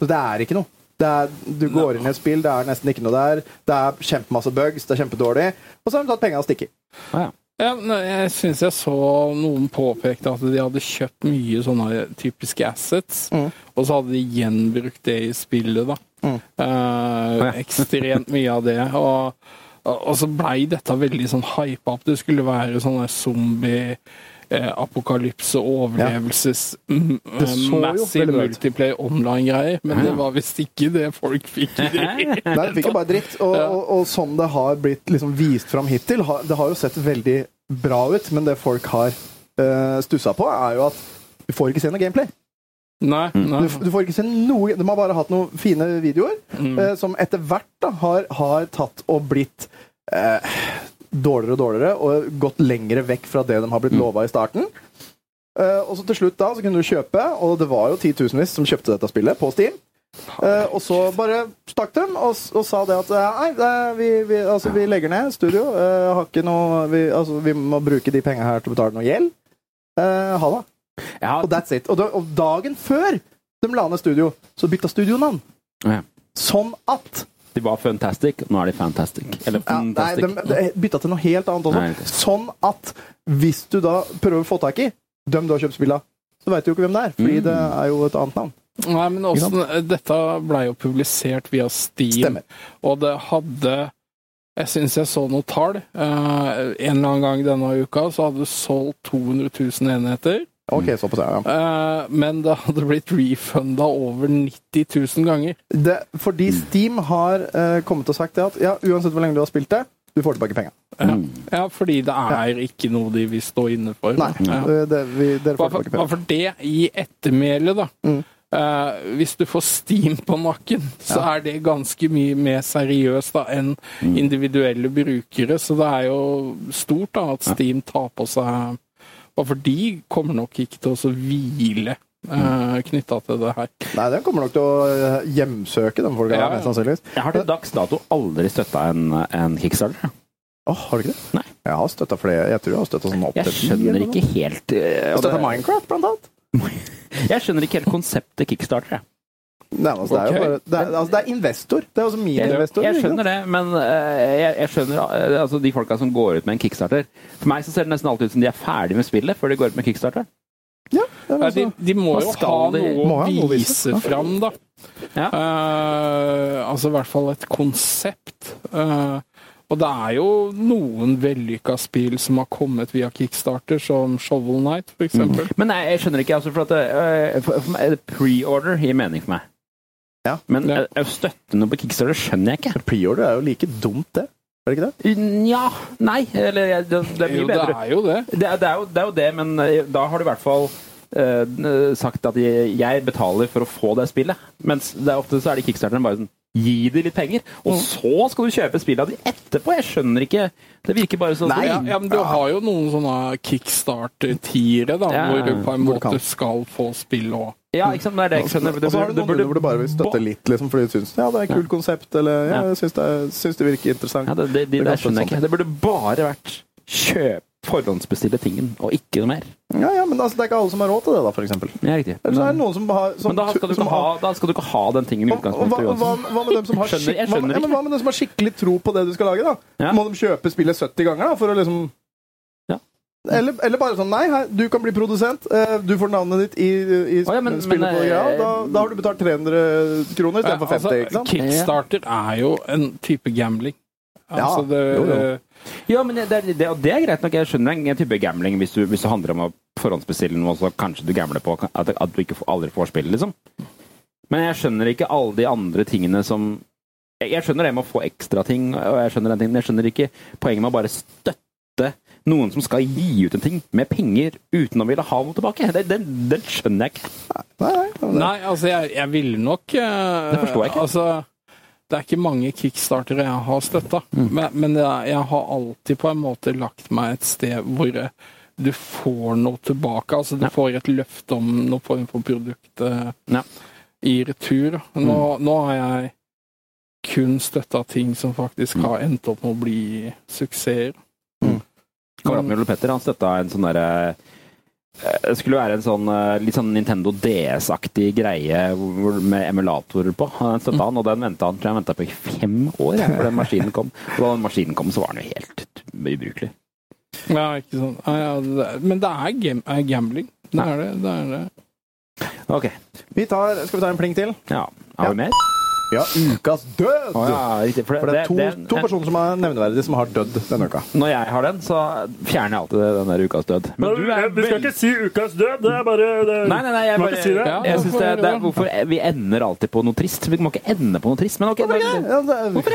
Det er ikke noe. Det er, du går inn i et spill, det er nesten ikke noe der. Det er kjempemasse bugs, det er kjempedårlig. Og så har de tatt pengene og stikker. Ah, ja. Ja, nei, jeg syns jeg så noen påpekte at de hadde kjøpt mye sånne typiske assets, Mm. og så hadde de gjenbrukt det i spillet, da. Eh, ekstremt mye av det. Og, og så blei dette veldig sånn hypa opp. Det skulle være sånn der zombie eh, Apokalypse, overlevelses, m- Det så jo massive veldig bra ut. multiplayer online-greier, men det var visst ikke det folk fikk. Nei, de fikk jo bare dritt. Og, og, og sånn det har blitt liksom vist fram hittil, har- det har jo sett veldig bra ut, men det folk har uh, stussa på, er jo at du får ikke se noe gameplay. Nei, nei. Du, f- du får ikke se noe De har bare hatt noen fine videoer eh, som etter hvert da, har, har tatt og blitt eh, dårligere og dårligere og gått lengre vekk fra det de har blitt lova i starten. Eh, og så til slutt da, så kunne du kjøpe, og det var jo titusenvis som kjøpte dette spillet på Steam. Eh, og så bare stakk dem og, s- og sa det at eh, nei, det, er- vi, vi, altså, vi legger ned studio. eh, har ikke noe, vi, altså, vi må bruke de penga her til å betale noe gjeld. Eh, ha det. Jeg har- Og that's it. Og, da, og dagen før de la ned studio, så bytta studionavn. Ja. Sånn at De var fantastic, nå er de fantastic. Eller ja, Nei, fantastic. de, de bytta til noe helt annet også. Nei, ok. Sånn at hvis du da prøver å få tak i dem du har kjøpt spill av, så veit du jo ikke hvem det er, fordi Mm. det er jo et annet navn. Nei, men Ikke sant? også, dette ble jo publisert via Steam, Stemmer. og det hadde Jeg syns jeg så noe tall. Eh, en eller annen gang denne uka så hadde det solgt 200 000 enheter, Ok, Mm. såpass, ja. eh, men det hadde blitt refunda over 90 000 ganger. Det, fordi Mm. Steam har eh, kommet og sagt det at ja, uansett hvor lenge du har spilt det, du får tilbake penga. Eh, Ja, fordi det er ikke noe de vil stå inne for. Mm. Nei, Ja. eh, det, vi, dere Mm. Hva får for, tilbake hva penga. for det i ettermælet, da? Eh, hvis du får steam på nakken, så er det ganske mye mer seriøst da enn Mm. individuelle brukere. Så det er jo stort da at Steam tar på seg Hva for de kommer nok ikke til å så hvile uh, knytta til det her. Mm. Nei, den kommer nok til å eh, hjemsøke de folka Ja, der, ja. mest sannsynligvis. Jeg har til dags dato aldri støtta en, en kickstarter. Åh, har du ikke det? Nei. Jeg har støtta flere. Jeg tror jeg har støtta sånn opp Jeg ti skjønner eller noe. ikke helt eh, og Støtta det- Minecraft, blant annet. Jeg skjønner ikke helt konseptet kickstarter. jeg. Nei, altså, det, er Ok. jo bare, det, er, altså, det er investor. Det er også min Jeg, investor. jeg ikke sant? skjønner det, men eh, jeg, jeg skjønner eh, altså, de folka som går ut med en kickstarter. For meg så ser det nesten alltid ut som de er ferdig med spillet før de går ut med kickstarter. Ja, det er Ja, altså, de, de må Hva jo skal ha de- noe Må ha noe å å vise, vise ja. fram, da. Ja. Eh, altså i hvert fall et konsept. Eh, og det er jo noen vellykka spill som har kommet via Kickstarter, som Shovel Knight, for eksempel. Men nei, jeg skjønner ikke, altså, for at eh, for, for meg, er det pre-order gir mening for meg. Ja. Men Ja. eh, å støtte noe på kickstarter skjønner jeg ikke. Pre-order er jo like dumt, det. Er det ikke det? Nja, nei. Eller jeg- det, det jo, blir det bedre. er jo det. Det er, det, er jo, det er jo det, men eh, da har du i hvert fall eh, n- sagt at jeg, jeg betaler for å få det spillet. Mens det er ofte så er det kickstarteren bare sånn Gi de litt penger, og Mm. så skal du kjøpe spillet av de etterpå! Jeg skjønner ikke Det virker bare sånn Nei. Ja, ja, men du har jo noen sånn sånne kickstarter-tiere, da, Ja. hvor du på en Hvor du kan. måte skal få spill òg. Ja, ikke sant? Det er det jeg ikke skjønner. sånn. Og så har du noen runder hvor du bare vil støtte litt, liksom, fordi du syns ja, det er et kult konsept, eller ja, Ja. jeg syns det, er- sånn. syns det virker Ja, interessant. det, det, det, Det kan der skjønner jeg stå ikke. Det burde bare vært kjøp. forhåndsbestille tingen, og ikke noe mer. Ja, ja, men altså, det er ikke alle som har råd til det, da, for eksempel. Ja, riktig. Eller så er det Men, noen som har som, men da, skal du som ikke ha, da skal du ikke ha den tingen i Og- og hva, hva, utgangspunktet. Johansen. hva med dem som har Skjønner, skik- jeg hva, med, skjønner ja, men hva med dem som har skikkelig tro på det du skal lage, da? Ja. Må de kjøpe spillet 70 ganger da, for å liksom Ja. Eller, eller bare sånn Nei, hei, du kan bli produsent. eh, Du får navnet ditt i, i Å, ja, men- spillet. men, på det greia, eh, altså, da, da har du betalt 300 kroner istedenfor 50. ikke sant? altså, Kickstarter er jo en type gambling. Altså, det, jo, jo. eh, Ja, men det, det, det, og det er greit nok. Jeg skjønner en type gambling hvis, du, hvis det handler om å forhåndsbestille noe, så kanskje du gambler på at, at du ikke får, aldri får spille, liksom. Men jeg skjønner ikke alle de andre tingene som Jeg, jeg skjønner det med å få ekstra ting, og jeg skjønner den tingen, men jeg skjønner ikke poenget med å bare støtte noen som skal gi ut en ting med penger uten å ville ha noe tilbake. Det, den, den skjønner jeg ikke. Nei, nei, men det- Nei, altså, jeg, jeg ville nok eh, Det forstår jeg ikke. Altså, det er ikke mange kickstartere jeg har støtta, Mm. men, men det er, jeg har alltid på en måte lagt meg et sted hvor eh, du får noe tilbake. Altså, du Ja. får et løfte om noe form for produkt eh, Ja. Mm. i retur. da. Nå, nå har jeg kun støtta ting som faktisk Mm. har endt opp med å bli suksesser. Kameraten min Ole Petter han støtta en sånn derre eh, Det skulle være en sånn eh, litt sånn Nintendo DS-aktig greie hvor, med emulatorer på. Han Mm. støtta han, og den venta han tror jeg han ventet på i fem år jeg, før den maskinen kom. Og da den maskinen kom, så var den jo helt ubrukelig. Ja, ikke sånn. Ja, ja, det er, men det er, gam, er gambling. Det er det. det, er det. Ok, Vi tar, skal vi ta en pling til? ja. Har vi mer? Ja, ukas død! Å ja, riktig. For det, For det er to, det- to personer som er nevneverdige, som har dødd denne uka. Når jeg har den, så fjerner jeg alltid den der ukas død. Men du er Vi skal veldig- ikke si ukas død. Det er bare det er, Nei, nei, nei, jeg Må bare ikke si det. Jeg synes det, er- det er, hvorfor hvorfor Vi ender alltid på noe trist. Vi må ikke ende på noe trist, men ok. Ja, da- det-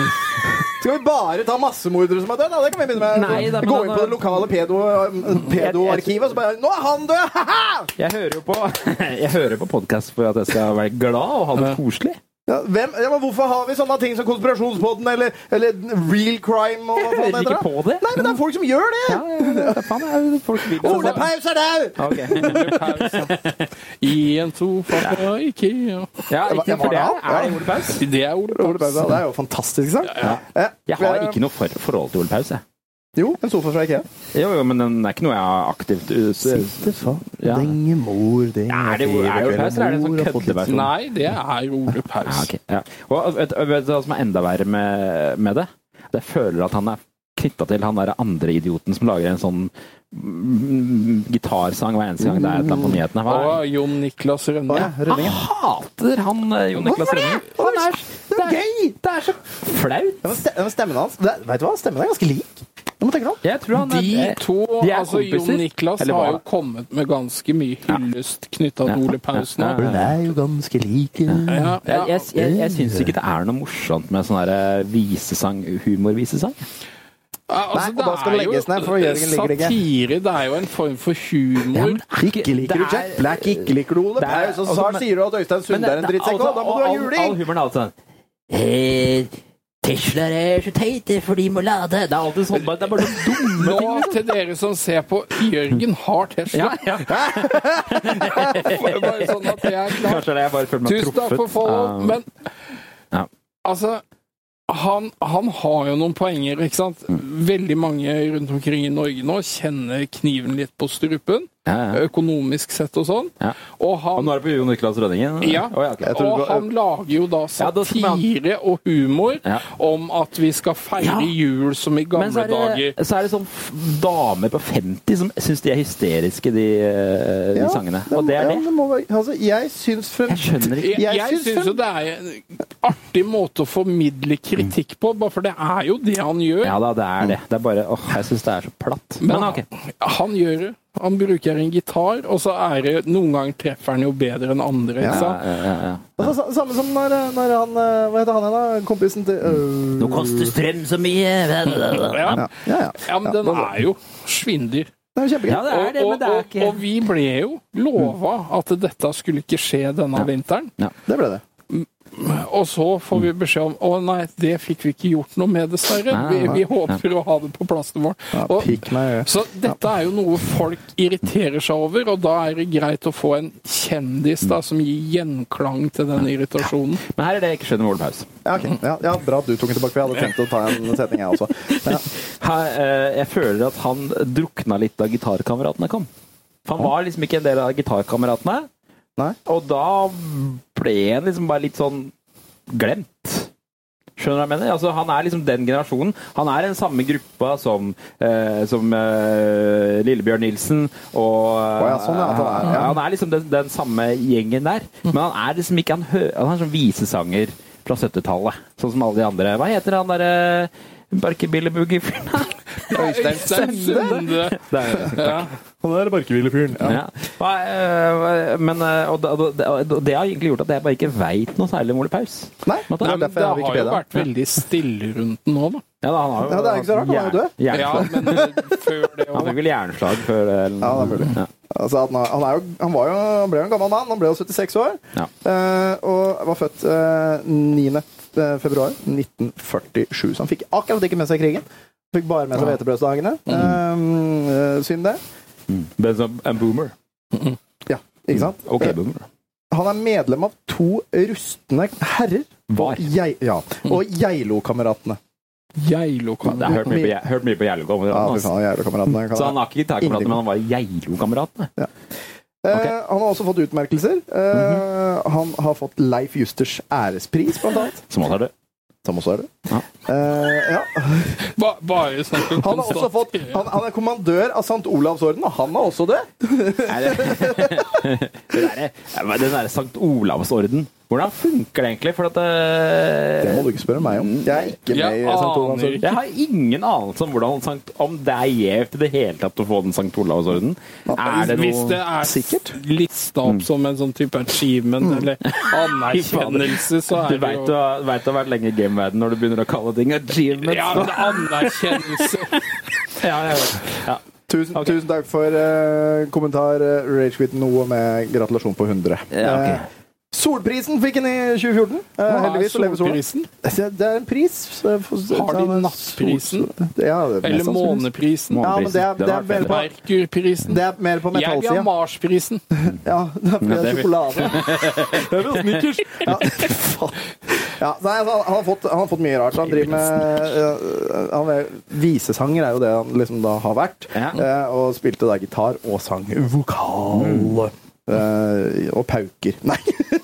Skal vi bare ta massemordere som er dødd? da? Det kan vi begynne med. Nei, da, men Gå da- inn på det lokale pedo- pedoarkivet, og så bare Nå er han død! Ha-ha! Jeg hører jo på, jeg hører på podcast for at jeg skal være glad og ha det koselig. Ja, hvem, ja, men hvorfor har vi sånne ting som Konspirasjonspodden eller, eller Real Crime? Og hva Jeg faen hører heter ikke det? på det. Nei, men det er folk som gjør det! Ja, ja, ja, faen, jeg, folk vil det. Ole Paus er dau! Ok. I en sofa fra Ikea. Ja, riktig, for det er, er det Ole Paus. Det er Ole Paus. Ole Paus, ja, det er jo fantastisk sang. Ja. Jeg har ikke noe for, forhold til Ole Paus, jeg. Jo, en sofa fra Ikea. Jo, jo, men det er ikke noe jeg har aktivt eh, ut... Ja. Denge mor, denge Er det er det Ole Paus, eller er det en sånn køddeversjon? Nei, det er Ole Ah, Paus. Ja, ok, ja. Og vet, vet du hva som er enda verre med, med det? At Jeg føler at han er knytta til han der andre idioten som lager en sånn mm, gitarsang hver eneste gang det er et eller annet på nyhetene. Hva er det? Og Jon Niklas Rønne. Ja, Rønningen. Ah, hater han eh, Jon Niklas Rønning. Han er, Det er gøy! det er så flaut. Ja, men ste- ja, men stemmen hans det, er- Vet du hva? Stemmen er ganske lik. Du må tenke deg om. Jeg tror han er, De to, De er altså kompiser. Jon Niklas Eller har var jo det? kommet med ganske mye hyllest knytta Ja, til Ole ja, Paus nå. ja, ja. Hun er jo ganske lik. Ja, Jeg, ja. jeg, jeg, jeg syns ikke det er noe morsomt med sånn der eh, visesang, humorvisesang. Ja, Nei, altså, og det da skal er det legges jo ned, for Jørgen liker det ikke. Satire, det er jo en form for humor. Ikke liker du Det er- Jack Black, ikke liker du Ole Det er- Paus, og så altså, men- altså sier du at Øystein Sunde er en drittsekk. og Da må du ha juling! All humoren er alltid sånn eh, Teslaer er så teite, for de må lade. Det er alltid sånn. bare- Det er bare så dumme ting. Nå til dere som ser på Jørgen har Tesla. Ja, ja. Bare sånn at det er klart. Kanskje det er jeg bare føler meg Tusen takk for follow, av- men Ja. altså han, han har jo noen poenger, ikke sant? Mm. Veldig mange rundt omkring i Norge nå kjenner kniven litt på strupen, ja, ja. økonomisk sett og sånn. Ja. Og Og nå han, er det på Jon Niklas Rønningen? ja, Å, ja, ok. Jeg tror det og var- han lager jo da Ja, da skal man- satire og humor Ja. om at vi skal feire Ja. jul som i Men så gamle er, det, dager. så er det sånn f- damer på 50 som syns de er hysteriske, de, eh, de Ja, sangene. Og det er ja, det. må være, altså, jeg syns frem... Jeg skjønner ikke. Jeg, Jeg jeg syns syns jo det er en artig måte å formidle kritikk på, bare for det er jo det han gjør. Ja da, det er det. Det er bare åh, jeg syns det er så platt. Men, Men ok. han gjør det. Han bruker en gitar, og så er det noen ganger treffer han jo bedre enn andre. ikke Ja, sant? ja, ja. Altså, sa- samme som når, når han eh, Hva heter han igjen, da? Kompisen til øh, koster strøm så mye Ja. ja, ja, ja. ja, men den er jo svindyr. Det er jo kjempegøy. Ja, det er det, men og, det er og, ikke og vi ble jo lova at dette skulle ikke skje denne vinteren. Det ble det. Og så får vi beskjed om å nei, det fikk vi ikke gjort noe med, dessverre. Nei, Vi, nei, vi håper å ha det på plassen vår. Ja, Og- pikk meg i øyet. Så dette er jo noe folk irriterer seg over, og da er det greit å få en kjendis Mm. da, som gir gjenklang til den irritasjonen. Men her er det jeg ikke skjønner med Ole Paus. Ja, ok. ja, ja, bra at du tok den tilbake, for jeg hadde tenkt å ta en setning, jeg også. Ja. Her, eh, jeg føler at han drukna litt da gitarkameratene kom. For han var liksom ikke en del av gitarkameratene. Nei. Og da ble han liksom bare litt sånn glemt. Skjønner du hva jeg mener? Altså, han er liksom den generasjonen. Han er i den samme gruppa som, eh, som eh, Lillebjørn Nilsen og ja, sånn, ja, at han er- ja. han er liksom den, den samme gjengen der. Men han er liksom ikke Han, hø han er sånn visesanger fra 70-tallet. Sånn som alle de andre. Hva heter han eh, derre Barkebilleboogie-fyren? Øystein Sunde. Ja. Han er barkehvilefyren. Ja. Nei, øh, Men, øh, og da- og da- og det har egentlig gjort at jeg bare ikke veit noe særlig om Ole Paus. Nei, det Nei, er men det derfor jeg har har jo Wikipedia. vært veldig stille rundt den nå, da. Ja, da, han har jo, Ja, det er ikke så rart, han er jo død. Jern- Ja, jernslag. men eh, før det Han fikk òg. vel jernslag før eh, det, eller Ja, noe. det er mulig. Altså, at han, han, er jo, han, var jo, han ble jo en gammel mann. Han ble jo 76 år. Ja. eh, og var født eh, 9. februar 1947. Så han fikk akkurat ikke med seg krigen. Fikk bare med seg hvetebrødsdagene. Mm. Eh, eh, synd det. Men som en boomer. Ja, ikke sant? Ok, Eh, boomer. Han er medlem av to rustne herrer. Var. Og, jeg, ja, og Geilo-kameratene. Jeg har hørt mye på, jeg, hørt mye på Geilo om det, Ja, fy altså. faen, Geilo-kameratene. kan Så jeg- han har ikke gitarkamerat, men han var Geilo-kamerat. Eh, Ok. Mhm. Han har også fått utmerkelser. Eh, Han har fått Leif Justers ærespris, blant annet. Som også er død. Som også er det. Ja. Eh, ja. Ba, bare sånn at du Han, har også konstaterer. fått, han, han er kommandør av St. Olavs orden, og han er også det. Er det- Det derre- ja, men Den derre Sankt Olavsorden, hvordan funker det egentlig? For at øh, Det må du ikke spørre meg om. Jeg er ikke med i Jeg St. Olavs aner orden. ikke. Jeg har ingen anelse om hvordan Sankt, om det er gjevt i det hele tatt å få den Sankt Olavsorden. Er det Hvis det noe er Sikkert. Mm. lista opp som en sånn type achievement eller anerkjennelse, så Du er det veit du, jo har- vet du har vært lenge i gameverden når du begynner å kalle ting achievements. Ja, men anerkjennelse Ja, jeg vet. ja. Tusen, tusen takk for eh, kommentar, eh, Rage Quit noe med gratulasjon på 100. Ja, ok. Eh, Solprisen fikk han i 2014. Eh, heldigvis. så lever solen. Solprisen? Det det er en pris. så- Har de så- nattprisen? Ja, det er mest Eller sannsynlig. måneprisen? Ja, men det er, Den det er har mer vært på, Merkurprisen? det er mer på Jeg vil ha metallsida. Marsprisen. Ja, det er fordi det er sjokolade. Jeg vil ha sneakers. Ja, faen. ja, nei, altså, han, har fått, han har fått mye rart. så Han driver med øh, han er, Visesanger er jo det han liksom da har vært. Ja. eh, Og spilte da gitar og sang vokal. Mm. Eh, og pauker. Nei.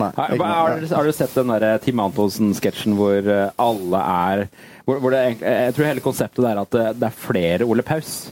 Nei, Har, ikke noe. har, du- har du sett den der eh, Tim Antonsen-sketsjen hvor eh, alle er hvor, hvor det, egentlig- Jeg tror hele konseptet er at eh, det- det er flere Ole Paus.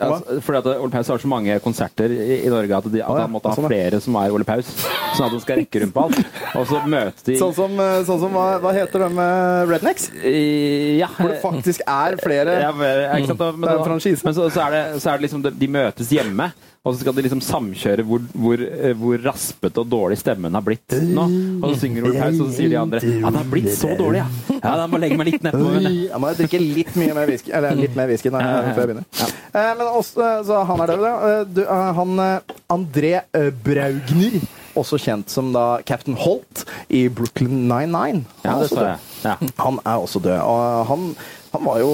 Altså, fordi at Ole Paus har så mange konserter i, i Norge at, de, at ja, han måtte sånn, ja. ha flere som er Ole Paus. Sånn at han skal rekke rundt på alt. Og så møter de Sånn som, eh, sånn som hva, hva heter de med Rednecks? Eh, Ja. Hvor det faktisk er flere Ja, men, ja, ikke sant? da- Det Men, er en da- franchise. men så, så, er det, så er det liksom De møtes hjemme, og så skal de liksom samkjøre hvor, hvor, eh, hvor raspete og dårlig stemmen har blitt nå. Og så synger Ole Paus, og så sier de andre Ja, den har blitt så dårlig, ja. Ja, da må jeg legge meg litt nedpå. men- Jeg må drikke litt mye mer whisky, eller litt mer whisky når jeg, før jeg begynner. Eh, men også, så han er død, da. Eh, Du, eh, han eh, André eh, Braugner, også kjent som da Captain Holt i Brooklyn 99. Ja, Han er det også sa jeg. død. Ja. Han er også død. Og han, han var jo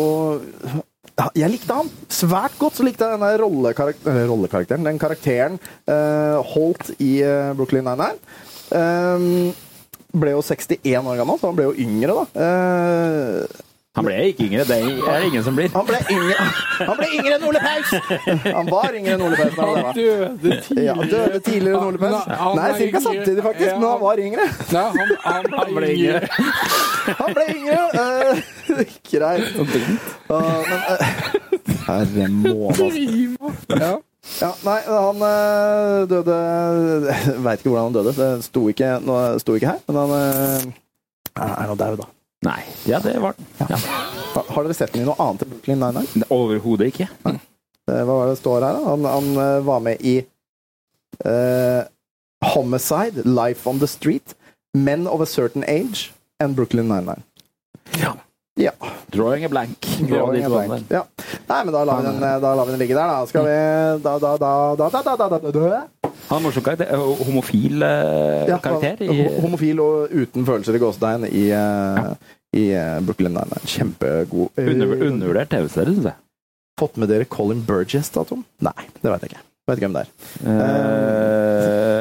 jeg likte han svært godt. Så likte jeg denne rollekarak- eller rollekarakteren, den karakteren eh, Holt i eh, Brooklyn Nine-Nine. Eh, ble jo 61 år gammel, så han ble jo yngre, da. Eh, Han ble ikke yngre, det er det ingen som blir. han ble yngre, han ble yngre enn Ole Paus! Han var yngre enn Ole Paus. da Han han døde. døde Ja, han døde tidligere enn Ole Paus. Han- han Nei, er ca. yngre. samtidig, faktisk, Ja, men han var yngre. Nei, han, han, Han ble yngre. Han ble yngre! eh, Greit. Ah, men, eh, Herre måne, altså. Ja. Ja, nei, han eh, døde Veit ikke hvordan han døde. Det sto ikke, nå sto ikke her, men han eh, er nå daud, da. Nei. Ja, det var den. Ja. Har- Har dere sett den i noe annet enn Brooklyn Nine-Nine? Overhodet ikke. Eh, Hva var det det står her? da? Han, han eh, var med i eh, Homicide, Life on the Street, Men of a Certain Age and Brooklyn Nine-Nine. Ja. Du Drawing a blank. Drawing a blank. Ja. Nei, men da lar vi den, eh, da lar vi den ligge der, da. Skal vi Da, da, da, da, da, da, da, da, da. Han er morsom karakter. eh, Homofil eh, Ja, karakter. han- ho- I, Homofil og uten følelser i gåsetegn i, eh, i eh, Brooklyn Nine. Kjempegod. Eh, under, undervurdert TV-serie, syns jeg. Fått med dere Colin Burgess, da, Tom? Nei, det vet jeg ikke. Vet ikke hvem det er. Eh,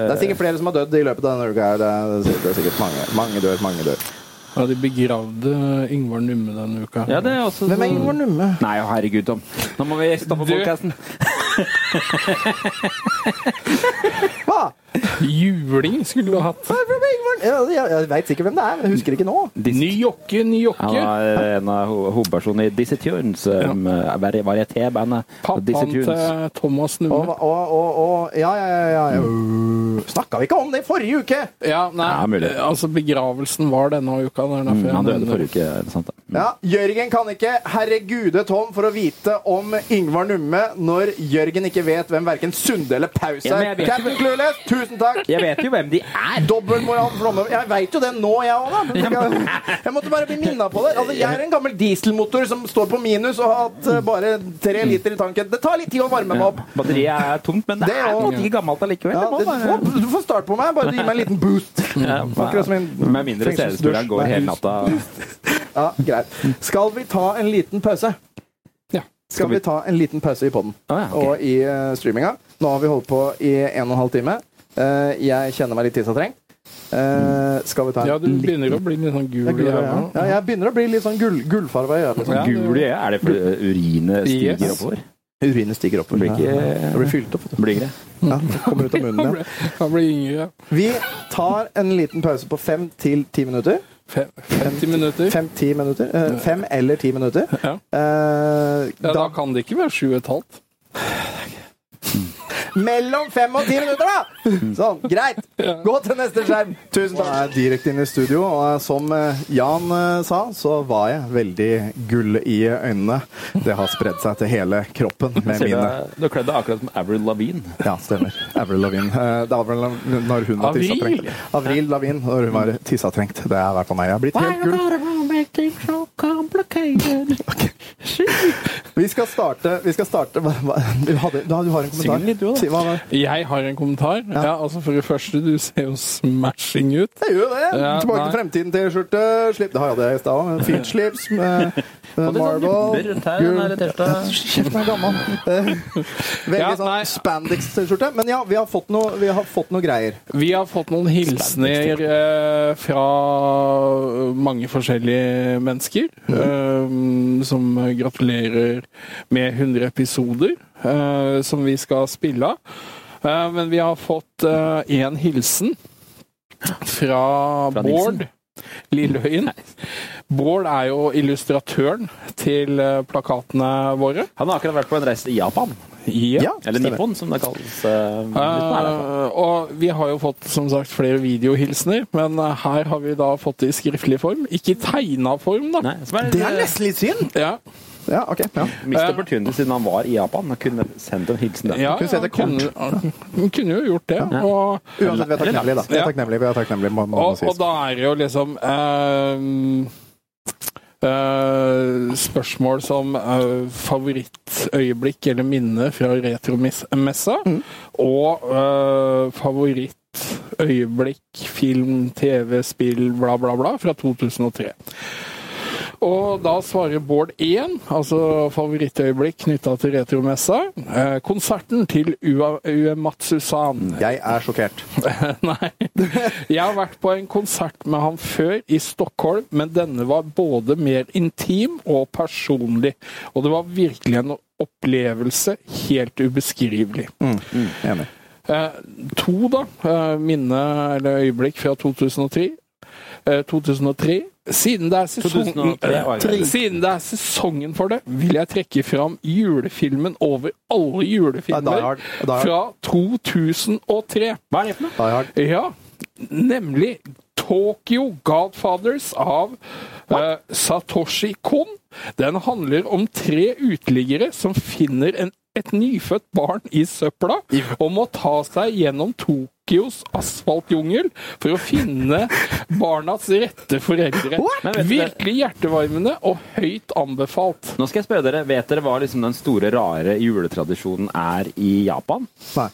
Det er sikkert flere som har dødd i løpet av denne uka. her. Det er sikkert, det er sikkert mange, mange dør, mange dør. Ja, de begravde Yngvar Numme denne uka. ja, det er altså sånn- også Hvem er Ingvar Numme? Nei, å, herregud, Tom. Nå må vi stoppe Du- podkasten. Hva? Juling skulle du ha hatt. Hvem er Ingvar? Jeg, jeg, jeg veit sikkert hvem det er, men jeg husker ikke nå. Ny jokke, ny Han jokke. er en av ho- hovedpersonene i Dizzie Tunes, um, eh, vari- varietébandet Pappaen Dizzie til Tunes. eh, Thomas Og, Numme. og, og, og Ja, ja, ja. ja. Snakka vi ikke om det i forrige uke? Ja, nei, Ja, mulig. altså begravelsen var denne uka. Det er derfor Mm, jeg han døde nevner forrige uke. er det Sant, da? Ja, Jørgen kan ikke herregude Tom for å vite om Yngvar Numme når Jørgen ikke vet hvem verken Sunde eller Paus Ja, men er. jeg vet Captain Clueless, tusen takk! Jeg vet jo hvem de er! Dobbeltmoral Flomme. Jeg veit jo det nå, jeg òg, da. Men jeg, jeg måtte bare bli minna på det. Altså, jeg er en gammel dieselmotor som står på minus og har hatt eh, bare tre liter i tanken. Det tar litt tid å varme meg opp. Batteriet er tomt, men det, Det er også. på en måte ikke gammelt allikevel. Ja, det må det, være- du får starte på meg. Bare gi meg en liten boost. Mm. Ja, Akkurat som en Med mindre CD-spilleren går fengselsdusj. hele natta. Ja, greit. Skal vi ta en liten pause? Ja. Skal vi ta en liten pause i podden Å ja, ok. og i eh, streaminga? Nå har vi holdt på i en og en halv time. Eh, jeg kjenner meg litt tidsavtrengt. Eh, skal vi ta en Ja, du liten begynner å bli litt sånn gul Jeg i begynner å- øynene. ja, jeg begynner å bli litt sånn gull, gullfarva i øynene. Liksom. Ja, det- Gul i øyet, er det fordi urinet stiger Yes. oppover? Urinet stiger opp. Det blir Ja. ikke Det blir fylt opp. det blir ikke det. Ja, det kommer ut av munnen Han igjen. ble, han ble yngre. Vi tar en liten pause på fem til ti minutter. Fem, 50 minutter. Fem-ti minutter. Eh, fem eller ti minutter. Ja. Eh, Ja, da da, kan det ikke være sju og et halvt. mellom fem og ti minutter, da! Sånn, greit. Gå til neste skjerm. Tusen takk. Jeg er direkte inn i studio, og eh, som eh, Jan eh, sa, så var jeg veldig gull i øynene. Det har spredd seg til hele kroppen med Ser mine. du- Du har kledd deg akkurat som Avril Lavigne. Ja, stemmer. Avril Lavigne. Eh, Det er Avril Lavigne når hun var Avril? tissatrengt. Avril Lavigne når hun var tissatrengt. Det er i hvert fall meg. Jeg har blitt helt gull. Vi skal starte Vi skal starte hva, hva, du, hadde, du, har- du har en kommentar? Syng litt, du, da. Si hva var det? Jeg har en kommentar. Ja. altså For det første, du ser jo smashing ut. Det gjør jo det. Ja, Tilbake til nei. fremtiden-T-skjorte. Slipp, det hadde jeg i stad òg. Fint slips med eh, sånn marble. Kjeften er gammel. Eh, Veldig Ja, nei. sånn spandex-T-skjorte. Men ja, vi har fått noe, vi har fått noe greier. Vi har fått noen hilsener eh, fra mange forskjellige mennesker. eh, som gratulerer med 100 episoder eh, som vi skal spille av. Eh, men vi har fått én hilsen fra, Fra Nilsen? Bård Lillehøyen. Bård er jo illustratøren til eh, plakatene våre. Han har akkurat vært på en reise til Japan. Ja, Eller stemmer. Nippon, som det kalles. eh, litt på her, i hvert fall. Eh, og vi har jo fått som sagt flere videohilsener, men eh, her har vi da fått det i skriftlig form. Ikke i tegna form, da. Nei, som er, Ah, Det er nesten litt synd! Ja, Ja, ok. Ja. Eh. Mist opportunity siden han var i Japan. Han kunne sendt en hilsen der. ja, Kunne sette kort. kunne, han kunne jo gjort det. Og, Uansett, vi er takknemlige, da. Vi er takknemlige, vi er takknemlige må, må, og, må og sies. da er det jo liksom eh, eh, spørsmål som eh, favorittøyeblikk eller minne fra retromessa, og eh, favorittøyeblikk, film, TV, spill, bla, bla, bla, fra 2003. Og da svarer Bård 1, altså favorittøyeblikk knytta til retromessa. Eh, konserten til Ua- Uematsu-san. Jeg er sjokkert. Nei. Jeg har vært på en konsert med han før i Stockholm, men denne var både mer intim og personlig. Og det var virkelig en opplevelse helt ubeskrivelig. Mm, Enig. Eh, to, da. Eh, minne eller øyeblikk fra 2003. Eh, 2003. Siden det, er sesongen, 2003 var det. siden det er sesongen for det, vil jeg trekke fram julefilmen over alle julefilmer Die Hard. Die Hard. fra 2003. Hva er det for noe? Die hard. Ja, nemlig Tokyo Godfathers av eh, Satoshi Kon. Den handler om tre uteliggere som finner en, et nyfødt barn i søpla og må ta seg gjennom to Tokyo asfaltjungel for å finne barnas rette foreldre. Men vet dere- Virkelig hjertevarmende og høyt anbefalt. Nå skal jeg spørre dere, vet dere hva liksom den store, rare juletradisjonen er i Japan? Nei.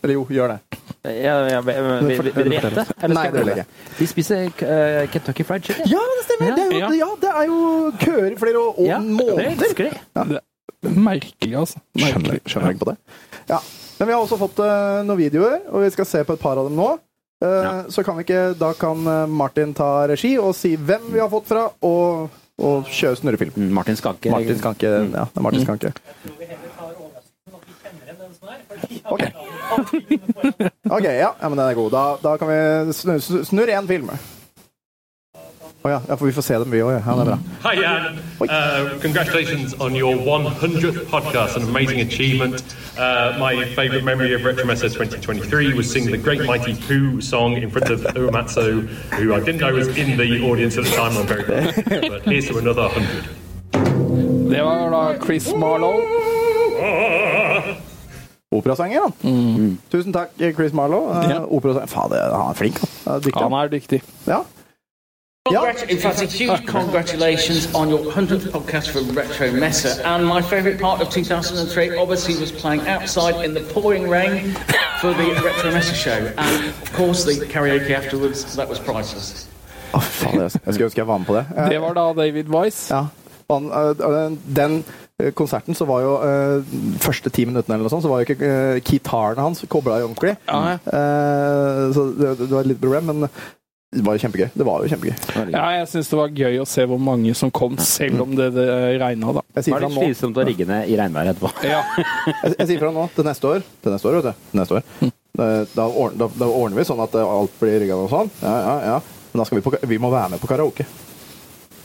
Eller jo, gjør det. Jeg, jeg, jeg, vil, vil dere gjette? Nei, Eller skal jeg det vil prøve? jeg De spiser eh, Kentucky Fried Chicken. Ja, det stemmer! Ja. Det, er jo, Ja. ja, det er jo køer i flere år, Ja, det måneder. elsker de. Merkelig, altså. Skjønner, Merkelig. skjønner ikke på det. Ja. Men vi har også fått eh, noen videoer, og vi skal se på et par av dem nå. Eh, Så kan vi ikke Da kan eh, Martin ta regi og si hvem vi har fått fra, og, og kjøre snurrefilm. Mm, Martin Skanke. Mm. Martin Skanke. Ja, det er Martin Skanke. Ok. Ok, ja. ja, men den er god. Da, da kan vi snu- snu- snurre én film. Å ja. ja, for vi får se dem, vi òg. Ja, det er bra. Hi, Jan. Uh, congratulations on your 100th podcast, an amazing achievement. Uh, my favourite memory of RetroMessa 2023 was seeing the Great Mighty Pooh song in front of Uematsu, who I didn't know was in the audience at the time. I'm very glad. But here's to another 100. Det var da Chris Marlowe. Operasanger, han. Tusen takk, Chris Marlowe. Eh, Ja. Operasanger. Fader, han er flink, han. Han er Dyktig. Han er dyktig. Ja. Congrat- in fact, a huge congratulations on your 100th podcast for Retro Mesa. And my favourite part of 2003 obviously was playing outside in the pouring rain for the Retro Mesa show. And of course, the karaoke afterwards, that was priceless. Å, faen, jeg jeg skulle ønske jeg var med på det. Eh, Det var da David Wise. Ja. Han, eh, den eh, konserten så var jo eh, første ti minuttene eller noe sånt, så var jo ikke eh, gitaren hans kobla i ordentlig. Ja, ja. Eh, så det, det var et lite problem, men det var jo kjempegøy. Det var jo kjempegøy. Ja, jeg syns det var gøy å se hvor mange som kom, selv om det, det regna, da. Jeg sier Var fra det nå, slitsomt å rigge ned i regnværet etterpå? Ja. jeg, jeg sier fra nå til neste år. Til neste år, vet du. Til neste år. Hm. Eh, Da, ordner, da, da ordner vi sånn at eh, alt blir rigga og sånn. Ja, ja, ja. Men da skal vi, på, vi må være med på karaoke.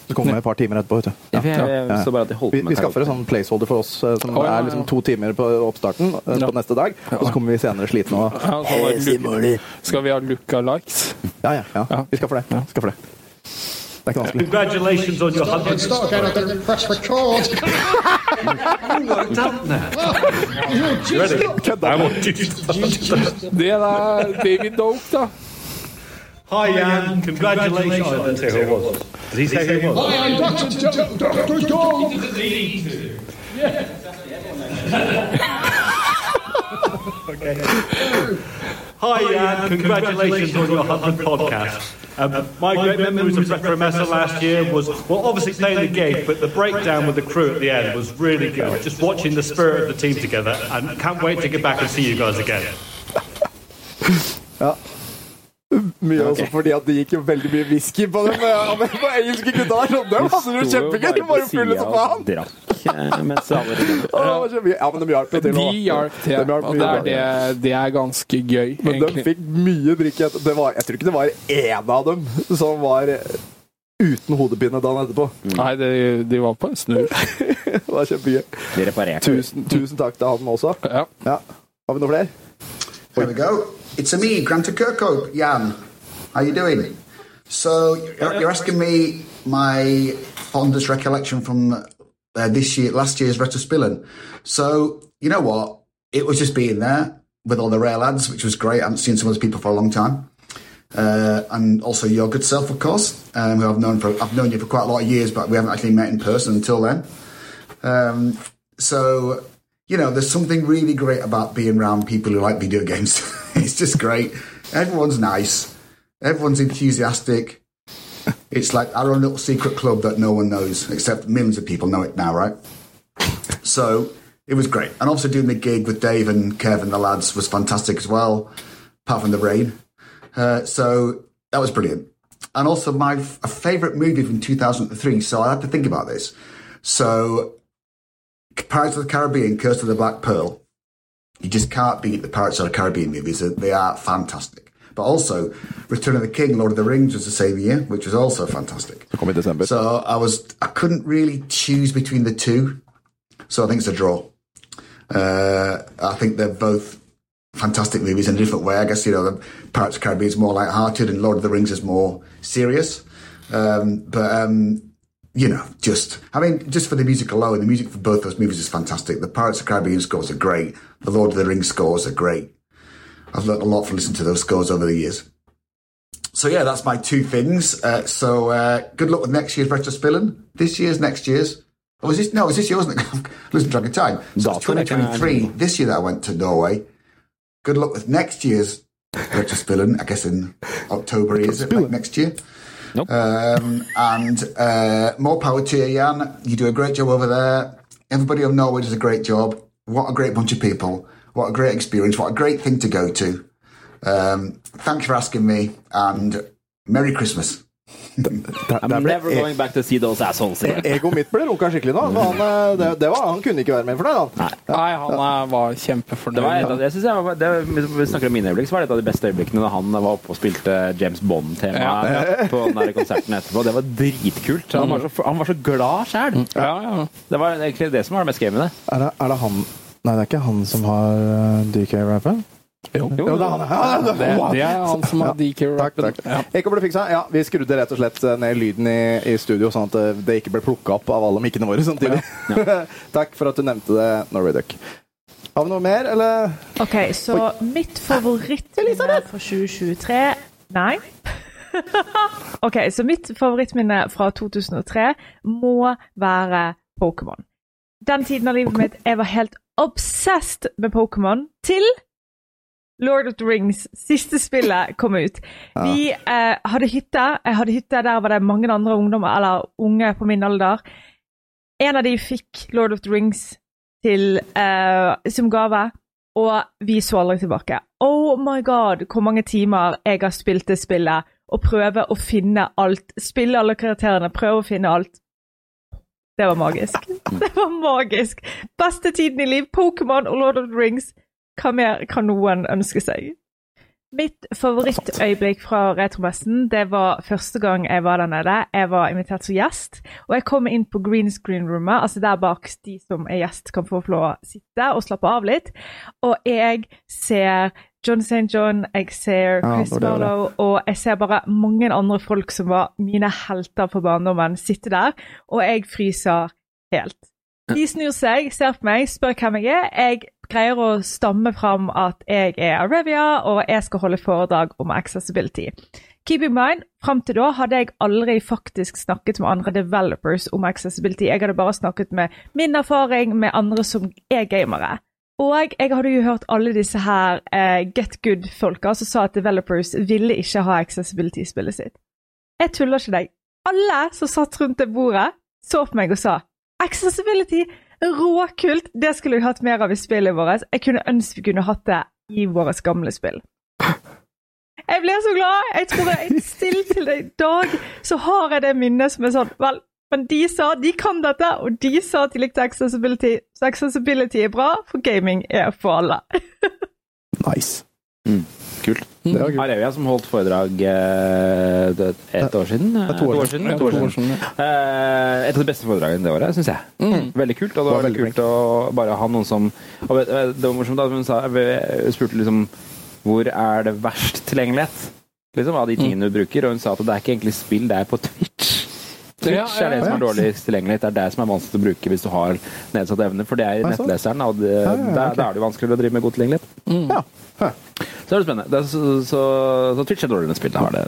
Så kommer vi et par timer etterpå, vet du. Ja. Jeg, jeg så bare at de holdt Vi, på vi med skaffer en karaoke. sånn placeholder for oss eh, som Å, ja, ja, ja. er liksom to timer på oppstarten eh, på neste dag, og så kommer vi senere slitne og Ja, så var det Hei, Simoli. Skal vi ha Luca Likes? Ja, ja. ja. Ja. Vi skaffer det. Skaffer det. Det er ikke vanskelig. Congratulations on your 100th. Start out of the press record. I want you to start. Det er David Doke, da. Hi, Jan. Congratulations. I didn't say who it was. Did he say who it was? Hi, Jan. Congratulations on your 100th podcast. Um, my great memories of Retro Mesa last year was, well, obviously playing the gig, but the breakdown with the crew at the end was really good. Just watching the spirit of the team together, and can't wait to get back and see you guys again. Mye også fordi at det gikk jo veldig mye whisky på dem eh, på engelske gutta der, så dem hadde det jo kjempegøy! De var jo fulle som faen! faen! Mens alle rigget. Å, det var kjempegøy. Ja, men de hjalp jo De til. nå, da. hjalp til. De hjalp Og det mye er, til. det, det er ganske gøy, Men de egentlig. fikk mye drikk. etter- Det var, jeg tror ikke det var én av dem som var eh, uten hodepine dagen etterpå. Nei, de, de var på en snurr. Det var kjempegøy. De reparerte. Tusen, tusen takk til han også. Ja. Ja. Har vi noen flere? Here we go. It's a me, Granta Kirkhope, Jan. How you doing? So you're, you're asking me my fondest recollection from uh, this year, last year's Retrospillin. So you know what? It was just being there with all the rare lads, which was great. I haven't seen some of those people for a long time. Uh, and also your good self, of course, um, who I've known for I've known you for quite a lot of years, but we haven't actually met in person until then. Um, so you know, there's something really great about being around people who like video games. it's just great. Everyone's nice. Everyone's enthusiastic. It's like our own little secret club that no one knows, except millions of people know it now, right? So it was great. And also doing the gig with Dave and Kev and the lads was fantastic as well, apart from the rain. Uh, so that was brilliant. And also my f- favourite movie from 2003. So I had to think about this. So Pirates of the Caribbean, Curse of the Black Pearl. You just can't beat the Pirates of the Caribbean movies. They are fantastic. But also, Return of the King, Lord of the Rings was the same year, which was also fantastic. Kom i desember. So I was I couldn't really choose between the two. So I think it's a draw. Uh, I think they're both fantastic movies in a different way. I guess you know the Pirates of the Caribbean is more light-hearted and Lord of the Rings is more serious. Um, but um, you know, just I mean, just for the music alone, the music for both those movies is fantastic. The Pirates of the Caribbean scores are great. The Lord of the Rings scores are great. I've learned a lot from listening to those scores over the years. So yeah, that's my two things. Uh, so uh, good luck with next year's retro spilling. This year's, next year's. Oh, is this no? Is this yours? Losing track of time. So it's Dot track 2023. This year that I went to Norway. Good luck with next year's retro spilling. I guess in October is it like next year. Um, and uh, more power to you, Jan. You do a great job over there. Everybody on Norway does a great job. What a great bunch of people. What a great experience. What a great thing to go to. Um, thank you for asking me, and Merry Christmas. I'm never going back to see those assholes again. E-, Egoet mitt ble runka skikkelig nå. Så han, eh, det, det var, han kunne ikke være med for det. Han. Nei, han er, var kjempefornøyd. Det var et av, jeg synes jeg var, det, hvis vi snakker om mine øyeblikk, så var det et av de beste øyeblikkene da han var oppe og spilte James Bond-tema på den der konserten etterpå. Det var dritkult. Han var så, han var så glad sjæl. Ja, Mm. ja. Det var egentlig det som var det mest gøy med det. Er, det, er det han Nei, det er ikke han som har eh, DK-rappen? Jo, Jo, det er han. Ja, det, Det, det er han som har Takk, DK-rappen. takk. Ikke ble fiksa. Ja, vi skrudde rett og slett eh, ned lyden i, i studio, sånn at eh, det ikke ble plukka opp av alle mikkene våre samtidig. Takk for at du nevnte det, Norway Duck. Har vi noe mer, eller? OK, så mitt favorittminne fra 2023 Nei. OK, så mitt favorittminne fra 2003 må være Pokémon. Den tiden av livet mitt jeg var helt obsessed med Pokémon til Lord of the Rings, siste spillet, kom ut. Vi eh, hadde hytte. Jeg hadde hytte, der var det mange andre ungdommer, eller unge på min alder. En av de fikk Lord of the Rings til, eh, som gave, og vi så aldri tilbake. Oh my god, hvor mange timer jeg har spilt det spillet, og prøve å finne alt. Spille alle karakterene, prøve å finne alt. Det var magisk. Mm. Det var magisk. Beste tiden i liv, Pokémon og Lord of the Rings. Hva mer kan noen ønske seg? Mitt favorittøyeblikk fra Retromessen det var første gang jeg var der nede. Jeg var invitert som gjest, og jeg kom inn på green screen-rommet, altså der bak de som er gjest, kan få lov å sitte og slappe av litt. Og jeg ser John St. John, jeg ser Ja, Chris det var det. Marlowe, og jeg ser bare mange andre folk som var mine helter på barndommen, sitte der, og jeg fryser helt. De snur seg, ser på meg, spør hvem jeg er. Jeg greier å stamme fram at jeg er Arevia, og jeg skal holde foredrag om accessibility. Keep in mind, Fram til da hadde jeg aldri faktisk snakket med andre developers om accessibility. Jeg hadde bare snakket med min erfaring med andre som er gamere. Og jeg hadde jo hørt alle disse her eh, get good-folka som sa at developers ville ikke ha accessibility i spillet sitt. Jeg tuller ikke deg. Alle som satt rundt det bordet, så på meg og sa Accessibility! Råkult! Det skulle vi hatt mer av i spillet vårt. Jeg kunne ønske vi kunne hatt det i våre gamle spill. Jeg blir så glad! Jeg tror jeg stille til det i dag, så har jeg det minnet som er sånn Vel, men de sa de kan dette, og de sa at de likte accessibility, så accessibility er bra, for gaming er for alle. Nice. Kult. Det var kult. Arevia som holdt foredrag eh, det- et år siden. eh, to år siden. to år siden. Eh, et av de beste foredragene det året, syns jeg. Mm. Veldig kult. Og det var var veldig veldig kult å bare ha noen som og vet, eh, Det var morsomt da hun sa, jeg spurte liksom hvor er det verst tilgjengelighet liksom, av de tingene du bruker, og hun sa at det er ikke egentlig spill, det er på Twitch. Ja, Twitch er det ja, som ja. er dårligst tilgjengelighet. Det er det som er vanskelig å bruke hvis du har nedsatt evne, for det er Ah, så. nettleseren, og det, ja, ja, da- ok. da er det jo vanskeligere å drive med god tilgjengelighet. Ja. Hæ. Så er det spennende. Det er så, så, så Twitch er dårligere enn spill. Det har det.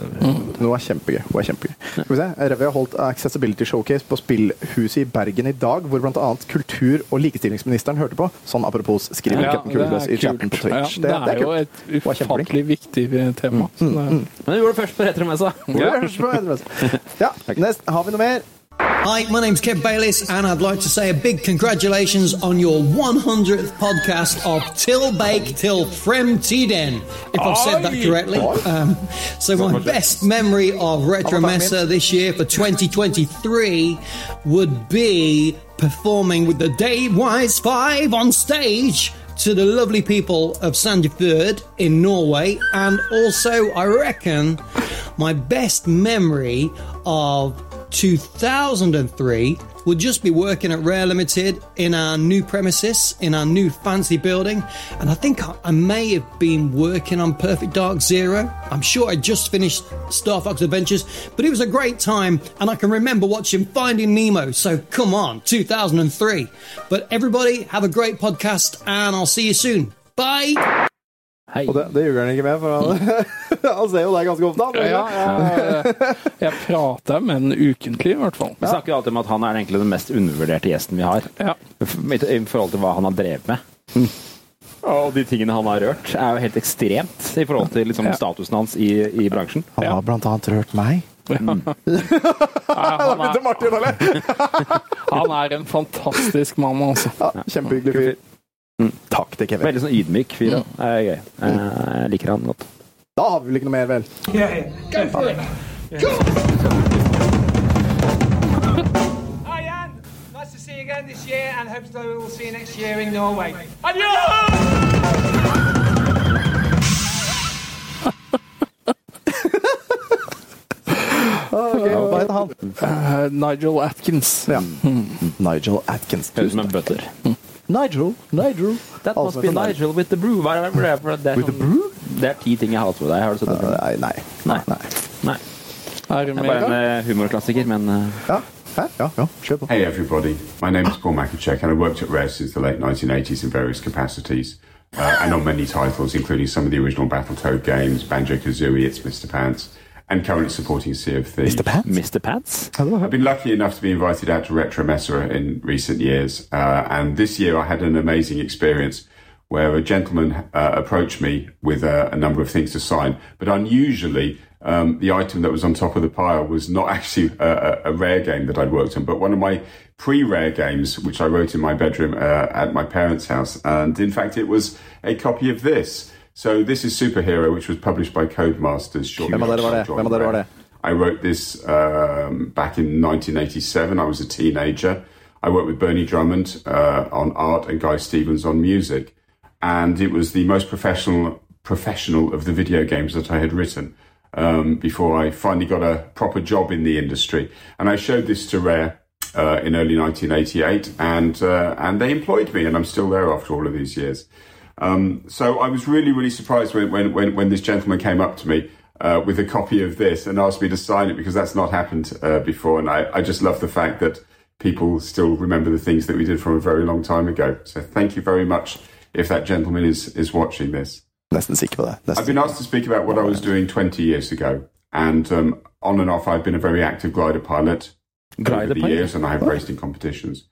Hun var kjempegøy. Hun var kjempegøy. Skal vi se. Revy har holdt Accessibility Showcase på Spillhuset i Bergen i dag, hvor bl.a. kultur- og likestillingsministeren hørte på. Sånn apropos skriver Ja, Captain Kulebøs i chatten på Twitch. Ja, det, er jo kult. et var kjempeflink. Mm, ufattelig viktig eh, tema. Så det, Men du gjorde det først på retromessa. Ja, nest, har vi noe mer? Hi, my name's Kev Bayliss, and I'd like to say a big congratulations on your 100th podcast of Till Bake Till Frem Tiden, if I've said that correctly. Um, so, my best memory of Retro Mesa this year for 2023 would be performing with the Dave Wise Five on stage to the lovely people of Sandefjord in Norway, and also, I reckon, my best memory of 2003 would just be working at Rare Limited in our new premises, in our new fancy building, and I think I, I may have been working on Perfect Dark Zero. I'm sure I just finished Star Fox Adventures, but it was a great time, and I can remember watching Finding Nemo, so come on, 2003. But everybody, have a great podcast, and I'll see you soon. Bye! Og det, det ljuger han ikke med, for han, han ser jo deg ganske ofte. Han, Ja, ja, ja. Jeg prater med den ukentlig, i hvert fall. Vi snakker jo alltid om at han er egentlig den mest undervurderte gjesten vi har. I i forhold til hva han har drevet med. Og de tingene han har rørt, er jo helt ekstremt i forhold til liksom, Ja. statusen hans i, i bransjen. Han har blant annet rørt meg. han, er, Martin, eller? han er en fantastisk mann, altså. Kjempehyggelig fyr. Mm, Takk til Kevin. Veldig sånn ydmyk fyr. da. Det er gøy. Eh, Jeg liker han godt. Da har vi vel ikke noe mer, vel? Go for it. Go. Hi, Anne. Nice to see you again this year, and hope that we will see you next year in Norway. Adios! hva heter han? Eh, Nigel Atkins. Mm. Ja. Mm, Nigel Atkins. Mm. Høres ut som en butler. Nigel, Nigel. That must be Nigel with the brew. Hva er det- hva er det for- det er With the sånn- Det er ti ting jeg hater med deg. Har du sett det? Nei. Nei. nei. Det er bare en eh, humorklassiker, men eh, Hey everybody, my name is Paul Makachek and I worked at Rare since the late 1980s in various capacities uh, and on many titles, including some of the original Battletoad games, Banjo Kazooie, It's Mr. Pants, and currently supporting Sea of Thieves. Mr. Pants? Mr. Pants? I've been lucky enough to be invited out to Retro Messa in recent years, uh, and this year I had an amazing experience where a gentleman uh, approached me with a, a number of things to sign, but unusually, um, the item that was on top of the pile was not actually a, a, a rare game that I'd worked on, but one of my pre-rare games, which I wrote in my bedroom uh, at my parents' house, and in fact, it was a copy of this. So this is Superhero, which was published by Codemasters shortly Hvem av dere after var I det? joined Hvem av dere var Rare. det? I wrote this um, back in 1987. I was a teenager. I worked with Bernie Drummond uh, on art and Guy Stevens on music, and it was the most professional professional of the video games that I had written um, before I finally got a proper job in the industry. And I showed this to Rare uh, in early 1988, and uh, and they employed me, and I'm still there after all of these years. Um, so I was really, really surprised when, when, when, when this gentleman came up to me uh, with a copy of this and asked me to sign it because that's not happened uh, before. And I, I just love the fact that people still remember the things that we did from a very long time ago. So thank you very much if that gentleman is, is watching this. Nesten sikker på det. I've been asked to speak about what I was doing 20 years ago. And um, on and off, I've been a very active glider pilot Glider over the pilot? years, and I have raced in competitions.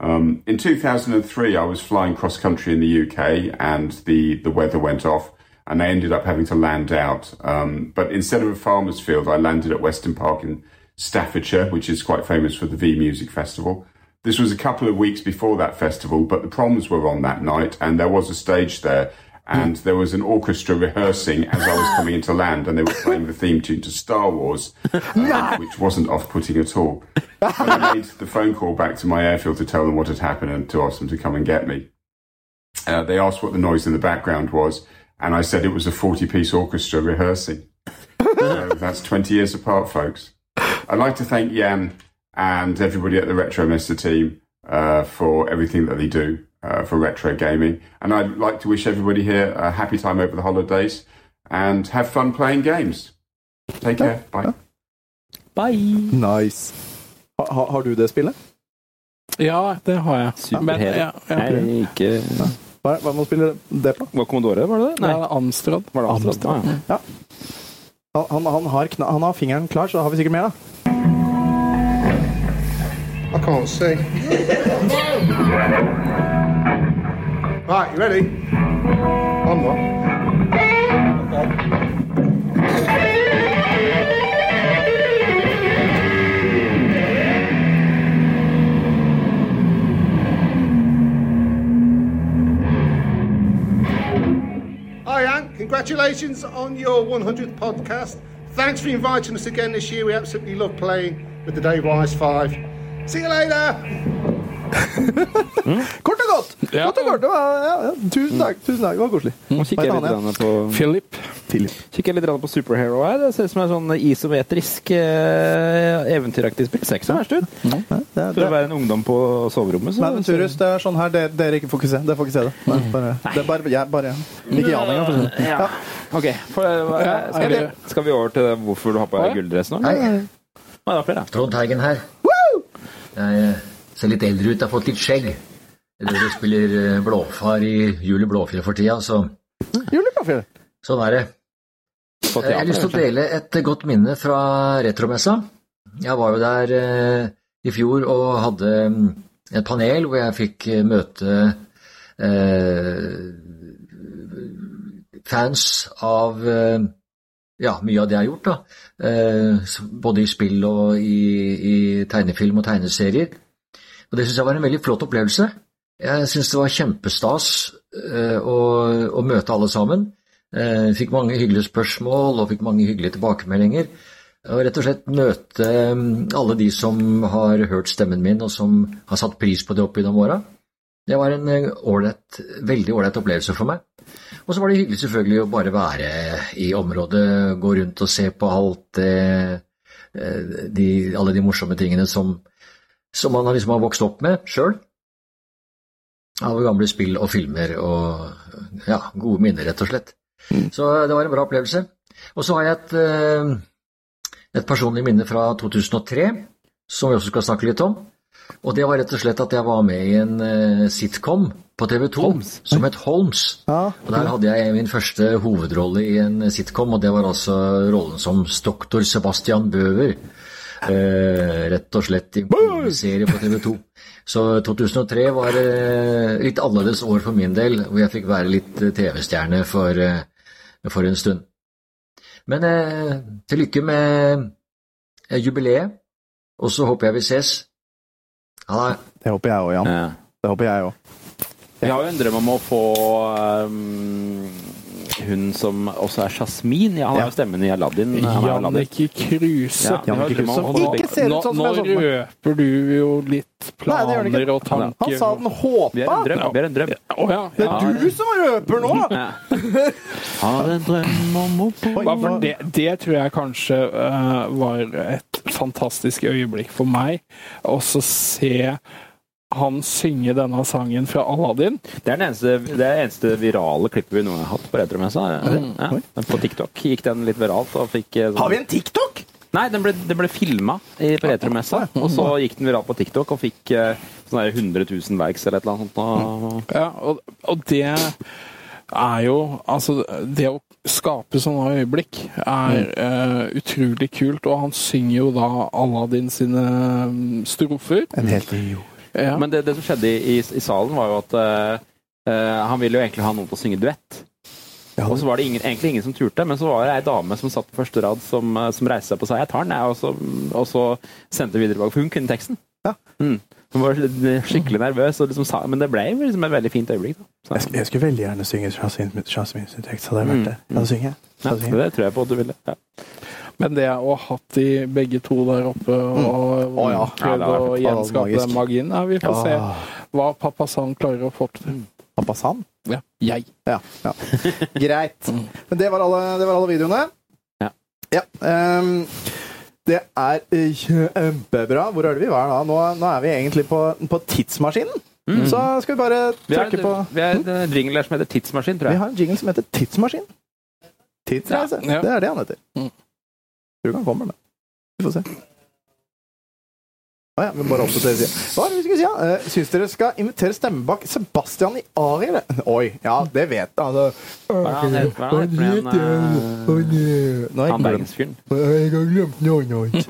Um, in 2003, I was flying cross country in the UK, and the, the weather went off, and I ended up having to land out. Um, but instead of a farmer's field, I landed at Weston Park in Staffordshire, which is quite famous for the V Music Festival. This was a couple of weeks before that festival, but the proms were on that night, and there was a stage there, and there was an orchestra rehearsing as I was coming into land, and they were playing the theme tune to Star Wars, uh, which wasn't off putting at all. When I made the phone call back to my airfield to tell them what had happened and to ask them to come and get me. Uh, they asked what the noise in the background was, and I said it was a 40 piece orchestra rehearsing. so that's 20 years apart, folks. I'd like to thank Jan and everybody at the Retro Mister team uh, for everything that they do uh, for retro gaming. And I'd like to wish everybody here a happy time over the holidays and have fun playing games. Take care. Bye. Bye. Nice. Ha, ha, har du det spillet? Ja, det har jeg. Men, ja, ja. Nei, ikke Hva, hva må du spille det på? Var Commodore, var det det? Det er Amstrad. Amstrad, ja. Han, han, han, har kna, han har fingeren klar, så da har vi sikkert mer, da. I can't see. right, you ready? I'm not. Hi, Anne. Congratulations on your 100th podcast. Thanks for inviting us again this year. We absolutely love playing with the Dave Wise 5. See you later. Kort og godt! Kort og godt. Det var- Ja, ja. Tusen takk. Tusen takk. Det var koselig. Nå Hva kikker heter jeg han litt igjen? grann på Philip. Kikker jeg litt grann på Superhero her. Det ser ut som en sånn isometrisk, eh, eventyraktig spill. Ser ikke så verst ut. Mm. For å være en ungdom på soverommet, så Nei, men Turus, det er sånn her dere, dere ikke får ikke se. Dere får ikke se det. Nei, bare, det er bare jeg. Bare jeg. Ikke Jan engang, for å si det Ja. OK. For, eh, Ja, skal, vi, er skal vi over til hvorfor du har på deg gulldress nå? eller? Nei, det var flere. Trond Teigen her. Jeg eh, ser litt eldre ut, jeg har fått litt skjegg. Jeg driver og spiller eh, blåfar i Juli Blåfjell for tida, så Julekaffe. Sånn er det. teater, jeg har lyst til å kanskje. dele et godt minne fra retromessa. Jeg var jo der eh, i fjor og hadde mm, et panel hvor jeg fikk eh, møte eh, fans av eh, ja, mye av det jeg har gjort, da. Eh, s- både i spill og i, i tegnefilm og tegneserier. Og det syns jeg var en veldig flott opplevelse. Jeg syns det var kjempestas eh, å, å møte alle sammen. Eh, fikk mange hyggelige spørsmål og fikk mange hyggelige tilbakemeldinger. Og rett og slett møte mm, alle de som har hørt stemmen min, og som har satt pris på det opp gjennom åra. Det var en eh, ålreit, veldig ålreit opplevelse for meg. Og så var det hyggelig selvfølgelig å bare være i området, gå rundt og se på alt det eh, de, Alle de morsomme tingene som, som man har liksom har vokst opp med sjøl. Av gamle spill og filmer og ja, gode minner, rett og slett. Så det var en bra opplevelse. Og så har jeg et, eh, et personlig minne fra 2003, som vi også skal snakke litt om. Og det var rett og slett at jeg var med i en eh, sitcom på TV 2 som het Holmes. Og der hadde jeg min første hovedrolle i en sitcom, og det var altså rollen som doktor Sebastian Bøver. Eh, rett og slett i en serie på TV 2. Så 2003 var eh, litt annerledes år for min del, hvor jeg fikk være litt eh, TV-stjerne for, eh, for en stund. Men eh, til lykke med eh, jubileet, og så håper jeg vi ses. Ha det. Det håper jeg òg, Jan. Det håper jeg òg. Jeg har jo en drøm om å få um, hun som også er Jasmin. Ja, han er jo stemmen i Aladdin. Mm, Han er jo Aladdin. Jannicke Kruse. Ja, Jannicke Kruse, som ikke ser nå, ut sånn som nå jeg så for meg. røper du jo litt Nei, det gjør han planer ikke. og tanker. Han sa den håpa! Vi er en drøm. Vi er en drøm. Å ja, Det ja. er du som røper nå! Har en drøm om å bo Hva for det, det tror jeg kanskje eh, var et fantastisk øyeblikk for meg. Også se han synge denne sangen fra Aladdin. Det er den eneste, det er det eneste virale klippet vi noen gang har hatt på retromessa. Ja. Men På TikTok gikk den litt viralt. Og fikk, eh, sånn- Har vi en TikTok? Nei, den ble, den ble filma på retromessa. Og så gikk den viralt på TikTok og fikk eh, sånn der 100 000 likes eller et eller annet sånt. Og, Ja, og, og det er jo Altså, det å skape sånne øyeblikk er Mm. eh, utrolig kult, og han synger jo da Aladdin sine mm, strofer. En helt ny jord. Men det, det som skjedde i, i, i salen, var jo at eh, eh, han ville jo egentlig ha noen til å synge duett. Og så var det ingen, egentlig ingen som turte, men så var det ei dame som satt på første rad som, eh, som reiste seg opp og sa 'jeg tar den', jeg, og så, og så sendte vi videre bak, for hun kunne teksten. Mm. Hun var skikkelig nervøs, og liksom sa, men det ble jo liksom et veldig fint øyeblikk. Da. Jeg, sk- jeg skulle veldig gjerne synge Jasmin- Jasmin sin tekst, hadde jeg vært der. Da synger jeg. Da Mm. Ja, synger jeg. det tror jeg på at du ville. Ja. Men det å ha hatt de begge to der oppe og Mm. Å ja. Ja, det prøvd har å vært gjenskape magisk. den magien ja, Vi får Ja. Mm. se hva pappa San klarer å få til. Pappa San? Ja. Jeg. Ja, ja. Greit. Men det var alle, det var alle videoene. Mm. Ja. ehm, det er eh, kjempebra. Hvor er det vi var da? Nå, nå er vi egentlig på, på tidsmaskinen. Så skal vi bare Mm. Vi har, trykke på en- vi har en eh, jingle her som heter 'Tidsmaskin', tror Vi jeg. har en jingle som heter Tidsmaskin. Tidsreise. Ja, ja. Det er det han heter. Mm. Tror ikke han kommer med. Vi får se. Å ja, men bare opp til dere sier. Hva er det vi skulle si? Ja? Eh, Syns dere skal invitere stemmebak Sebastian i Ari? eller? Oi, ja, det vet jeg. Altså. Hva er det han heter? Hva er det han heter? eh, Nå har Han jeg glemt bergensfyren. Jeg har glemt noe.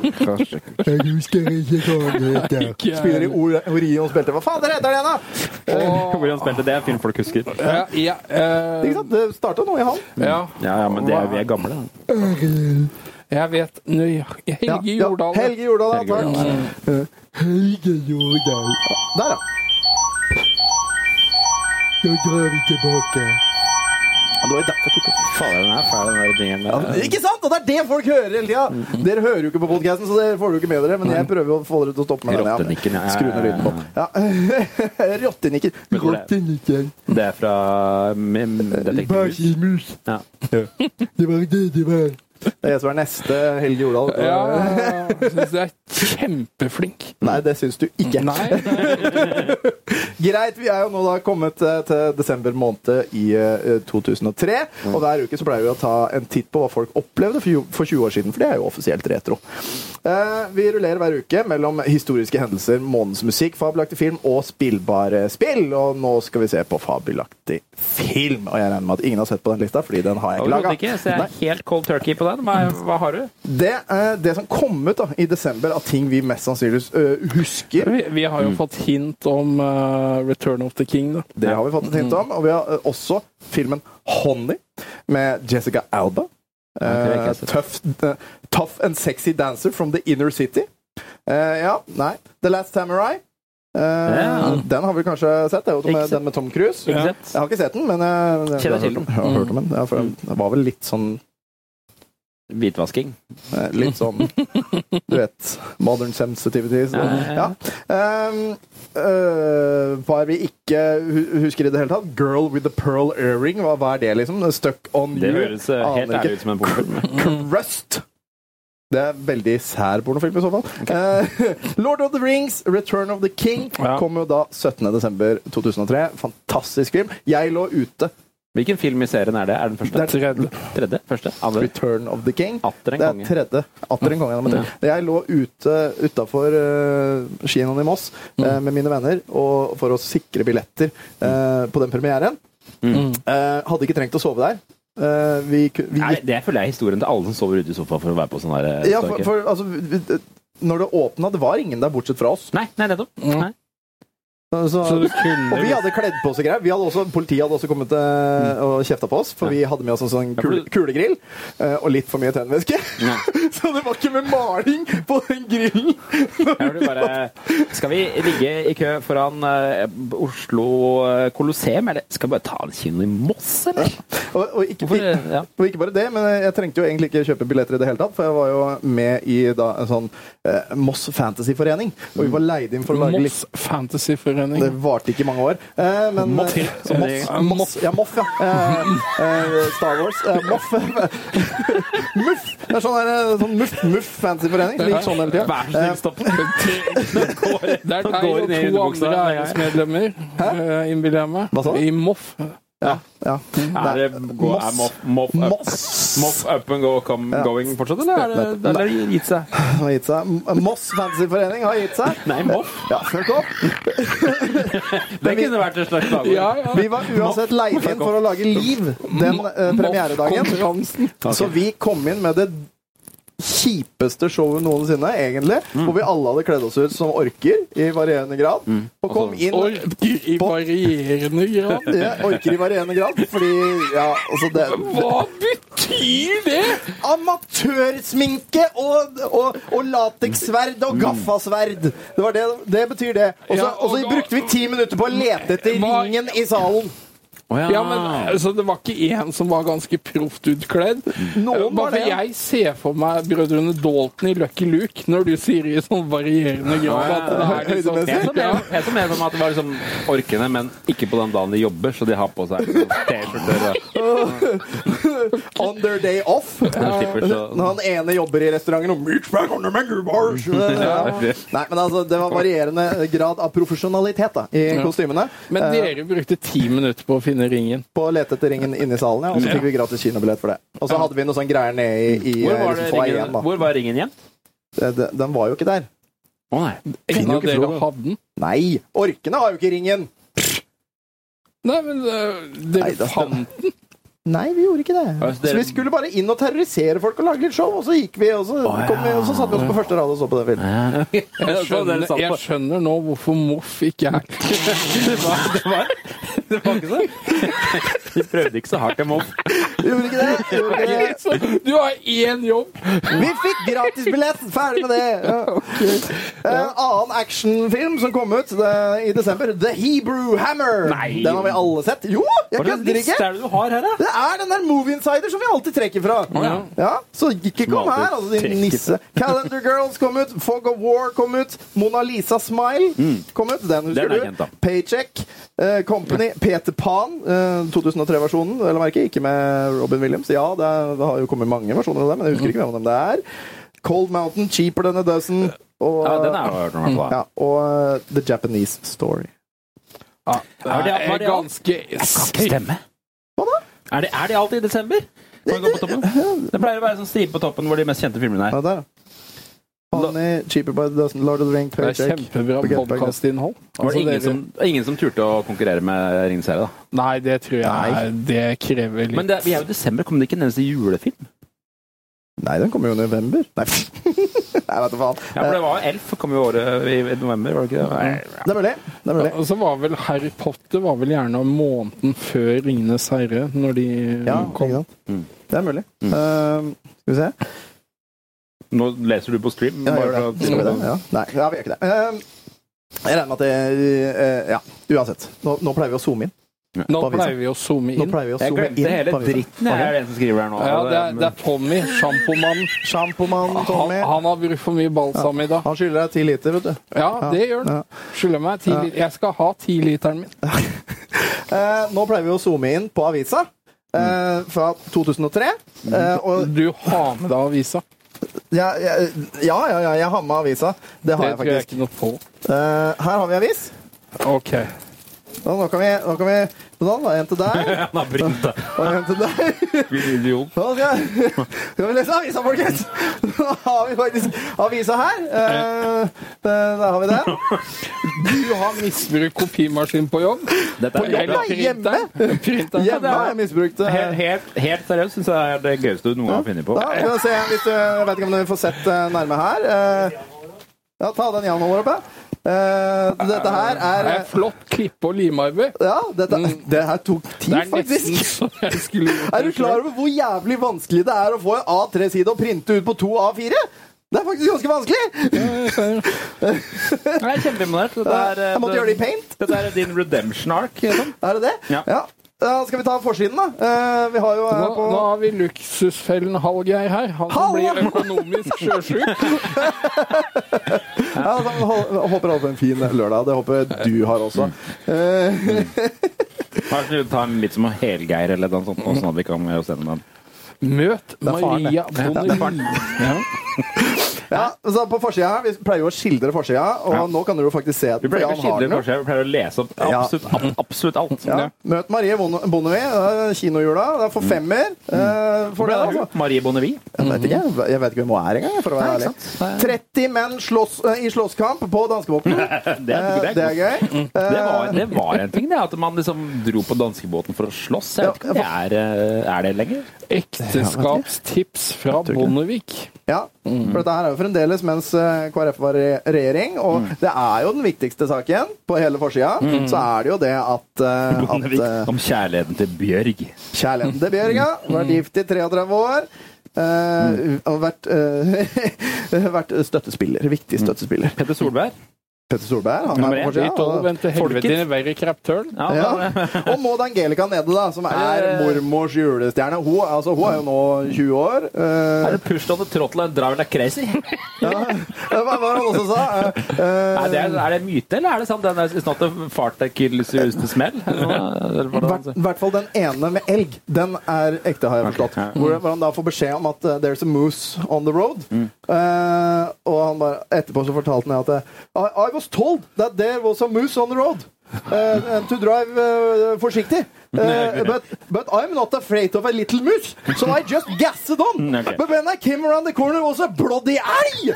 Jeg husker ikke hva han heter. Spiller i Or- Orions belte. Hva faen dere heter det igjen, da? Eh, Hvordan spilte det? er Film folk husker. Ja, ja, eh, Ikke sant? Det starta nå i han. ja. Mm. Ja, ja, men det er, vi er gamle. da. Jeg vet nøyaktig Helge Jordal. Helge Jordal, ja, Helge Jordal, takk. Eh, Helge Jordal. Der, ja. Da drar vi tilbake. Det var jo derfor jeg tok opp. Fader, den er fæl, den der jinglen der. Ikke sant? Og det er det folk hører hele tida! Dere hører jo ikke på podkasten, så det får du ikke med dere. Men jeg prøver å få dere til å stoppe med den. Rottenikken, ja, ja, ja, ja. Skru ned lyden på. Ja. Rottenikker. Vet du hvor det er? Rottenikker. Det er fra mm, Detektiv Mus. Bakimus. Ja. Det var det det var. Det er jeg som er neste Helge Jordal. Ja, jeg syns du er kjempeflink. Nei, det syns du ikke. Greit, vi er jo nå da kommet eh, til desember måned i eh, 2003. Og hver uke så pleier vi å ta en titt på hva folk opplevde for tju- for 20 år siden, for det er jo offisielt retro. Eh, Vi rullerer hver uke mellom historiske hendelser, månedens musikk, fabelaktig film og spillbare spill. Og nå skal vi se på fabelaktig film. Og jeg regner med at ingen har sett på den lista, fordi den har jeg ikke Overhodet laga. ikke. Så jeg er helt cold turkey på den. Hva, hva har du? Det, eh, det som kom ut da, i desember av ting vi mest sannsynligvis eh, husker Vi, vi Mm. har jo fått hint om eh, Return of the King, da. Det har vi fått et hint om. Og vi har eh, også filmen Honey med Jessica Alba. det har jeg Eh, ikke sett. tough, eh, tough and sexy dancer from the inner city. Eh, ja, nei. The Last Samurai. Eh, Ja. Den har vi kanskje sett. Det er jo Ikke med, sett. den med Tom Cruise. Ikke Ja. sett. Jeg har ikke sett den, men eh, jeg, Kjenner har hørt til om- den. jeg har hørt om Mm. den. Ja, for den var vel litt sånn Hvitvasking. Eh, Litt sånn Du vet Modern sensitivity. Så. Ja. Ja, Um, øh, hva er vi ikke hu- husker i det hele tatt? Girl with the pearl earring, hva, hva er det, liksom? Stuck on Det you? høres eh, helt Aner ikke. ærlig ut som en pornofilm. Crust. Det er veldig sær pornofilm i så fall. Eh, Lord of the Rings, Return of the King, Ja. kom jo da 17.12.2003. Fantastisk film. Jeg lå ute. Hvilken film i serien er det? Er den første? Det er Tredje? Første? Andre? Return of the King. Atter en det er konge. tredje. Atter en konge. nummer tre. Jeg lå ute utafor uh, kinoen i Moss Mm. eh, med mine venner og for å sikre billetter eh, Mm. på den premieren. Eh, hadde ikke trengt å sove der. Eh, vi, ku- vi Nei, det føler jeg er historien til alle som sover ute i sofaen for å være på sånn her eh, Ja, for, stalker. for altså vi- vi- Når det åpna, det var ingen der bortsett fra oss. Nei, nei, nettopp. Nei. Altså, Så du kunne- og vi hadde kledd på oss og greier. Vi hadde også, politiet hadde også kommet Mm. eh, og kjefta på oss, for vi hadde med oss en sånn kule, kulegrill eh, og litt for mye tennvæske. Så det var ikke med maling på den grillen! Her er du bare Skal vi ligge i kø foran eh, Oslo eh, Colosseum, eller skal vi bare ta en kino i Moss, eller? Og, og, ikke, Hvorfor, eh, ja. og ikke bare det, men jeg trengte jo egentlig ikke kjøpe billetter i det hele tatt, for jeg var jo med i da, en sånn eh, Moss Fantasyforening, og vi var leid inn for å lage litt Moss Fantasyforening. Det varte ikke mange år. Eh, men, Moff. eh, Moff, Moff, ja, Moff, ja. Eh, eh, Star Wars. Eh, Moff. Muff! Det er sånn, der, eh, sånn Muff Muff fantasyforening. Ligger sånn hele Eh, tida. Vær så snill, stopp. Det er Så deg går det og ned i to underbuksa. andre æresmedlemmer, eh, innbiller jeg meg. Hva sa du? I Moff. Ja, ja. Er det gå, er Moss. moff, moff, up, moff up and go, come, Ja. going fortsatt, eller er det, Nei. eller har det gitt seg? Den har gitt seg. M- Moss Fantasyforening har gitt seg. Nei, moff. Ja, fuck off. Det kunne vært et slags slagord. Ja, ja. Vi var uansett leid inn for å lage liv den eh, premieredagen. Så vi kom inn med det kjipeste showet noensinne, egentlig. Mm. Hvor vi alle hadde kledd oss ut som orker i varierende grad. Mm. Og kom Altså, inn Orker i varierende grad. ja, Orker i varierende grad, fordi ja, altså det Hva betyr det?! Amatørsminke og, og, og latekssverd og gaffasverd. Det, var det, det betyr det. Og så Ja, og og så da- brukte vi ti minutter på å lete etter Hva- ringen i salen. Ja, men altså, Det var ikke én som var ganske proft utkledd. Noen var Bare det. for jeg ser for meg brødrene Dalton i Lucky Luke når du sier i sånn varierende grad at det er liksom Jeg så Høydemessig. mer- jeg så mer som at det var liksom orkene, men ikke på den dagen de jobber, så de har på seg T-skjorter og On their day off. slippers Når og han ene jobber i restauranten og Meat back under menu bars. Ja. Nei, men altså, det var varierende grad av profesjonalitet da, i kostymene. Men Eh, dere brukte ti minutter på å finne ringen. på å lete etter ringen inne i salen, ja, og så fikk vi gratis kinobillett for det. Og så hadde vi noe sånn greier nede i, i Hvor var, det liksom, foajeen, ringen, da. hvor var ringen igjen? Eh, de- Den var jo ikke der. Å nei. En jo av ikke dere Frodo. hadde den. Nei! Orkene har jo ikke ringen! Nei, men øh, dere Nei, da- fant Nei, vi gjorde ikke det. Altså, dere- Så vi skulle bare inn og terrorisere folk og lage litt show, og så gikk vi, og så, kom vi, og så satte vi oss på første rad og så på den filmen. jeg Så dere skjønner, satt jeg på- skjønner nå hvorfor Moff ikke er Det var, det var, det var ikke så De prøvde ikke så hardt, jeg må Vi gjorde ikke det. Vi gjorde ikke det. Så Du har én jobb! Vi fikk gratisbillett! Ferdig med det! Ja. Eh, annen actionfilm som kom ut eh, i desember, The Hebrew Hammer. Nei. Den har vi alle sett. Jo, jeg Hva slags kødder liste ikke! er det du har her, da? Det er den der Movie Insider som vi alltid trekker fra. ja. Ja, så ikke kom Som alltid her, altså, din trekker nisse. Calendar Girls kom ut, Fog of War kom ut, Mona Lisa Smile Mm. kom ut. Den Den husker er du. kjent, da. Paycheck. eh, Company. Peter Pan. eh, 2003-versjonen, vel å merke. Ikke med Robin Williams. Ja, det, er, det har jo kommet mange versjoner av det, men jeg husker ikke Mm. hvem av dem det er. Cold Mountain, Cheaper Than a Dozen. Og, Ja, den har jeg hørt om, i hvert fall. Ja, og eh, The Japanese Story. Er det, er var det ganske Jeg kan ikke stemme. Er det, er det alltid i desember? Kan vi gå på toppen? Det pleier å være sånn stil på toppen hvor de mest kjente filmene Ja, er. der. Honey, Cheaper by the Dozen, Lord of the Ring, Det er Paycheck. kjempebra Get Back. podkastinnhold. Altså, Var det ingen som, ingen som turte å konkurrere med Ringenes herre, da? Nei, det tror jeg Nei. er, det krever litt Men det, vi er jo i desember, kom det ikke en eneste julefilm? Nei, den kommer jo i november. Nei, Nei vet du faen. Eh, Mm. Ja, for det var jo Elf, kom jo året i i november, var det ikke det? Nei. Det er mulig. Det er mulig. Ja, og så var vel Harry Potter var vel gjerne måneden før 'Ringenes herre', når de Ja, kom. ikke sant? Mm. Det er mulig. Ehm, skal vi se. Nå leser du på stream. Ja, jeg Mm. gjør bare det. for at- Skal vi det? Ja. Nei, ja, vi gjør ikke det. Ehm, jeg regner med at det eh, Ja, uansett. Nå, nå pleier vi å zoome inn. Nå På avisa. pleier vi å zoome Nå inn. pleier vi å Jeg zoome inn. glemte hele på avisa. dritten, jeg er den som skriver her nå. Ja, det er, det er Tommy, sjampomannen. Sjampomannen Han, Tommy. han har brukt for mye balsam i dag. Han skylder deg ti liter, vet du. Ja, det gjør han. Skylder meg ti liter. Jeg skal ha tiliteren min. Eh, nå pleier vi å zoome inn på avisa Mm. eh, fra 2003. Eh, og Du har med deg avisa. ja, ja, ja, ja, ja, jeg har med avisa. Det har Det jeg tror jeg faktisk. ikke noe på. Eh, her har vi avis. Ok. Nå, nå kan vi, nå kan vi Sånn, da. En til deg. Han har brent det. Og en til deg. Idiot. Nå skal, jeg, skal vi lese avisa, folkens! Nå har vi faktisk avisa her. Eh, der, der har vi den. Du har misbrukt kopimaskin på jobb. Dette På jobb, er da! Hjemme! Printeren. Hjemme har jeg misbrukt eh, helt, helt, helt seriøst syns jeg er det gøyeste du noen gang har funnet på. Ja, skal vi se hvis du, Jeg vet ikke om du får sett eh, nærme her. Eh, Ja, ta den Jan holder oppe. Eh, Dette her er Det er flott klippe- og limarbeid. Ja, dette, det her tok tid, Det er faktisk. nesten så jeg skulle gjort Er du det klar selv. over hvor jævlig vanskelig det er å få en A3-side og printe ut på to A4? Det er faktisk ganske vanskelig! Jeg er kjempeimponert. Dette er, eh, Jeg måtte det- gjøre det i paint. Dette er din redemption ark. Liksom. Er det det? Ja. Da skal vi ta forsiden, da? Eh, Vi har jo her Nå, på nå har vi luksusfellen Hallgeir her. Han som Hallgeir! blir økonomisk sjøsjuk. ja, da, hå- Håper alle får en fin lørdag. Det håper jeg du har også. Mm. Eh, Kanskje vi tar den litt som Helgeir eller noe sånt, nå, sånn at vi kan med oss gjennom den. Møt er faren, Maria Bonnevie. Ja, så på forsida her, Vi pleier jo å skildre forsida, og Ja. nå kan dere jo faktisk se at Vi pleier ikke å Jan har skildre den jo. forskjell, vi pleier å lese opp Ja. absolutt, ab- absolutt alt. Ja. Møt Marie Bonne- Bonnevie. det er Kinohjula. Det er for Mm. femmer. eh, for Hvor det, er altså. hun? Marie Bonnevie. Jeg vet ikke, jeg- jeg vet ikke hvem hun er engang, jeg, for å være ærlig. 30 menn slåss, eh, i slåsskamp på danskebåten. Det, er- Mm. Eh, det er gøy. Eh, Det var, det var en ting, det. At man liksom dro på danskebåten for å slåss. Jeg vet ikke om det er, eh, er det lenger. Ekteskapstips fra Bonnevik. Ja, Mm. for dette her er jo fremdeles mens eh, KrF var i regjering, og Mm. det er jo den viktigste saken på hele forsida. Så er det jo det at, eh, at Bonnevik eh, om kjærligheten til Bjørg. kjærligheten til Bjørga Mm. vært gift i 33 år. eh, og vært, eh, vært støttespiller. Viktig støttespiller. Mm. Petter Solberg. Petter Solberg, han Nummer er én, på De forsida. tolv og- vendte helvete inn i verre kreptøl. Ja, Ja. Og Maud Angelica Nede, da, som er mormors julestjerne. Hun, altså, hun er jo nå 20 år. eh, Er det Push on the Trottle and Drive like crazy? ja. Hva hva var det han også sa? Eh, eh, Er det, er det myte, eller er det sant? Den er it's not a fart that kills you, it's the smell? Eller hva- eller hva det hvert, er? hvert fall den ene med elg. Den er ekte, har jeg forstått. ja. Hvor, hvor han da får beskjed om at eh, 'there's a moose on the road'. Mm. Eh, og han bare, etterpå så fortalte han at eh, I, 'I was told that there was a moose on the road'. eh, and to drive eh, forsiktig. Eh, but, but I'm not afraid of a little moose, so I just gassed on. Mm, ok. But when I came around the corner, it was a bloody elg!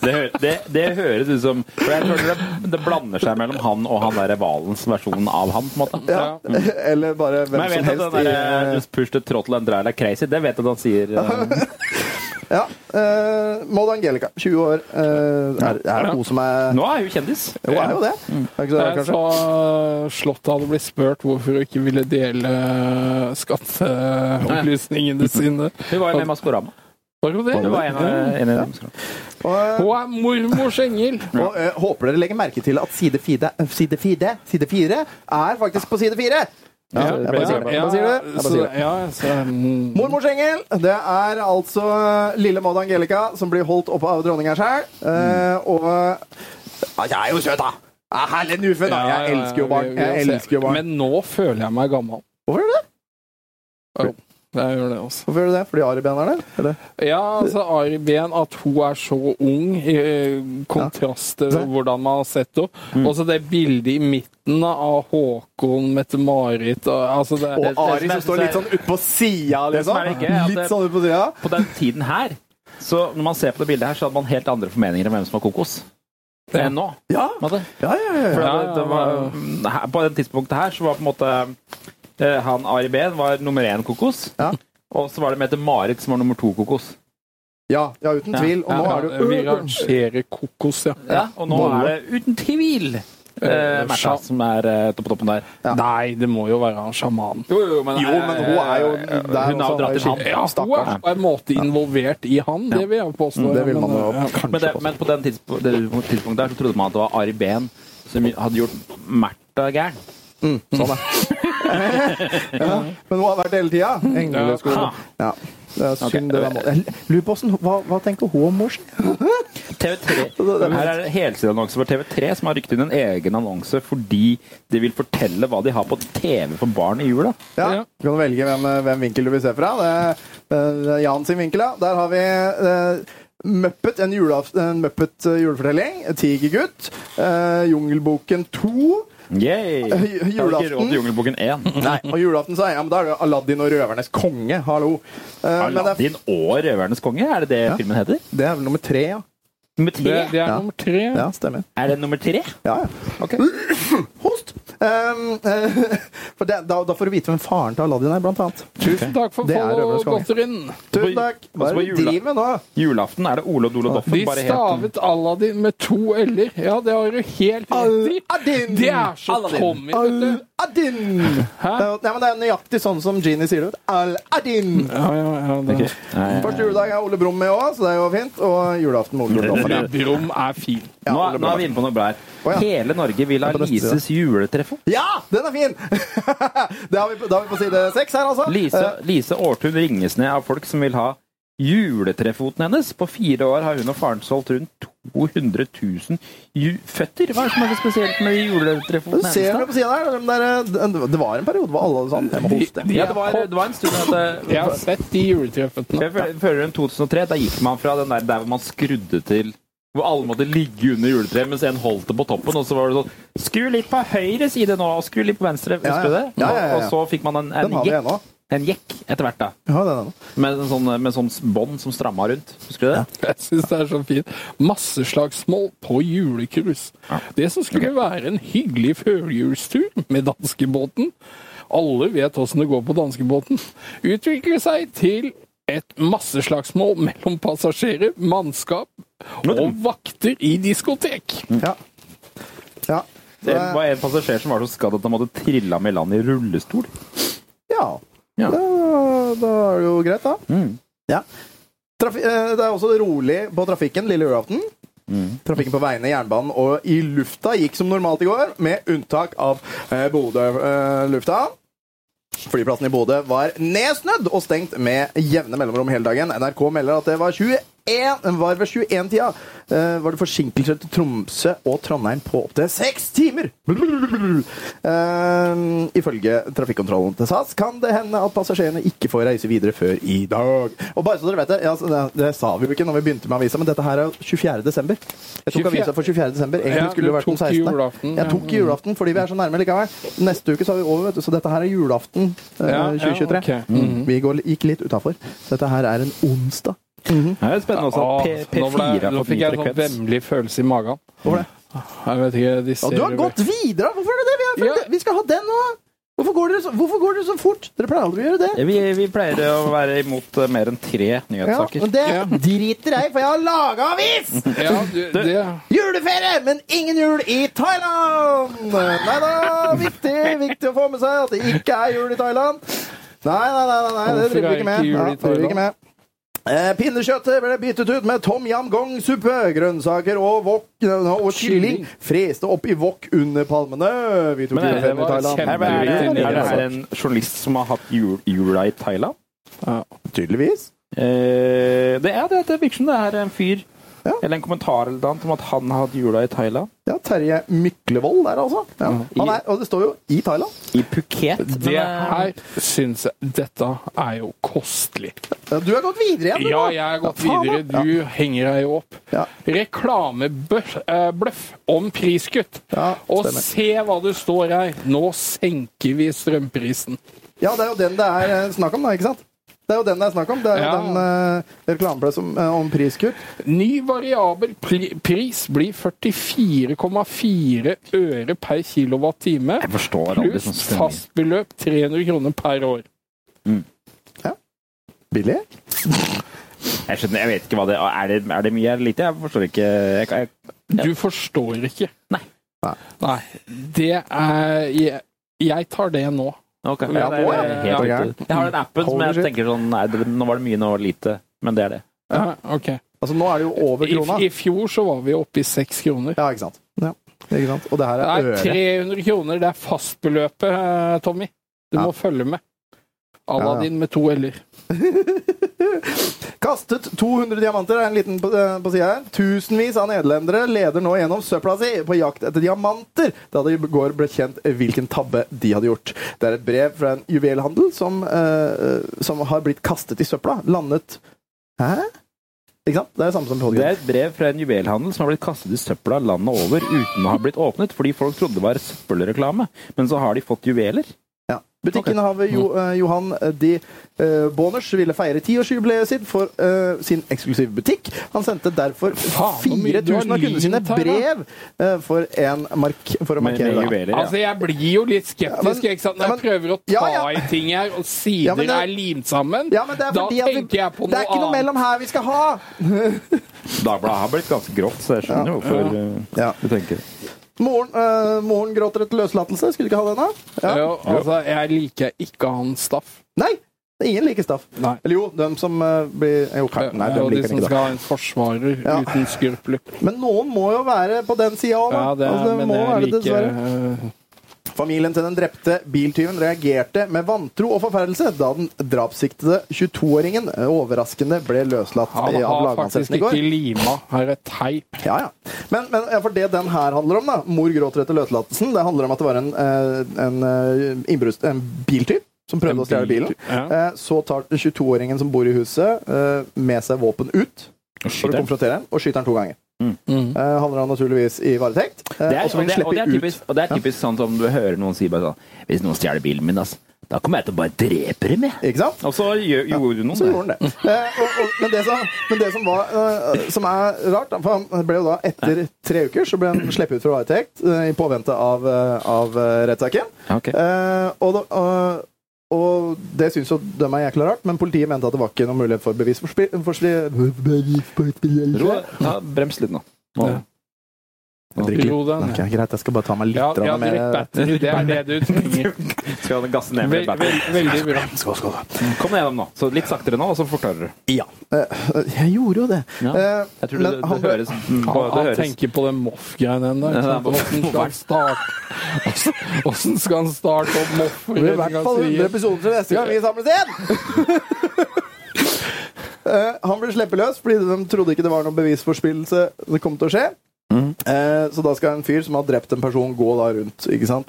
Det, hø- det, det høres ut som for jeg tror det, det blander seg mellom han og han derre hvalens versjon av han, på en måte. Ja. Eller bare hvem Mm. Men som jeg vet at helst. den der i, eh, eh, Push the Trottle and Drive like crazy, det vet jeg at han sier. eh, Ja. Uh, Maud Angelica, 20 år. eh, er, er det hun som er Nå er hun kjendis. Mm. Eh, Jo, det er jo det. Er ikke så rart, Jeg kanskje? sa Slottet hadde blitt spurt hvorfor hun ikke ville eh, dele skatteopplysningene sine. Hun var jo med i Maskorama. Var hun det? Det var en av- en av dem. Hun er mormors engel. eh, Og eh, håper dere legger merke til at side fire, eh, side fire, side fire er faktisk på side fire! Ja, jeg bare sier det. Jeg bare sier det. Jeg bare så- sier det. ja, så, mm, Mormors engel, det er altså lille Maud Angelica som blir holdt oppe av dronninga sjøl. Og ja, Jeg er jo søt, da! Ja, Herlig nufe, da! ja, Jeg ja, elsker jo barn. vi- vi Jeg ser. elsker jo barn. Men nå føler jeg meg gammel. Hvorfor gjør du det? Jo, jeg gjør det også. Hvorfor gjør du det? Fordi Ari Ben er der? Eller? Ja, altså Ari Behn, at hun er så ung, i kontrast til hvordan man har sett henne. Mm. Og så det bildet i midten av Håkon, Mette-Marit og altså det, Og Ari som står litt sånn ut på sida, Det liksom. som er litt gøy, er at Litt sånn ut på sida. På den tiden her, så når man ser på det bildet her, så hadde man helt andre formeninger om hvem som var kokos. Enn nå. Ja. på en måte. Ja, ja, ja, For ja. det, det var, mm, her- på det tidspunktet her så var på en måte eh, han Ari Behn var nummer én kokos. Og så var det Mette-Marit som var nummer to kokos. Ja, ja, uten Ja. tvil. Og nå Ja, er det ja, jo vi rangerer kokos, ja. Ja, og nå Bolle. er det uten tvil eh, Eh, Märtha sja- som er eh, på toppen der. Nei, det må jo være han sjaman. Jo, jo, men, eh, Jo, men hun er jo der Hun har også, dratt til ham. Ja, hun er på en måte involvert i han, det vil jeg påstå. Mm, det vil men, eh, man jo ja. men, det, men på den tidspunkt, det tidspunktet der så trodde man at det var Ari Behn som hadde gjort Märtha gæren. Sånn, ja. Men hun har vært hele tida. Engleskole. Ja. Det er synd eh, det der må- Jeg Lurer på hvordan- hva, hva tenker hun om mor si? TV3. Her er det helsideannonse for TV3 som har rykket inn en egen annonse fordi de vil fortelle hva de har på TV for barn i jula. Ja. Du kan velge hvem, hvem vinkel du vil se fra. Det er, det er Jan sin vinkel, ja. Der har vi eh, Muppet, en, julaf- en Muppet eh, julefortelling. Tigergutt. eh, Jungelboken 2. Yay! Eh, Jeg har ikke råd julaften. til Jungelboken 1. Nei, og julaften så er ja, men da er det jo Aladdin og røvernes konge. Hallo. Eh, men det er- Aladdin og Røvernes konge, er det det filmen heter? Det er vel nummer tre, ja. Nummer tre? Det- det er ja. nummer Ja, stemmer. Er det nummer tre? Ja, ja. Host! Um, eh, for det, da, da får du vite hvem faren til Aladdin er, blant annet. Tusen takk for Det er Røvernes konge. follow-godterien. Tusen takk. Hva er det du driver med nå? Julaften er det Ole og Dole Doffen. De bare helt- stavet Aladdin med to l-er. Ja, det har du helt rett i. Det er så Aladdin. Tommy, vet du. Aladdin! Det er jo- Nei, men det er nøyaktig sånn som Genie sier det. vet du. Aladdin! Ja, ja, ja, det. Første juledag er Ole Brumm med òg, så det er jo fint. Og julaften med Ole Brumm. Ole Brumm er fin. nå, er- nå er vi inne på noe bra her. Hele Norge vil ha Det er på neste side. Lises juletreffe. Ja, Ah! den er fin! det har vi, da er vi på side seks her, altså. Eh, Lise, Lise Aartun ringes ned av folk som vil ha juletrefoten hennes. På fire år har hun og faren solgt rundt 200 000 ju føtter. Hva er det som er så spesielt med de juletrefoten Du ser det på hennes? da? siden her. de der, eh, det var en periode hvor alle hadde sånn. Jeg må hoste. Ja, det var, det var en stund at eh, Jeg har sett de juletreffene. Jeg føler- føler rundt 2003, da gikk man fra den der, der hvor man skrudde til hvor alle måtte ligge under juletreet mens en holdt det på toppen. Og så var det sånn Skru litt på høyre side nå, og skru litt på Ja, venstre. ja. Husker du det? Ja, ja, ja, ja. Og så fikk man en, Den en har vi jekk. ennå. En jekk etter hvert, da. Ja, den er den. Med en sånn, med sånn bånd som stramma rundt. Husker du det? Jeg syns det er så fint. Masseslagsmål på julekrus. Det som skulle være en hyggelig førjulstur med danskebåten Alle vet åssen det går på danskebåten. Utvikler seg til et masseslagsmål mellom passasjerer, mannskap og vakter i diskotek. Ja. ja. Det var en passasjer som var så skadd at han måtte trille ham i land i rullestol. Ja. Ja. Da, da er det jo greit, da. Ja. Trafi eh, det er også rolig på trafikken lille julaften. Mm. Trafikken på veiene, jernbanen og i lufta gikk som normalt i går, med unntak av eh, Bodø eh, lufthavn. Flyplassen i Bodø var nedsnødd og stengt med jevne mellomrom hele dagen. NRK melder at det var 21 var ved 21-tida eh, var det forsinkelser til Tromsø og Trondheim på opptil seks timer! Eh, ifølge trafikkontrollen til SAS kan det hende at passasjerene ikke får reise videre før i dag. Og bare så dere vet det, ja, så det, det sa vi jo ikke når vi begynte med avisa, men dette her er jo 24. desember. Jeg tok 24. avisa for 24. desember. Egentlig Ja, skulle det du vært den tok 16. julaften, Jeg ja. tok i julaften fordi vi er så nærme likevel. Neste uke så er vi over, vet du, så dette her er julaften eh, Ja, ja, 2023. ok. Mhm. Vi går, gikk litt utafor. Dette her er en onsdag. Mhm. Det er spennende også at P- Nå, ble, P4 har nå fått fikk ny jeg en sånn frekvens. vemmelig følelse i magen. Hvorfor det? Jeg vet ikke, de Ja, ser du har jo- gått videre! Hvorfor er det det? Vi, er, vi skal ha den nå! Hvorfor går, dere så, hvorfor går dere så fort? Dere pleier aldri å gjøre det. Vi, vi pleier å være imot eh, mer enn tre Ja, nyhetssaker. men det driter jeg i, for jeg har laga avis! Ja, du, det Juleferie, men ingen jul i Thailand! Nei da, viktig, viktig å få med seg at det ikke er jul i Thailand. Nei, nei, nei, nei, nei det Hvorfor driver er vi ikke med. ikke jul i Ja, det driver vi ikke med. Eh, Pinnekjøttet ble byttet ut med tom yam gong-suppe. Grønnsaker og, wok, eh, og kylling freste opp i wok under palmene. Vi tok Men er det, juleferie i Thailand. er, det, er, det, er det her en journalist som har hatt jul, jula i Thailand? Tydeligvis. Eh, det, er, det, det virker som det er en fyr eller en kommentar eller noe annet om at han har hatt jula i Thailand. Ja, Terje Myklevold der, altså. Ja. Han er, og det står jo i Thailand. I eh, Phuket. Det her syns jeg Dette er jo kostelig. Du har gått videre igjen, du, Ja, da. jeg har gått Ja, faen, videre. da. Du henger deg jo opp. Reklamebløff om priskutt. Og stemmer. se hva det står her. Nå senker vi strømprisen. Ja, det er jo den det er eh, snakk om, da, ikke sant? Det er jo den det er snakk om. Det er jo Ja. den eh, reklameplass om, eh, om priskutt. Ny variabel pri pris blir 44,4 øre per kilowattime. aldri Pluss sånn stemning. fast beløp 300 kroner per år. Billig? Jeg skjønner, jeg vet ikke hva det er. Er det, er det mye eller lite? Jeg forstår ikke. Jeg, jeg, Du forstår ikke. Nei. Nei. Det er Jeg, jeg tar det nå. Ok. Ja, det er- nå, ja. det er helt Ja. riktig. Jeg har den appen som Holy jeg shit. tenker sånn nei, det, Nå var det mye, nå var det lite. Men det er det. Ja, ok. Altså, nå er det jo over krona. I, I fjor så var vi oppe i seks kroner. Ja, ikke sant. Ja. Ikke sant? Og det her Det er er øre. 300 kroner. Det er fastbeløpet, eh, Tommy. Du må følge med. Aladdin med to l-er. Kastet 200 diamanter, er en liten på, eh, på sida her. Tusenvis av nederlendere leder nå gjennom søpla si på jakt etter diamanter, da det i går ble kjent hvilken tabbe de hadde gjort. Det er et brev fra en juvelhandel som, eh, som har blitt kastet i søpla. Landet Hæ? Ikke sant? Det er det samme som Det er et brev fra en juvelhandel som har blitt kastet i søpla landet over uten å ha blitt åpnet, fordi folk trodde det var søppelreklame. Men så har de fått juveler. Butikkinnehaver jo, Mm. eh, Johan de eh, Boners ville feire tiårsjubileet sitt for eh, sin eksklusive butikk. Han sendte derfor hvor mye du har 4000 av kundene sine limt her, da. brev eh, for, en mark for å markere dagen. Altså, jeg blir jo litt skeptisk ikke sant? når jeg prøver å ta Ja, ja. i ting her, og sider Ja, men det- er limt sammen. Ja, men det er da fordi at vi- tenker jeg på Det noe er ikke noe annet. mellom her vi skal ha! Dagbladet har blitt ganske grovt, så jeg skjønner jo hvorfor eh, du tenker det. Moren, eh, moren gråter etter løslatelse. Skulle du ikke ha den, da? Ja. Jo, altså, jeg liker ikke han Staff. Nei! det er Ingen liker Staff. Eller jo, dem som eh, blir Jo, Ja, Karl- nei, og dem de liker som ikke skal da. ha en forsvarer Ja. uten skrupler. Men noen må jo være på den sida òg, da. Ja, det, Altså, det men må jeg være det, liker eh, dessverre. Familien til den drepte biltyven reagerte med vantro og forferdelse da den drapssiktede 22-åringen overraskende ble løslatt Han eh, av har faktisk lagmannsretten i ikke går. lima, har et teip. Ja, ja. Men, men ja, for det den her handler om, da, mor gråter etter løslatelsen, det handler om at det var en, eh, en, eh, innbrudds- en biltyv som prøvde En å stjele bilen. biltyv, Eh, Så tar 22-åringen som bor i huset, eh, med seg våpen ut for å konfrontere ham, og skyter ham to ganger. Eh, Handler han naturligvis i varetekt. eh, Mm. Det er, og så vil han og, det, og, det slippe er ut. typisk, og det er typisk sånn som du hører noen si bare sånn Hvis noen stjeler bilen min, ass, da kommer jeg til å bare drepe dem, jeg. Ikke sant? Og så gjør, gjorde noen Så gjorde han det. Eh, og, og, men det, som, men det som, var, eh, som er rart, da, for han ble jo da etter tre uker så ble han sluppet ut fra varetekt eh, i påvente av, eh, av eh, rettssaken. Eh, og, da- og, og det syns jo dem er jækla rart, men politiet mente at det var ikke noen mulighet for Ro, bevisforspillelse. ta, brems litt nå. nå. Jeg drikker. Ro deg ned. Ok, greit, jeg skal bare ta meg litt Ja, ja, grann drikk battery. Det er det du trenger. Skal han gasse ned med Vel- battery? vel- veldig bra. Skål, skål. Kom deg gjennom nå. Så litt saktere nå, og så fortere. Ja. Eh, Jeg gjorde jo det. Ja. Eh, Jeg tror det, men det, han- Mm. det høres Han, på, det han høres. tenker på den Moff-greien ennå. Ja, det er Åssen skal han starte Hvordan skal han starte opp Moff? Det blir i hvert fall 100 episoder til neste gang vi samles igjen! Eh, han ble sluppet løs fordi de trodde ikke det var noen bevisforspillelse det kom til å skje. Eh, så da skal en fyr som har drept en person, gå da rundt, ikke sant?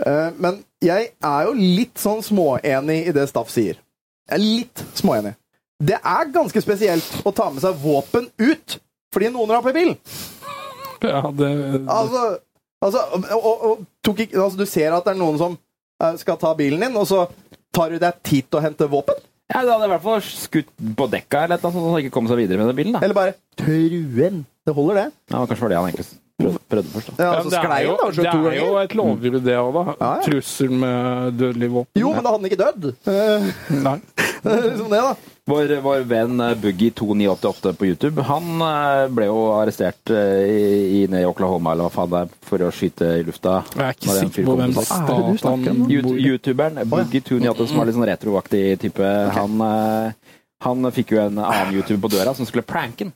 Eh, men jeg er jo litt sånn småenig i det Staff sier. Jeg er litt småenig. Det er ganske spesielt å ta med seg våpen ut fordi noen raper bilen. Ja, det, Altså, altså, og, og, og tok ikke, altså, du ser at det er noen som eh, skal ta bilen din, og så tar du deg tid til å hente våpen? Ja, det hadde i hvert fall skutt på dekka eller noe sånt, så han ikke kom seg videre med den bilen. da. Eller bare truen. Det holder, det. Ja, kanskje var det han egentlig prøvde, prøvde først. da. Ja, Ja, altså, det, sklei er jo, den da, to det er jo ganger. et lovbrudd, det òg, da. Ja, ja. Trussel med dødelig våpen. Jo, men da hadde han ikke dødd. Eh, Nei. det er Sånn liksom det, da. Vår, vår venn eh, Boogie2988 på YouTube, han eh, ble jo arrestert eh, i, i, nede i Oklahoma eller hva faen det er, for å skyte i lufta. Jeg er ikke Når en sikker fyr på kom hvem og sa- stat Ah, er det du snakker om? han Yout- bor i? Youtuberen Boogie2988, som var litt sånn retroaktig type, han eh, Han fikk jo en annen YouTuber på døra som skulle pranke han.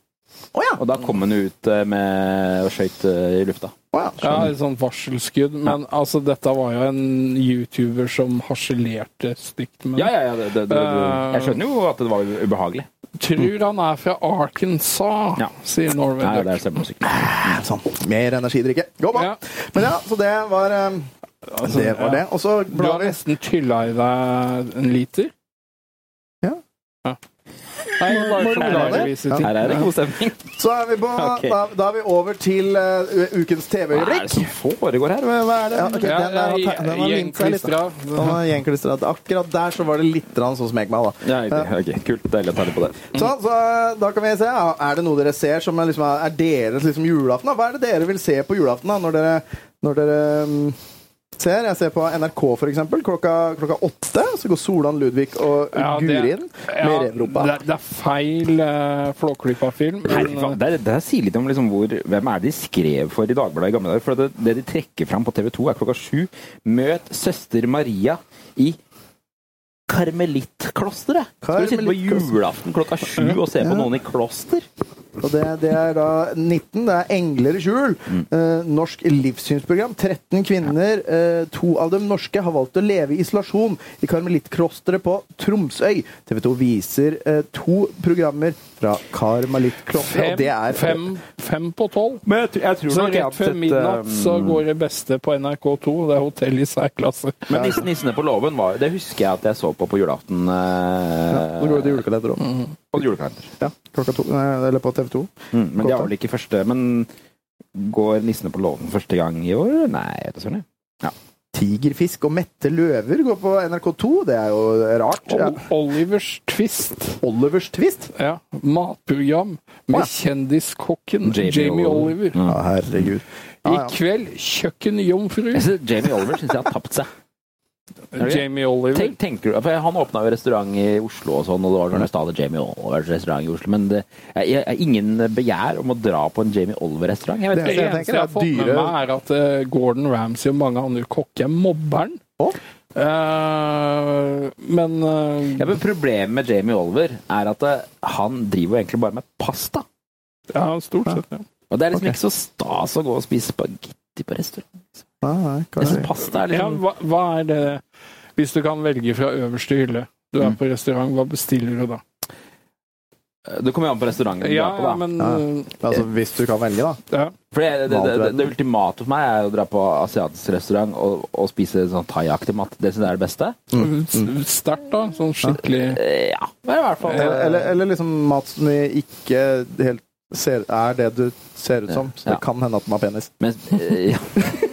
Og da kom han jo ut eh, med og skøyt eh, i lufta. Ja, et sånt varselskudd. Men altså, dette var jo en YouTuber som harselerte stygt med Ja, ja, ja det, det, det, Eh, jeg skjønner jo at det var ubehagelig. Tror han er fra Arkansas, sier Norway Nei, Duck. det stemmer sikkert. Sånn. Mer energidrikke. Gå bra. Men ja, så det var eh, Altså, Det var det. Og så Du har nesten tylla i deg en liter. Ja. Nei, bare Må- må- forklarevis i Ja. tid. Så er vi på Ok. da, da er vi over til eh, ukens Hva er det TV-øyeblikk. som foregår her? Hva hva er det? Ja, ok, den, der var te- den var limt seg litt. Gjengklistra. Den var gjengklistra. Akkurat der så var det litt grann sånn som meg meg, da. Ja, ok, kult. Deilig å ta litt på det. Så, så da kan vi se. ja, Er det noe dere ser som er, liksom, er deres liksom, julaften? Da? Hva er det dere vil se på julaften da, når dere, når dere mm, ser? Jeg ser på NRK, for eksempel. Klokka, klokka åtte så går Solan, Ludvig og Ja, det- Guri inn med ja, Revropa. Det, det er feil uh, Flåklypa-film. Nei, fy faen, Det, er- det her sier litt om liksom hvor, hvem er det de skrev for i Dagbladet i gamle dager. For det, det de trekker fram på TV 2, er klokka sju. Møt søster Maria i Karmelittklosteret! Skal vi sitte på Karmelittklosteret. julaften klokka sju og se på noen i kloster? Og det, det er da 19. Det er 'Engler i skjul'. Eh, norsk livssynsprogram. 13 kvinner, eh, to av dem norske, har valgt å leve i isolasjon i karmelittklosteret på Tromsøy. TV 2 viser eh, to programmer fra karmelittklosteret, og det er fem, fem på tolv. Men jeg, tr- jeg tror Så nok jeg har rett sett, før midnatt så um, går det beste på NRK2. Det er hotell i særklasse. Men nissen, nissene på låven var Det husker jeg at jeg så på på julaften. Ja, nå går det til julekalender òg. Mm-hmm. Og julekalender. Ja, klokka to. Nei, eller på TV 2. Mm, men det var vel ikke første Men går nissene på låven første gang i år? Nei, jeg vet ikke. søren, jeg. Ja. Tigerfisk og mette løver går på NRK2. Det er jo rart. Ja. Ol- Olivers Twist. Olivers Twist? Ja. Matprogram med kjendiskokken Jamie Jamie, Oliver. Mm. Oliver. Ja, herregud. I kveld kjøkkenjomfru. Jeg synes Jamie Oliver syns jeg har tapt seg. Er det? Jamie Oliver. Tenk, tenker du, for Han åpna jo restaurant i Oslo, og sånn, og det Mm. var sånn stadig Jamie Olivers restaurant i Oslo. Men det er er ingen begjær om å dra på en Jamie Oliver-restaurant. Jeg Det vet ikke. eneste jeg har fått med meg, er at eh, Gordon Ramsay og mange andre kokker mobber han. Eh, men eh, Ja, men Problemet med Jamie Oliver er at eh, han driver jo egentlig bare med pasta. Ja, stort sett. Ja. Og det er liksom ikke så stas å gå og spise spagetti på restaurant. Nei, nei, Jeg kanskje. synes pasta er ja, liksom hva, hva er det Hvis du kan velge fra øverste hylle, du er på restaurant, hva bestiller du da? Eh, Det kommer jo an på restauranten du Ja, drar på, da. men eh, Ja. Altså, hvis du kan velge, da. ja. For det, det, det, det, det ultimate for meg er å dra på asiatisk restaurant og, og spise sånn thaiaktig mat. Det syns jeg er det beste. Mm. Eh, S- Sterkt, da. Sånn skikkelig Eh, Ja. Men i hvert fall Eller, eller, eller liksom mat som vi ikke helt ser, er det du ser ut som. Så det Ja. kan hende at den har penis. Men, eh, ja.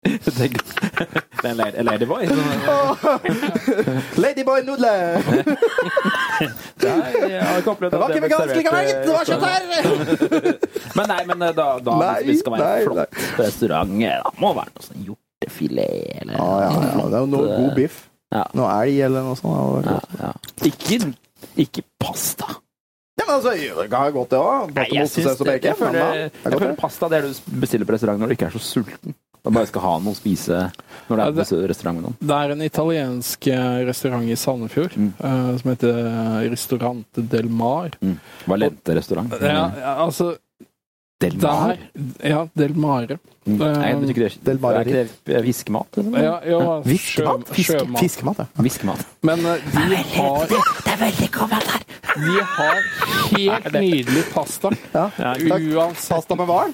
Tenk- Det er en lady- en ladyboy. Ladyboy nudler! Jeg har ikke opplevd Det var at ikke ble vegansk likevel, servert, eh, det var kjøtt her! Men nei, men eh, da, da Nei, hvis det skal være nei, en flott restaurant, eh, da må det være noe sånn hjortefilet eller Ja, ja, ja. Det er jo noe god biff. Ja. Noe elg eller noe sånt. hadde vært godt. ja. Ikke, ikke pasta. Ja, men altså, det kan være godt, det òg. Nei, jeg, synes Potemostesaus og det, jeg, bacon. føler, men da, jeg det er føler godt, pasta det er det du bestiller på restaurant når du ikke er så sulten. Og bare skal ha noe å spise når det er på besø- restaurant sånn. med noen. Det er en italiensk eh, restaurant i Sandefjord Mm. eh, som heter Ristorante del Mar. Mm. Valente-restaurant. Ja, ja, altså Mm. Del Mar? der- ja, Del Mare. Mm. Nei, Eh, betyr ikke det, Del Mar er liksom. ikke det fiskemat? eller? Ja, jo, Hæ? sjø- Fiskemat? Fiske- sjømat. Fiskemat, ja. Fiskemat. Men eh, de har Det er veldig gammelt her! De har helt nydelig pasta. Uansett. Pasta med hval?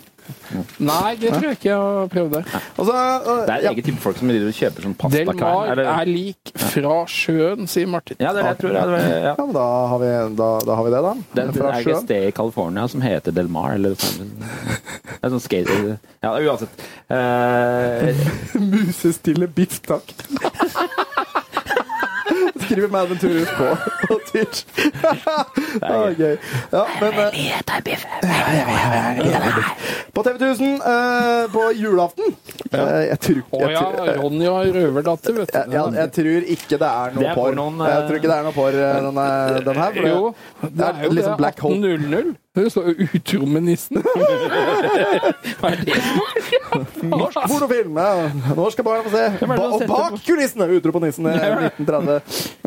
Nei, det tror jeg ikke jeg har prøvd der. Og så, øh, Det er ja. eget type folk som driver og kjøper sånn Del Mar pastakvern. er, eller- lik fra sjøen, sier Martin. Ja, det er det jeg tror. Ja, det, er- ja. ja, men da har, vi, da, da har vi det, da. Det er, det Fra er ikke et sjøen. sted i California som heter Del Mar, eller sånn. Det er sånn skate... Ja, uansett. Eh, Musestille biff, takk. Skriver Madam Turus på på Twitch. det er gøy. Ja, men eh, På TV 1000 eh, på julaften Eh, Jeg tror Å jeg ja, tror- Ronja røverdatter, vet jeg, du. jeg, jeg tror ikke det er Det noe er porr. pornoen, eh, øh, Jeg tror ikke det er noe porr, eh, denne, den her. For det, Jo, det er jo liksom Black Hole. 18.00. Det står jo utro med nissen. Hva er det? Norsk pornofilm! Ja. Nå skal barna få se. Hvem er det Ba som og setter bak kulissene! Utrop på nissen i 1930.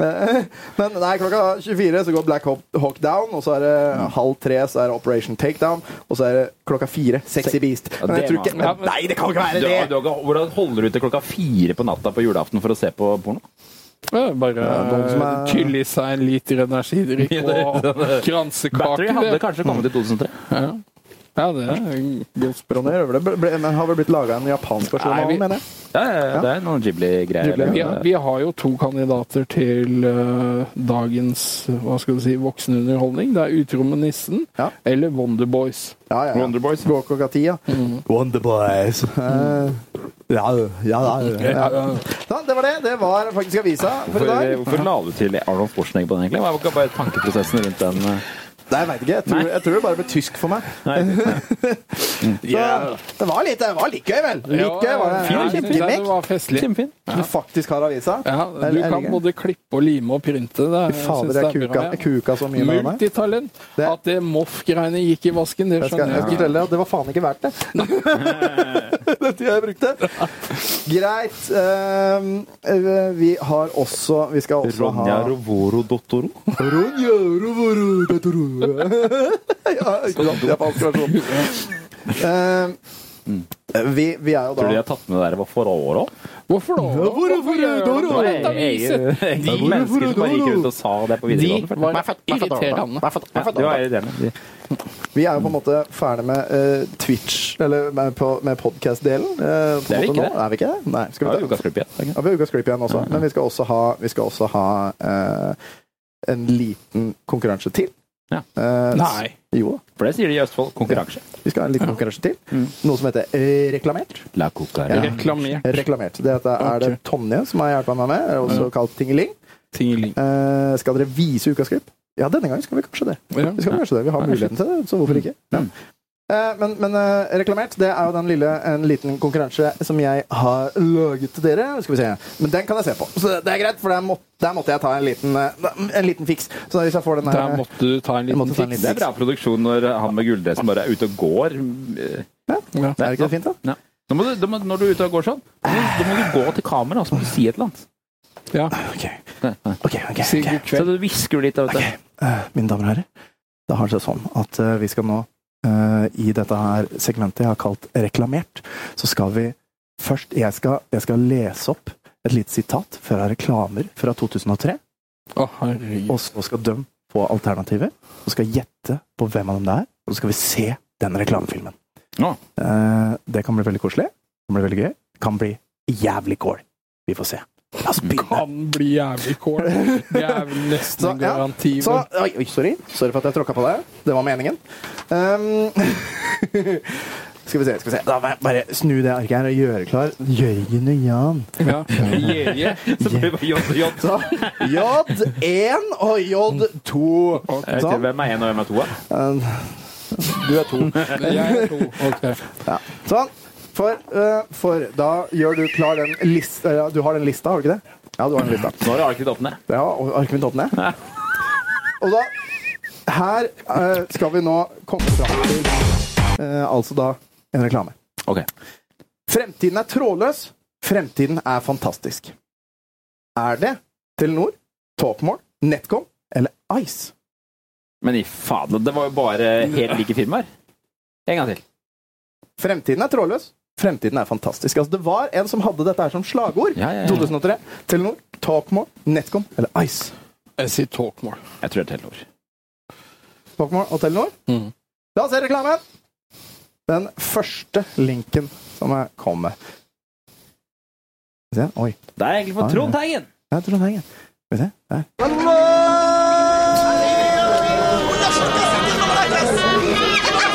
Eh, Men nei, klokka 24 så går Black Hawk Hawk Down, og så er det halv tre så er det Operation Takedown, og så er det klokka fire Sexy Beast. Men jeg tror ikke Ja, men, Nei, det kan ikke være Du det! har- du har- Hvordan holder du til klokka fire på natta på julaften for å se på porno? Ja, Bare noen som er- tyll i seg en liter energidrikk og kransekake. Battery hadde kanskje Mm. kommet i 2003. Ja. ja, det er godt Ronny Røvle ble, ble, men har vel blitt laga en japansk versjon Nei, av vi- den, mener jeg. Ja, ja, ja, det er noen Ghibli-greier. Ghibli. Vi, eller- vi har jo to kandidater til eh, dagens hva skal du si, voksenunderholdning. Det er Utro med nissen eller Wonderboys. Ja, ja. Wonderboys. Våk og Katia. Mm. Wonderboys. Eh, Ja, ja, ja, ja. Da, det var det. Det var faktisk avisa for eh, i Hvorfor, dag. hvorfor la du til Arnold Schwarzenegger på den, egentlig? Hva var bare tankeprosessen rundt den? eh? Nei, jeg veit ikke. Jeg tror, jeg tror det bare ble tysk for meg. Så det var litt, det var litt gøy, vel? Litt gøy var det. Ja, Det var jeg synes det Kjempefint. var festlig. Kjempefint. Du faktisk har avisa? Ja, du kan både klippe og lime og printe. Det, er- Fy fader, jeg synes det er kuka, bra, ja. jeg kuka så mye med meg. Multitalent. At det Moff-greiene gikk i vasken, det Jeg skal, skjønner jeg skal jeg. fortelle deg at det var faen ikke verdt det. Den tida jeg brukte. Greit. eh, vi har også Vi skal også ha Ronja Rovoro Dottoro? Ronja Rovoro Dottoro. Ja, ikke sant? Japansk versjon. Eh, vi, vi er jo da Tror du de har tatt med det der hva for år òg? Hvorfor da? Hvorfor gjør du Det var det? egen- De egen mennesker som bare gikk rundt og sa det på videregående. De var irriterende. Ja, det var irriterende. De- Vi er jo på en måte ferdig med eh, Twitch, eller med, på- med podcast-delen. eh, på Det er vi en måte ikke nå. det. Er vi ikke det? Nei. Ja, ta- vi har ukas klipp igjen. Ja, vi har ukas klipp igjen også. Men vi skal også ha, vi skal også ha eh, en liten konkurranse til. Ja. Eh, Nei. Jo da. For det sier de i Østfold. Konkurranse. Vi skal ha en liten konkurranse til. Noe som heter eh, Reklamert. La cucaracha. Ja. Eh, Reklamert. Det heter, er det Tonje som har hjulpet meg med, også kalt Tingeling. Eh, skal dere vise ukas klipp? Ja, denne gangen skal vi kanskje det. Ja. Vi skal kanskje det. Vi har muligheten til det, så hvorfor ikke? Ja. Eh, Men, men eh, reklamert, det er jo den lille, en liten konkurranse som jeg har laget til dere. Skal vi se. Men den kan jeg se på. Så det er greit, for der, må, der måtte jeg ta en liten, eh, en liten fiks. Så hvis jeg får den her eh, Der måtte du ta en Jeg måtte ta en Det liten er bra fiks. produksjon når han med gulldressen bare er ute og går. Eh, Ja, er ikke det fint, da? Ja. Da må du, da må, når du er ute og går sånn, da må, da må du gå til kamera og si et eller annet. Ja. Ok, ok, Si ok. god Så kveld. du hvisker litt. da, Vet du. Eh, Mine damer og herrer, det har seg sånn at eh, vi skal nå, eh, i dette her segmentet jeg har kalt reklamert, så skal vi først Jeg skal, jeg skal lese opp et lite sitat fra reklamer fra 2003. Å, herregud. Og så skal de få alternativer, og skal gjette på hvem av dem det er. Og så skal vi se den reklamefilmen. Ja. Eh, Det kan bli veldig koselig. Det kan bli veldig gøy. Det kan bli jævlig kål. Vi får se. La oss begynne. Kan bli jævlig kål. Det er vel nesten Så, en ja. garanti. Så, vel. oi, oi, sorry. sorry for at jeg tråkka på deg. Det var meningen. Um, skal vi se. skal vi se. Da må jeg bare snu det arket her og gjøre klar. Jørgen og Jan. Ja. Jeje. Så blir det bare jod, jod. Så, J1 og J2. Jeg vet ikke Sånn. hvem er én og hvem er to. da. Um, Du er to. Jeg er to. Ok. Ja. Sånn. For, eh, for da gjør du klar den lista ja, Du har den lista, har du ikke det? Ja, du har den lista. Nå har arket ditt åpnet. Ja, og arket mitt åpner. Og da Her eh, skal vi nå komme fram til eh, altså da en reklame. Ok. Fremtiden er trådløs. Fremtiden er fantastisk. Er det Telenor, Talkmore, NetCom eller Ice? Men i faen, det var jo bare helt like firmaer. En gang til. Fremtiden er trådløs. Fremtiden er fantastisk. Altså, det var en som hadde dette her som slagord. Ja, ja, ja. 2003. Telenor, Talkmore, NetCom eller Ice. Jeg sier Talkmore. Jeg tror det er Telenor. Talkmore og Telenor. Mm. La oss se reklamen! Den første linken som jeg kom med. Skal vi se. Oi. Ah, Det er egentlig for Trond Teigen! Jeg tror den henger. Skal vi se. Der.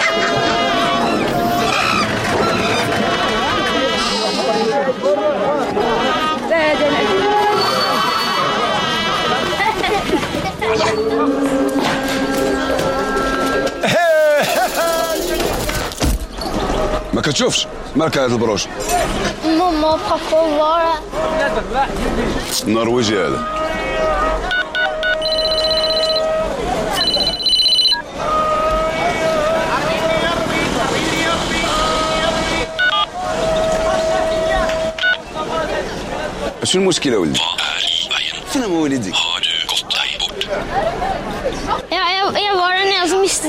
ما كتشوفش ماركة هذا البروج Mamma och pappa och var النرويجي هذا شو المشكلة ولدي؟ فين هو ولدي؟ Ja, jeg, jeg var den ene som mistet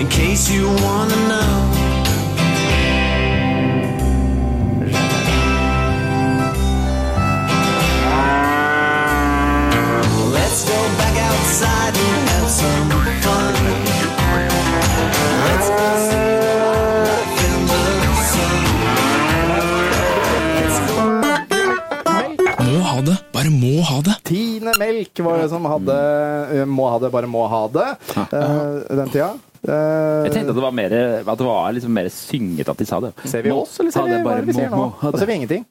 in case you wanna know. Let's go back outside and have some fun. Let's go see life in the sun. Let's go. Må ha det, bare må ha det. Tine Melk var det som hadde eh, Må ha det, bare må ha det. eh, Den tida. Jeg tenkte at det var mer, at det var liksom mer synget at de sa det. Ser vi Må oss, eller ser ha vi det, hva bare er det vi må- ser nå? må ha Nå det. ser vi ingenting.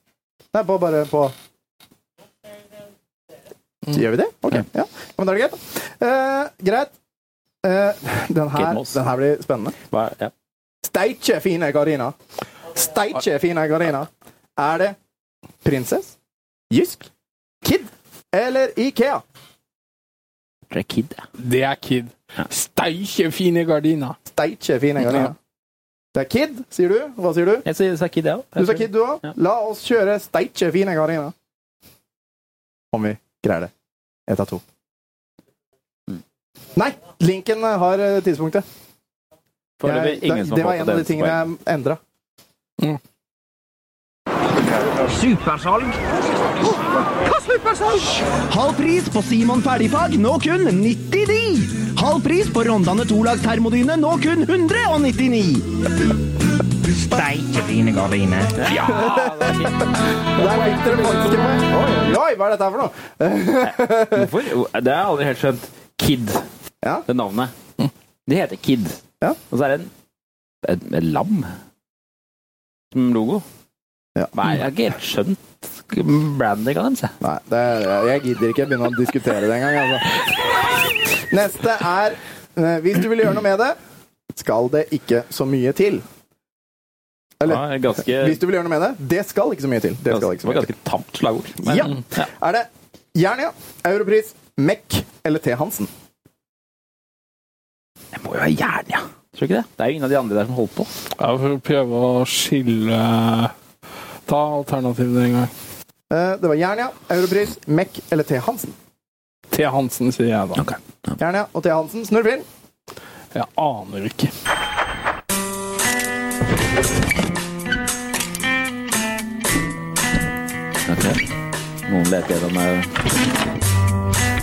Nei, på, bare på Mm. Gjør vi det? Ok. Ja. Men da er det greit. da. Eh, greit. Eh, den, her, den her blir spennende. Steikje fine gardiner. Steikje fine gardiner. Er det prinsess, Jysk, Kid eller Ikea? Det er Kid. Det er Kid. Steike fine gardiner. Steike fine gardiner. Det er Kid, sier du. Hva sier du? Jeg sier- sa Kid, jeg Du sa Kid, du òg? Ja. La oss kjøre steikje fine gardiner. Om vi greier det. Ett av to. Nei! Linken har eh, tidspunktet. Foreløpig Jeg- ingen det, som det har var fått en av de et tingene eneste jeg endra. Supersalg. Hva supersalg? Halv pris på Simon ferdigfag, nå kun 99. Halv pris på Rondane Tolag termodyne, nå kun 199. Steike fine gardiner. Ja! Der fikk dere faktisk ikke med. Oi, oi, hva er dette her for noe? Hvorfor? Jo, Det har jeg aldri helt skjønt. Kid. Det navnet. Det heter Kid. Og så er det en, et, et lam som logo. Nei, jeg har ikke helt skjønt branding av dem, se. Nei, det, jeg gidder ikke begynne å diskutere det engang. Altså. Neste er eh, Hvis du vil gjøre noe med det, skal det ikke så mye til. Ja, det er ganske- Hvis du vil gjøre noe med det, det skal ikke så mye til. Det skal ikke Det så var mye til. ganske tamt slagord. Ja. Er det Jernia, Europris, MEC eller T. Hansen? Det må jo være jern, ja. Tror du ikke det? Det er jo ingen av de andre der som holdt på. Ja, for å prøve å skille Ta alternativene en gang. Eh, Det var Jernia, Europris, MEC eller T. Hansen. T. Hansen, sier jeg da. Jernia og T. Hansen snurr film. Jeg aner ikke. Ok. Noen leter gjennom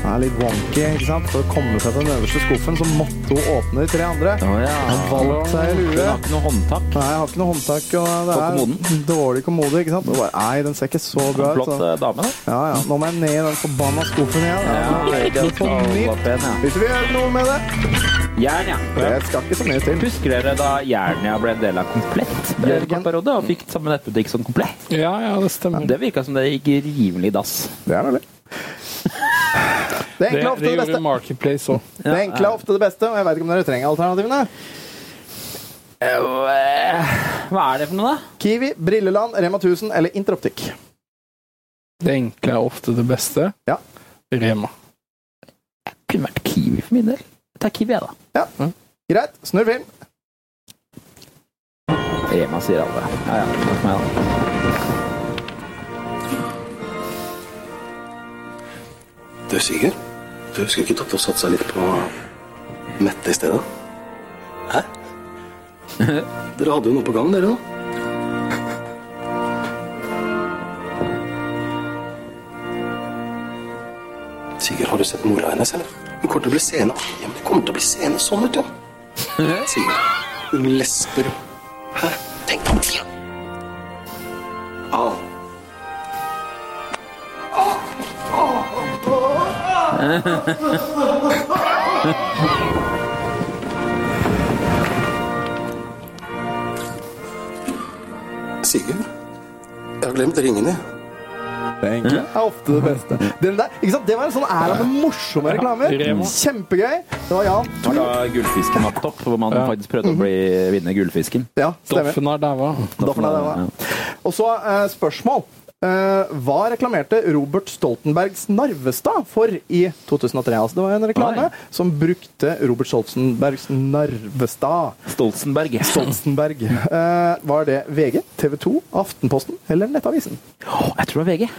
Det er litt wonky, ikke sant? For å komme seg til den øverste skuffen, så måtte hun åpne de tre andre. Å ja. Hun valgte seg i lue. Hun har ikke noe håndtak. Nei, jeg har ikke noe håndtak, og det På er dårlig kommode, ikke sant? Og bare, nei, den ser ikke så bra altså. ut. Flott så- eh, dame, da. Ja, ja. Nå må jeg ned i den forbanna skuffen igjen. Ja, det er ikke Litt på alt nytt. var pen, ja. Hvis du vil gjøre noe med det. Jern, ja. Det skal ikke så mye til. Husker dere da Jernia ble en del av Komplett? Jørgen. Og fikk samme nettbutikk som Komplett? Ja, ja, det stemmer. Det virka som det gikk rimelig i dass. Det er vel det. Det enkle er ofte det beste. Marketplace òg. Det enkle er ofte det beste, og jeg vet ikke om dere trenger alternativene. eh, Hva er det for noe, da? Kiwi, Brilleland, Rema 1000 eller Interoptikk? Det enkle er ofte det beste. Ja. Rema. Kunne vært Kiwi for min del. Ta Kiwi, jeg, da. Ja. Greit. Snurr film. Rema sier alle. Ja, ja. Takk meg, da. Du, Sigurd, du skulle ikke tatt og satsa litt på Mette i stedet? Hæ? Dere hadde jo noe på gang, dere da? Sigurd, har du sett mora hennes, eller? Hun kommer til å bli seende. Ja, men hun kommer til å bli seende sånn, vet du. Sigurd, hun lesper. Hæ? Tenk på tida! Au. Sigurd, jeg har glemt ringene. beste, egentlig. Mm. Er ofte det beste. Den der, ikke sant? Det var en sånn æra med morsomme reklamer. Rema. Kjempegøy. Det var Jan. Det var da gullfisken var på topp, hvor man Ja. faktisk prøvde å bli, vinne gullfisken. Mhm. Ja, stemmer. Doffen har daua. Doffen har daua. Og så eh, spørsmål. Eh, hva reklamerte Robert Stoltenbergs Narvestad for i 2003? Altså, det var en reklame Oi. som brukte Robert Stoltenbergs Narvestad. Stoltenberg. Stoltenberg. Eh, var det VG, TV 2, Aftenposten eller Nettavisen? jeg tror det var Mm. VG.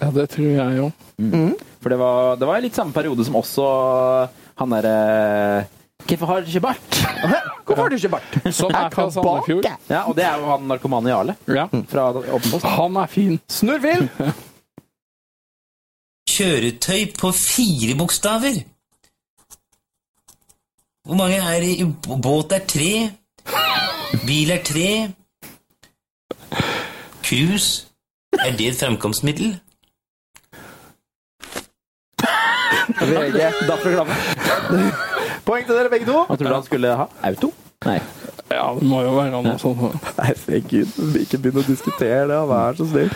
Ja, det tror jeg òg. For det var, det var litt samme periode som også han derre Hvorfor har du ikke bart? Hvorfor har du ikke bart? Som Sånn er fra Sandefjord. Ja, og det er jo han narkomane Jarle. Fra Åpenpost. Han er fin. Snurrvill! Kjøretøy på fire bokstaver. Hvor mange er det i båt er tre? Bil er tre. Cruise. Er det et fremkomstmiddel? VG. DAF-reklame. Poeng til dere begge to. Hva tror du han skulle ha? Auto? Nei. Ja, det må jo være noe sånt. Herregud, ikke begynn å diskutere det, vær så snill.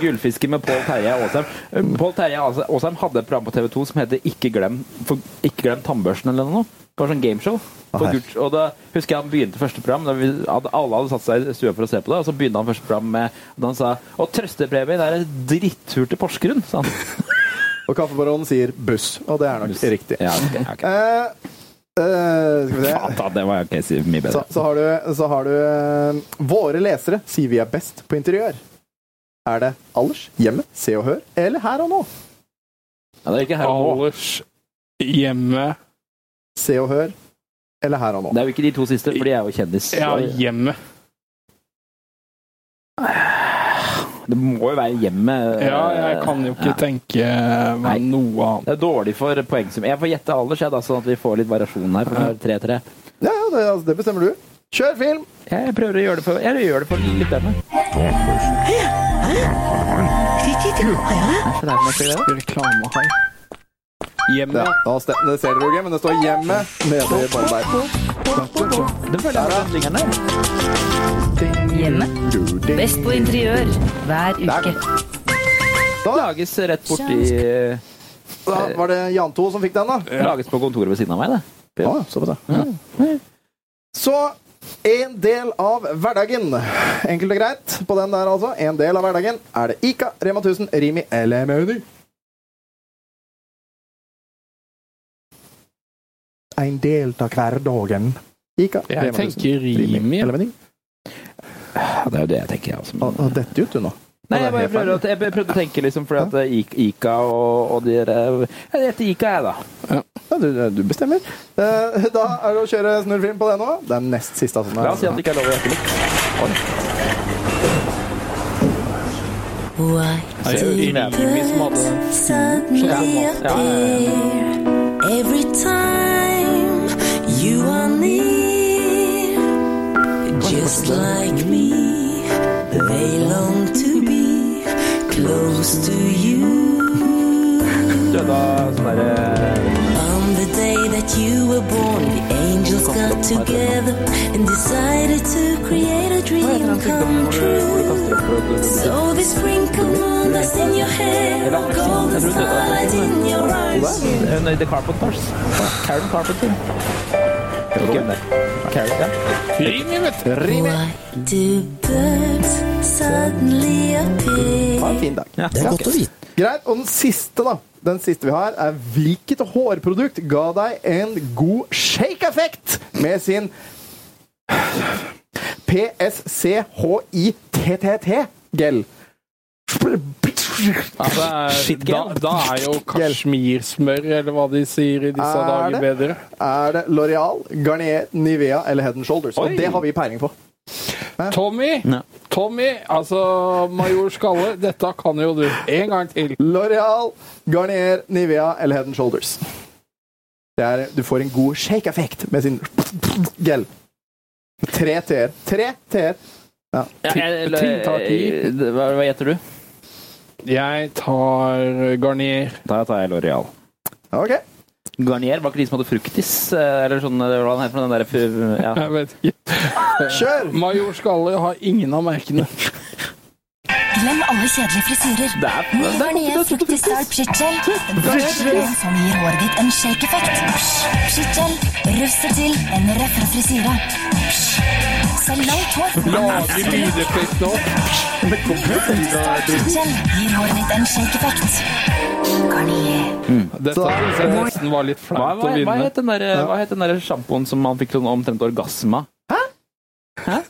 Gullfisken med Pål Terje Aasheim. Eh, Pål Terje Aase- Aasheim hadde et program på TV 2 som heter Ikke glem, for, ikke glem tannbørsten eller noe. Det var sånn gameshow. For her. Guds- Og da husker jeg han begynte første program, da vi, hadde, alle hadde satt seg i stua for å se på det, og så begynte han første program med da han sa Å, trøstepremie, det er en drittur til Porsgrunn, sa han. Og Kaffebaronen sier buss, og det er nok riktig. Ja, ok, Eh, eh, skal vi se. Faen, da, det var ok, si Så, mye bedre. så har du, så har du eh, Våre lesere sier vi er best på interiør. Er det alders, hjemme, se og hør, eller her og nå? Ja, det er ikke her og nå. Alders, hjemme Se og hør, eller her og nå? Det er jo ikke de to siste, for de er jo kjendis. Ja, hjemme. Det må jo være eh, hjemmet. Ja, jeg kan jo ikke tenke meg noe annet. Det er dårlig for poengsum. Jeg får gjette alders, jeg, da, sånn at vi får litt variasjon her. For det er 3-3. Ja, ja, det, altså, det bestemmer du. Kjør film! Jeg prøver å gjøre det for, jeg gjør det for lytterne. Reklamehai. Hjemme. Ja, da stem- det ser dere jo ikke, men det står 'hjemme' nede i bånn der. Det føler jeg Hjemme. Best på interiør hver uke. Da lages rett eh, borti Da var det Jan To som fikk den, da. Lages på kontoret ved siden av meg, det. Ja, såpass, ja. Så en del av hverdagen. Enkelt og greit på den der, altså. En del av hverdagen. Er det Ica, Rema 1000, Rimi eller Maudi? En del av hverdagen. Ica, Jeg Rema 1000, tenker Rimi. eller Maudi? Ja, det er jo det jeg tenker, jeg altså. også. Å, å, Dette ut, du, nå. Nei, jeg, bare prøver å, jeg prøvde å tenke, liksom, fordi at I- Ica og, og de der- eh, Jeg heter Ica, jeg, da. Ja, du, du bestemmer. Eh, Da er det å kjøre snurrfilm på det nå. Det er nest siste. Altså. La oss si at det ikke er lov å gjette litt. Det er jo Rimi som hadde den. suddenly appear every time you are near. Just like me, they long to be close to you. sånn eh, On the day that you were born, the angels got together and decided to create a dream come true. So they sprinkled moonlight in your hair, golden starlight in your eyes. Hun Eh, er The Carpenters. Karen Carpenter. Ikke hun der. Karen, ja. Rimi, vet du. Why do birds suddenly appear? Ha en fin dag. Det er godt å vite. Greit. Og den siste, da. Den siste vi har, er hvilket hårprodukt ga deg en god shake-effekt med sin PSCHITTT-gel? Altså, da, da er jo kasjmirsmør, eller hva de sier i disse Er dager, det, bedre. er det Loreal, Garnier, Nivea eller Head Shoulders? Og Oi. det har vi peiling på. Tommy, Tommy, altså Major Skalle, dette kan jo du. En gang til. Loreal, Garnier, Nivea eller Head Shoulders? Det er, du får en god shake-effekt med sin gel. Tre T-er. Tre T-er. Ja. Ja, jeg- eller- Hva, hva gjetter du? Jeg tar Garnier. Da tar jeg Loreal. Ok. Garnier var ikke de som hadde fruktis? eh, Eller sånn, eller hva den heter for den der fu- ja. Jeg vet ikke. Kjør! Major Skalle har ingen av merkene. Glem alle kjedelige frisyrer. Ny nye fuktig sal Pritchell. Den første frisen som gir håret ditt en shake-effekt. Pritchell russer til en røffere frisyre. Psh. Selv langt hår Lager lydeffekt nå. Pritchell gir håret ditt en shake-effekt. Garnier. Dette synes jeg nesten var litt Mm. Hva, flaut hva, å hva vinne. het den der, eh, Ja. hva het den der sjampoen som man fikk sånn omtrent orgasme av? Hva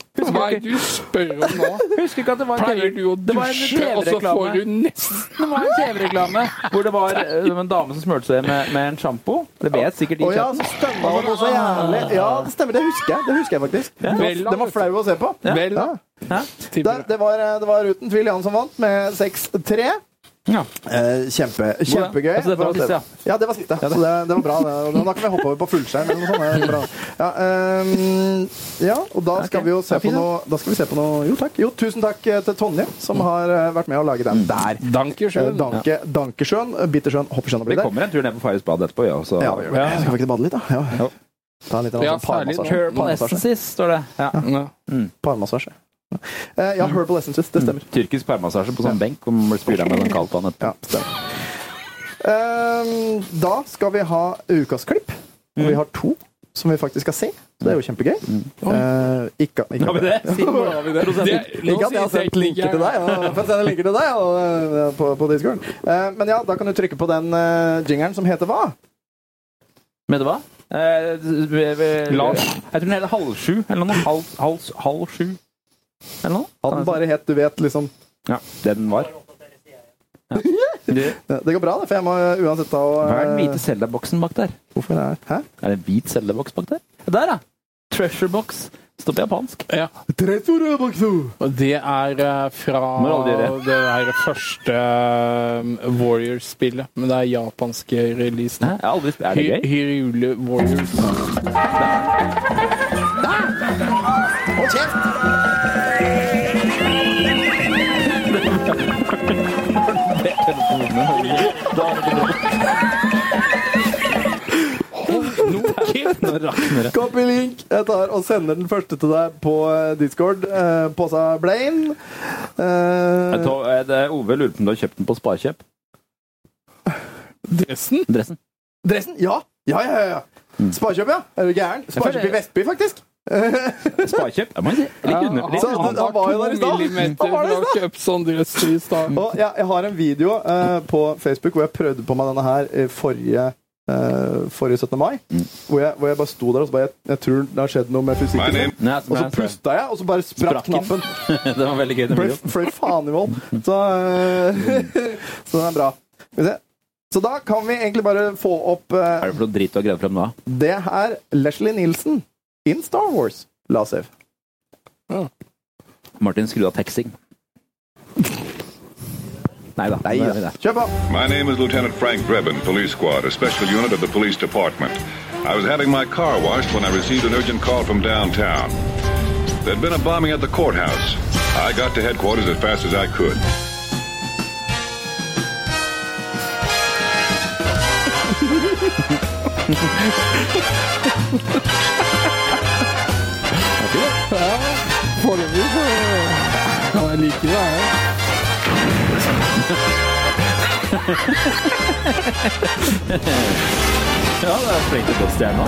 er det du spør om nå? Husker ikke at det var Pleier du å Det var en dusje, og så TV-reklame. får du nesten Det var en TV-reklame hvor det var eh, en dame som smurte seg med, med en sjampo. Det vet sikkert Å de ja, så stønna han noe så jævlig. Ja, det stemmer. Det husker jeg. Det husker jeg faktisk. Den var, den var flau å se på. Ja. Vel, da. Det, det, var, eh, det var uten tvil han som vant, med 6-3. Ja. Eh, kjempe, kjempegøy. Altså, dette For å var se- siste, ja. ja, det var siste. Så det, det var bra. Det. Og Da kan vi hoppe over på fullskjerm. Eller noe sånt. Det er bra. Ja, ehm, ja, og da skal vi jo se Det på er fint, noe Da skal vi se på noe Jo, takk. Jo, tusen takk eh, til Tonje, som Mm. har eh, vært med å lage den der. Dankeschön. Eh, Danke, Dankesjøen. eh, Bittersjøen. Hoppersjøen og blir Det der. kommer en tur ned på Farris bad etterpå, ja. Så. Ja, ja. Skal vi ikke bade litt, da? Ja. Ta en liten Ja, sånn palmassasje. Purple Essences, står det. Ja. Mm. Parmassasje. Eh, Ja, Herbal Essences, det stemmer. Tyrkisk parmassasje på sånn benk hvor man blir spyla med sånn kaldt vann etterpå. Ehm, Da skal vi ha ukas klipp. Og Mm. vi har to som vi faktisk skal se. Så det er jo kjempegøy. Eh, ikke, ikke, Har vi det? Siden hvor har vi det? Det- nå ikke at jeg sier har sendt teknikeren- linker til deg. ja. Jeg får sende linker til deg ja, på, på Discord. Eh, men ja, da kan du trykke på den eh, jingeren som heter hva? Med det hva? Eh, vi- vi- Lars. Jeg tror den heter halv sju, eller noe. Halv, halv, halv sju, eller noe. At den bare het Du vet, liksom. Ja, det den var. Det, det går bra, det, for jeg må eh, uansett ta og Hva er den eh, hvite Zelda-boksen bak der? Hvorfor er Hæ? Er det en hvit Zelda-boks bak der? Der, ja! Treasure box. Står på japansk. Ja. Og det er eh, fra Må du aldri det gjøre. der første eh, Warriors-spillet. Men det er japanske releasen. Jeg har aldri Er det gøy? Hyrule Warriors. Hold kjeft! Copy link. Jeg tar og sender den første til deg på eh, Discord. Eh, Påsa Blaine. Eh, Jeg tror- eh, det- Ove lurer på om du har kjøpt den på Sparkjøp. Dressen? Dressen. Dressen? Ja! Ja, ja, ja. ja. Mm. Sparkjøp, ja. Er du gæren? Sparkjøp i Vestby, faktisk. Sparkjøp? Jeg må si. Litt under. Litt Så han- under. han var jo der i stad. millimeter Han var der i fra stad. Kjøpsson sånn Dress i stad. Og jeg, jeg har en video eh, på Facebook hvor jeg prøvde på meg denne her eh, forrige eh, forrige 17. mai, Mm. hvor, jeg, hvor jeg bare sto der og så bare jeg, jeg tror det har skjedd noe med fysikken. Nei, min. nei. Og så pusta jeg, og så bare sprakk Sprakk den. knappen. det var veldig gøy. den Fløy videoen. fløy faen i vold. Så, eh, så den er bra. Skal vi se. Så da kan vi egentlig bare få opp eh, Er det for noe dritt du har greid frem nå? Det er Leslie Nielsen in Star Wars. La oss se. Martin, skru av teksting. Nei da. Nei da. Kjør på! My name is Lieutenant Frank Drebin, Police Squad, a special unit of the Police Department. I was having my car washed when I received an urgent call from downtown. There'd been a bombing at the courthouse. I got to headquarters as fast as I could. Ja, foreløpig så Ja, jeg liker det, jeg. Ja, det er flink til godt stjerne.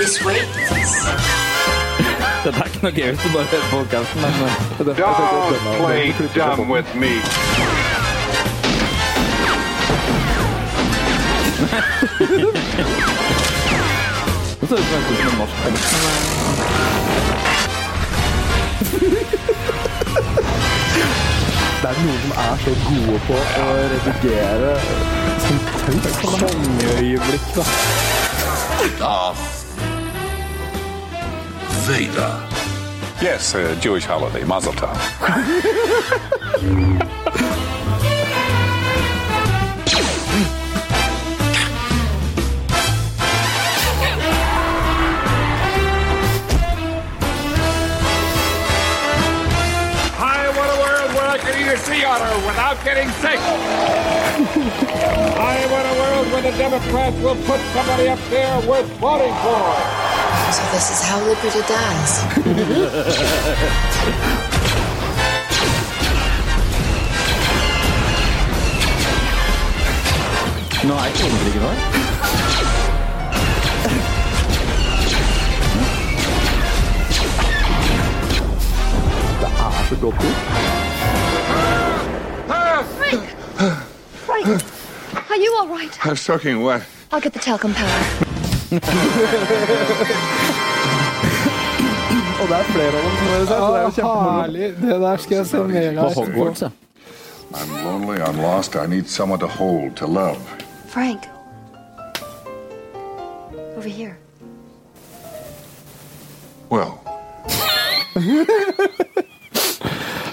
This way. Dette er ikke noe gøy hvis du bare hører podkasten, men Don't play dumb with me. Det ser ut faktisk som en norsk tekst. Det er noen som er så gode på å redigere sånn tøft. Kongeøyeblikk, da. Darth Vader. Yes, a Jewish holiday, Mazel Tov. I want a world where I can eat a sea otter without getting sick. I want a world where the Democrats will put somebody up there worth voting for. So this is how liberty dies. Nå er ikke overtrykket der. eh, Det er så godt gjort. Frank! Frank! Are you all right? I'm soaking wet. I'll get the talcum powder. Og det er flere av dem som dere ser, så det er jo kjempemoro. Herlig. Det der skal jeg se mer av. På Hogwarts, ja. I'm lonely, I'm lost, I need someone to hold, to love. Frank. Over here. Well,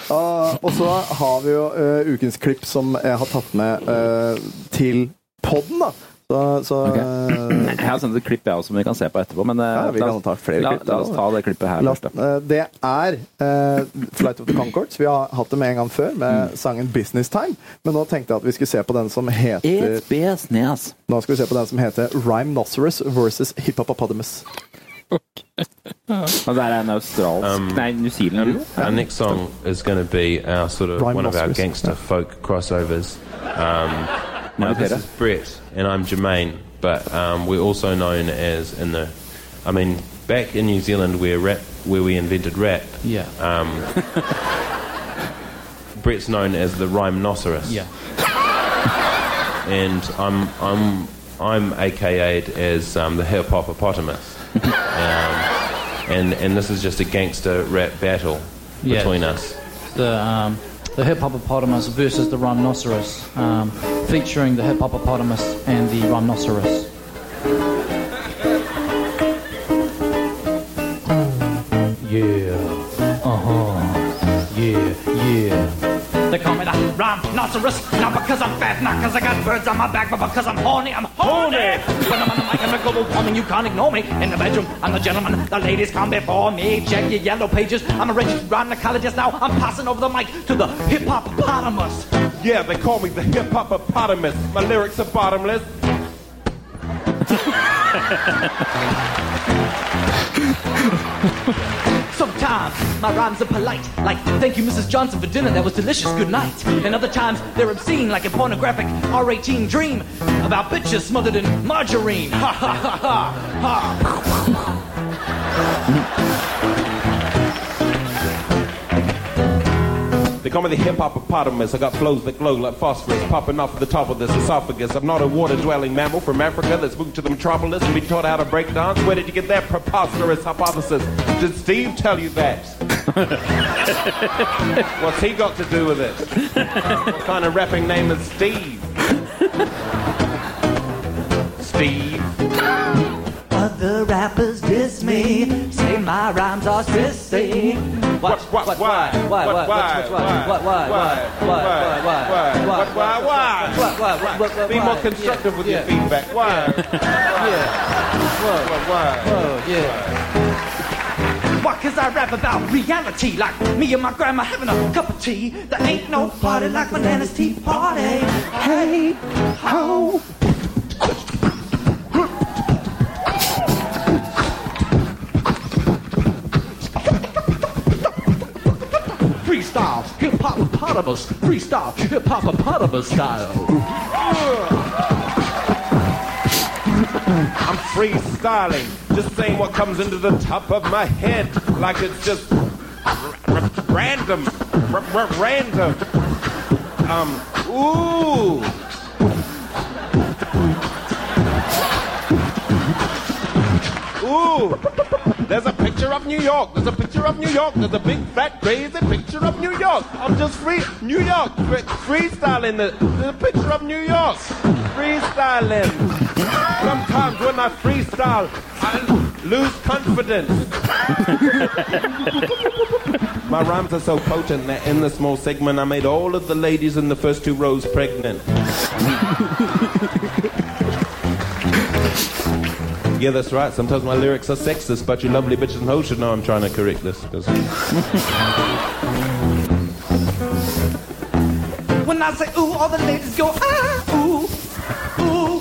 Ah, og så har vi jo eh, ukens klipp som jeg har tatt med eh, til podden, da. Så, så eh, Mm, Jeg har sendt et klipp jeg også, som vi kan se på etterpå. Men eh, Ja, vi la kan oss- ta flere la, klipp, La oss da. ta det klippet her. La- først, da. eh, Det er eh, Flight of the Conchords. Vi har hatt det med en gang før med Mm. sangen 'Business Time', men nå tenkte jeg at vi skulle se på den som heter It's business. Nå skal vi se på den som heter Rhinoceros versus Hippopopotamus. Men der er en australsk Nei, New Zealand. Um, Our next song is going to be our sort of Ryan one of our Mosses. gangster folk crossovers. Um, now this Peter. is Brett and I'm Jermaine, but um, we're also known as in the, I mean, back in New Zealand where rap, where we invented rap. Yeah. Um, Brett's known as the rhinoceros. Yeah. and I'm I'm I'm AKA'd as um, the hip hop hippopotamus. um, and and this is just a gangster rap battle Yeah. between us. the um, the hip hippopotamus versus the rhinoceros, um, featuring the hip hippopotamus and the rhinoceros. Yeah. Uh Uh-huh. huh. Yeah. Yeah. They call me the rhinoceros, not because I'm fat, not because I got birds on my back, but because I'm horny. I'm horny. When I'm on the mic, I'm a global warming. You can't ignore me. In the bedroom, I'm the gentleman. The ladies come before me. Check your yellow pages. I'm a registered rhinocologist now. I'm passing over the mic to the hip hop potamus. Yeah, they call me the hip hop hippopotamus. My lyrics are bottomless. Sometimes my rhymes are polite, like thank you, Mrs. Johnson, for dinner. That was delicious. Good night. And other times they're obscene, like a pornographic R18 dream about bitches smothered in margarine. Ha ha ha ha ha. They call me the hip hop hippopotamus. I got flows that glow like phosphorus, popping off the top of this esophagus. I'm not a water dwelling mammal from Africa that's moved to the metropolis and been taught how to break dance. Where did you get that preposterous hypothesis? Did Steve tell you that? What's he got to do with it? what kind of rapping name is Steve? Steve. Other rappers diss me, say my rhymes are sissy. What, what, what, why, why, what, why, why, why, why, why, why, why, why, why, why, why, why, Be more constructive with your feedback. Why? Why? Why? Why? Cause I rap about reality, like me and my grandma having a cup of tea. There ain't no party like my nana's tea party. Hey, ho. Freestyle, hip hop, hippopotamus. Freestyle, hip hop, hippopotamus style. I'm freestyling, just saying what comes into the top of my head, like it's just r- r- random, r- r- random. Um, ooh. Ooh, there's a picture of New York. There's a picture of New York. There's a big fat crazy picture of New York. I'm just free New York fre- freestyling. The, the picture of New York freestyling. Sometimes when I freestyle, I lose confidence. My rhymes are so potent that in the small segment, I made all of the ladies in the first two rows pregnant. Yeah, that's right. Sometimes my lyrics are sexist, but you lovely bitches and hoes should know I'm trying to correct this. 'cause- When I say ooh, all the ladies go ah, ooh, ooh.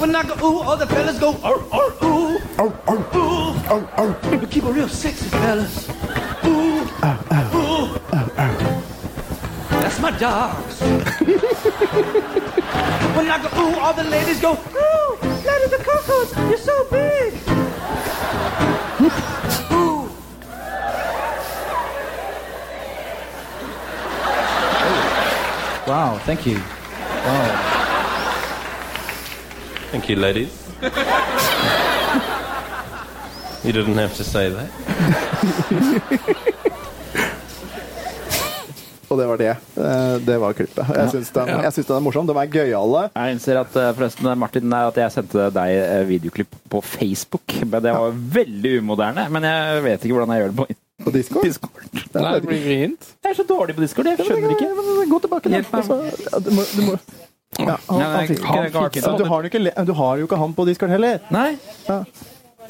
When I go ooh, all the fellas go or or ooh. oh, oh, oh, oh. Keep it real sexy, fellas. Ooh, ooh. That's my dogs. when I go, ooh, all the ladies go, ooh, Lady the Cocos, you're so big. ooh. Wow, thank you. Wow. Thank you, ladies. you didn't have to say that. Og det var det. Eh, Det var klippet. Jeg syns den, jeg syns den er morsom. Den er gøyale. Jeg innser at eh, forresten, Martin, eh, at jeg sendte deg eh, videoklipp på Facebook. Men det var veldig umoderne. Men jeg vet ikke hvordan jeg gjør det på På Discord? Nei, det blir grint. Jeg er så dårlig på Discord, jeg skjønner ikke. Gå tilbake, Altså, Hjelp meg. du må, du må. Ja, han, Nei, han jeg- fikk, jeg- han jeg- fikk, jeg- så du, har jo ikke, le- du har jo ikke han på Discord heller. Nei. Ja.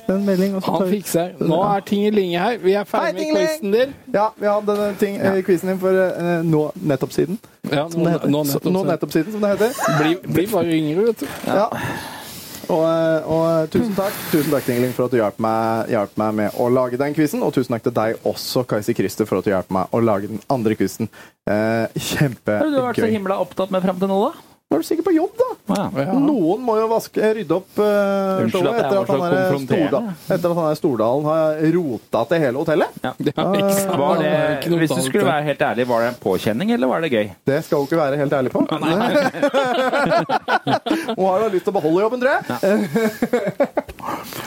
Det er en melding. og så tar Han vi- fikser. Nå er ting i linge her. Vi er Hei, ferdig med Tingling! quizen din. Ja, vi hadde denne ting, eh, quizen din for eh, nå nettopp siden. Ja, som det nå- heter. nå Så- nettopp nå siden. nettopp siden, som det heter. Bli, bli bare yngre, vet du. Ja. Og, eh, og tusen takk Tusen takk Tingling for at du hjalp meg, hjalp meg med å lage den quizen. Og tusen takk til deg også, Kajsi Christer, for at du hjalp meg å lage den andre quizen. Eh, Hva har du vært så Kjempegøy. himla opptatt med frem til nå, da? Var du sikkert på jobb, da? Noen må jo vaske, rydde opp eh, Unnskyld showet at etter jeg var at, han så der konfronterende. Stordal, etter at han der Stordalen har rota til hele hotellet. Eh, Var det, hvis du skulle være helt ærlig, var det en påkjenning, eller var det gøy? Det skal hun ikke være helt ærlig på. Hun har da lyst til å beholde jobben, tror jeg.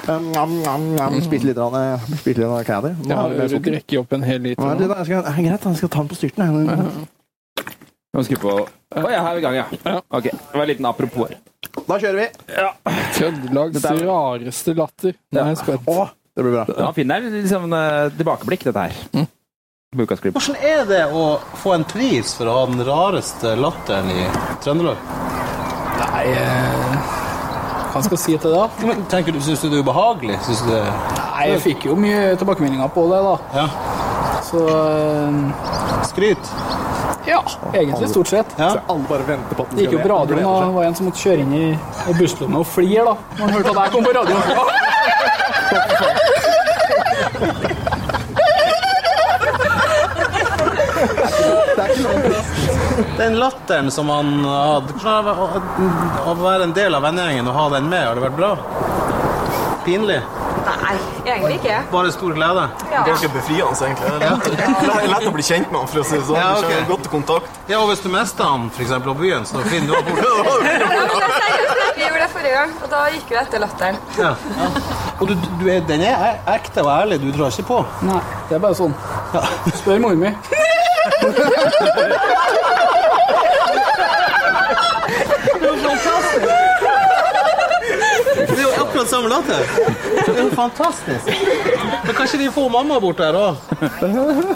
Um, nam, nam, nam. Spise litt av det- spise litt av det caddy. Må Ja, ha litt mer du sukker. drikker opp en hel liter. Hva er det nå. da? Jeg skal- er det Greit, jeg skal ta den på styrten. jeg. Nå skal vi på Å ja, her er vi i gang, ja. Ok, det var en liten apropos her. Da kjører vi. Trøndelags Dette er- rareste latter. Nå er jeg spent. det blir bra. Han finner liksom eh, tilbakeblikk, dette her. Mm. På ukas klipp. Hvordan er det å få en pris for å ha den rareste latteren i Trøndelag? Nei eh, Hva skal jeg si til det? Men, tenker du, Syns du det er ubehagelig? Synes du det... Nei, jeg fikk jo mye tilbakemeldinger på det, da. Så eh, Skryt? Ja, egentlig stort sett. Så alle bare venter på at den Det gikk jo skal på ned. radioen, og det var en som måtte kjøre inn i i busslomme og flire, da. Når han hørte at jeg kom på radioen. Den latteren som han hadde Hvordan har det vært å- Å være en del av vennegjengen og ha den med, har det vært bra? Pinlig? Nei, egentlig ikke. Bare stor glede? Ja. Det er ganske befriende, egentlig. Det er lett å bli kjent med han, for å si det sånn. Du kommer Godt kontakt. Ja, og hvis du mister han, f.eks. på byen, så finner du Ja, ham. men det er seriøst, Vi gjorde det forrige gang, og da gikk vi etter latteren. Ja. Og du, du er, den er e- ekte og ærlig, du drar ikke på? Nei, det er bare sånn. Spør moren min. Det er jo akkurat samme latter. Det er jo fantastisk. Men kanskje de får mamma bort der òg?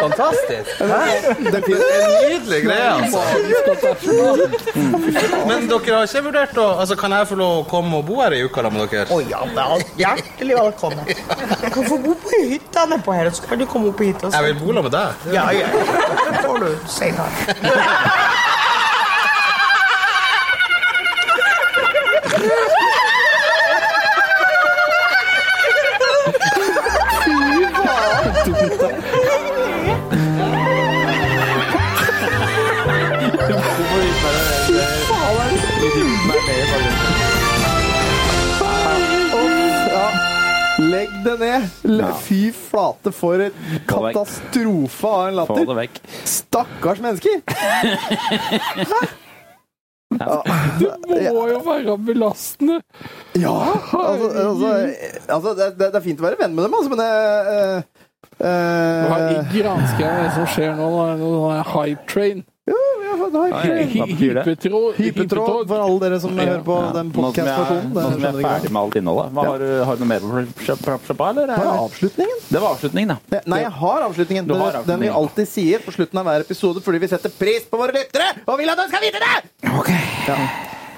Fantastisk. Nydelig greie, altså. Men dere har ikke vurdert å altså, Kan jeg få lov å komme og bo her i uka da med dere? Å ja, vel, hjertelig velkommen. Du kan få bo på hytta nedpå her, og så kan du komme opp hit og Jeg vil bo sammen med deg. Ja, ja. Det får du senere. Legg det ned. Le- Fy flate, for en katastrofe av en Få det latter. vekk. Stakkars mennesker! Det må jo være belastende. Ja! Altså, altså, altså det, det det er fint å være venn med dem, altså, men det eh, eh, Hva i granskauen er det som skjer nå? Nå er det noe sånn her hype train. Nei, Hva betyr det? Hypetråd, Hypetråd for alle dere som Ja, hører på ja. den Nå som jeg- podcast-versjonen. Nå som jeg er ferdig med alt innholdet. Hva Ja. har, du- har du noe mer på slapp- slapp- slappa, eller? er- Bare avslutningen? Det var avslutningen, da. Ne- Nei, jeg har avslutningen. Du Den- har Den vi avslutningen. alltid sier på slutten av hver episode fordi vi setter pris på våre lyttere og vil at de skal vite det!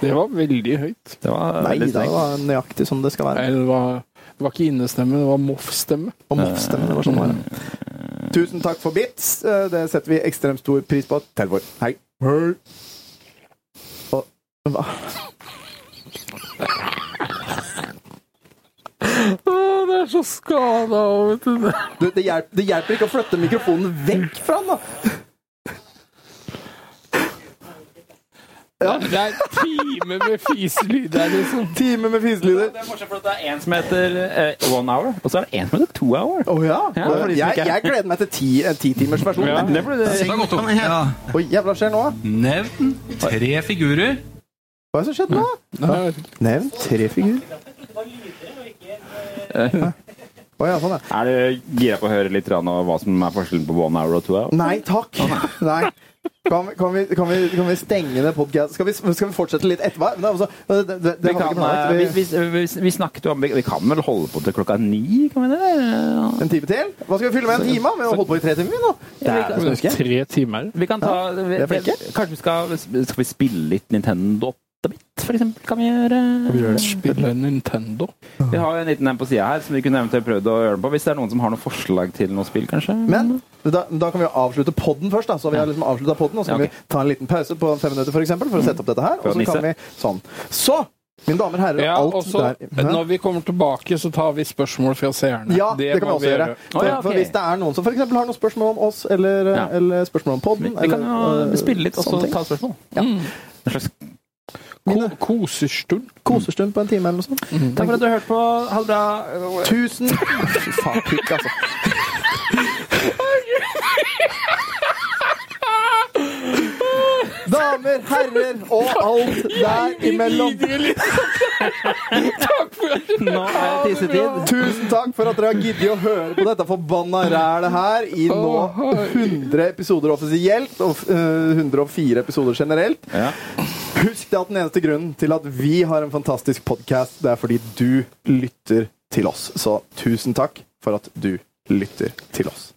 Det var veldig høyt. Det var Nei, veldig det strengt. var nøyaktig som det skal være. Nei, det var, det var ikke innestemme, det var moff-stemme. Og moff-stemme, det var sånn det Tusen takk for bits. Eh, Det setter vi ekstremt stor pris på. Til vår. Hei. Hei. Og, hva? Det er så skada, vet du. Du, det, hjelper, det hjelper ikke å flytte mikrofonen vekk fra den, da. Det er time med fiselyder, liksom. Time med fiselyder. En som heter eh, One Hour, og så er det en som heter Two Hour. Å ja. for de som jeg, ikke- jeg gleder meg til ti, en titimers versjon. Ja, det blir det. Ja. Oi, jævla skjer nå? Nevn tre figurer. Hva er det som skjedde nå? Nevn tre figurer. Å ja, sånn, ja. Eh. Er du gira på å høre litt grann om hva som er forskjellen på One Hour og Two Hour? Nei takk. Nei. Kan, vi- kan, vi, kan, vi, kan vi stenge ned podkasten? Skal, vi- skal vi fortsette litt etterpå? Nei, altså, det, det, det, Vi, har kan, vi ikke planlagt. eh, Vi- vi, vi, vi, vi snakket jo om Vi vi kan vel holde på til klokka ni? Kan vi det? En time til? Hva skal vi fylle med en time? av? Vi har holdt på i tre timer, vi nå. Tre timer. Vi kan ta vi, vi er flinke. Kanskje vi skal Skal vi spille litt Nintendo 8-bit, for eksempel? Kan vi gjøre Spille Nintendo. Vi har jo en liten en på sida her som vi kunne eventuelt prøvd å gjøre den på. Hvis det er noen som har noen forslag til noe spill, kanskje? Men da, da kan vi jo avslutte podden først. Da. Så vi har liksom avsluttet podden, og så kan Ja, ok. vi ta en liten pause på fem minutter for, eksempel, for å sette opp dette her. For å Og så kan vi nisse. sånn. Så, mine damer og herrer, Ja, alt og så, der Hæ? når vi kommer tilbake, så tar vi spørsmål fra seerne. Ja, det, kan vi må også gjøre. For, Å, ja, ok. for hvis det er noen som for eksempel har noen spørsmål om oss, eller, Ja. eller spørsmål om podden Vi kan jo eller, øh, spille litt og så sånne ting. ta spørsmål. Mm. Ko kosestund. Kosestund på en time eller noe sånt. Takk for at du hørte på. Ha det bra. Tusen Fy faen, pikk, altså. Damer, herrer og alt der imellom. Nå er det tissetid. Tusen takk for at dere har giddet å høre på dette forbanna rælet her i nå 100 episoder offisielt og eh, 104 episoder generelt. Husk det at den eneste grunnen til at vi har en fantastisk podkast, det er fordi du lytter til oss. Så tusen takk for at du lytter til oss.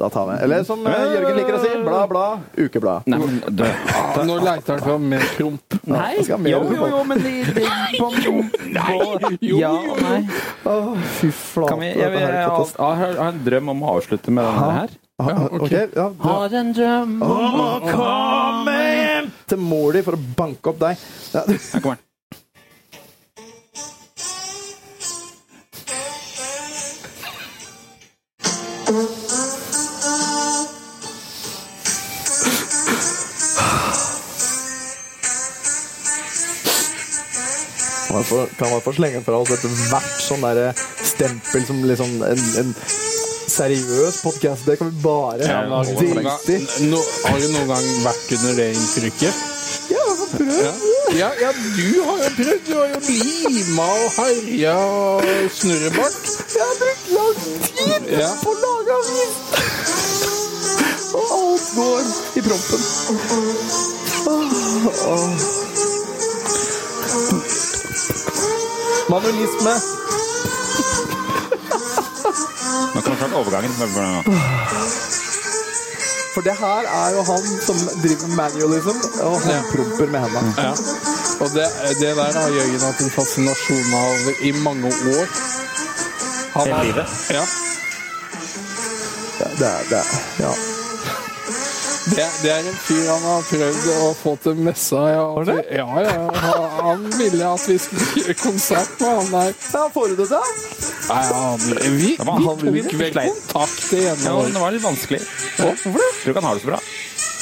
Da tar vi Eller som eh, Jørgen liker å si, bla, bla, ukeblad. Nei, men du Ah, Nå leiter han fram mer promp. Nei. Jeg skal ha mer Jo, jo, promp. jo, men de, de på, på, Ja, nei. Åh, fy flate. Kan vi, jeg, jeg, jeg, jeg, har- har en drøm om å avslutte med denne her. ok, ja, bra. Har en drøm om å komme hjem til mor di for å banke opp deg. Ja. Kom her. Kan man få- Kan man få slenge fra oss ethvert sånn derre stempel som liksom en, en seriøs podkast? Det kan vi bare Ja, men har du noen gang- drite i. no, Eh, har du noen gang vært under det inntrykket? Ja, prøv. Ja. Ja, ja, du har jo prøvd. Du har jo lima og herja og snurrebart. Jeg har brukt lang tid Ja. på å lage avis! Og alt går i prompen. Åh, åh. Manualisme. Nå kommer snart overgangen. For det her er jo han som driver med manualism, og han promper med henda. Ja. Og det, det der har Jørgen hatt en fascinasjon av i mange år. Han- Hele livet. Ja. Det, det, er- det, er- ja. Det, det er en fyr han har prøvd å få til messa. Ja, At vi- ja, ja, han- Han ville at vi skulle gjøre konsert med han der. Ja, får du det til? Nei, han, vi, var han vi tok William vel Klein. kontakt det ene Ja, året. men det var litt vanskelig. Hvorfor det? Tror ikke han har det så bra.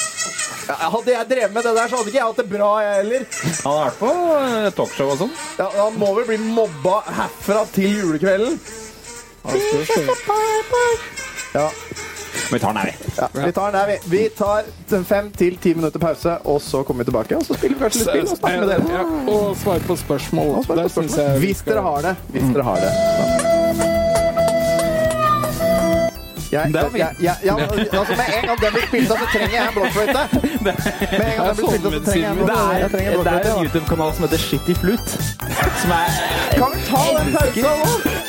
Ja, Hadde jeg drevet med det der, så hadde ikke jeg hatt det bra, jeg heller. Han har vært på eh, talkshow og sånn. Ja, han må vel bli mobba herfra til julekvelden. Ja, Men vi tar den her, vi. ja, vi tar den der, vi. Vi tar en fem til ti minutter pause, og så kommer vi tilbake. Og så spiller vi kanskje litt spill og snakker med dere. Ja, og svar på spørsmål. Og svarer Der på synes spørsmål. jeg vi Hvis skal- dere har det. Hvis dere har det. Jeg, Det er jeg, jo fint. jeg, jeg, altså med en gang den blir spilt av, så trenger jeg en blokkfløyte. Med en gang den blir spilt av, så trenger jeg en Det blokkfløyte. er, Jeg trenger en det er blokkfløyte. en YouTube-kanal som heter Shitty Flute. Som er Kan vi ta den pausen nå?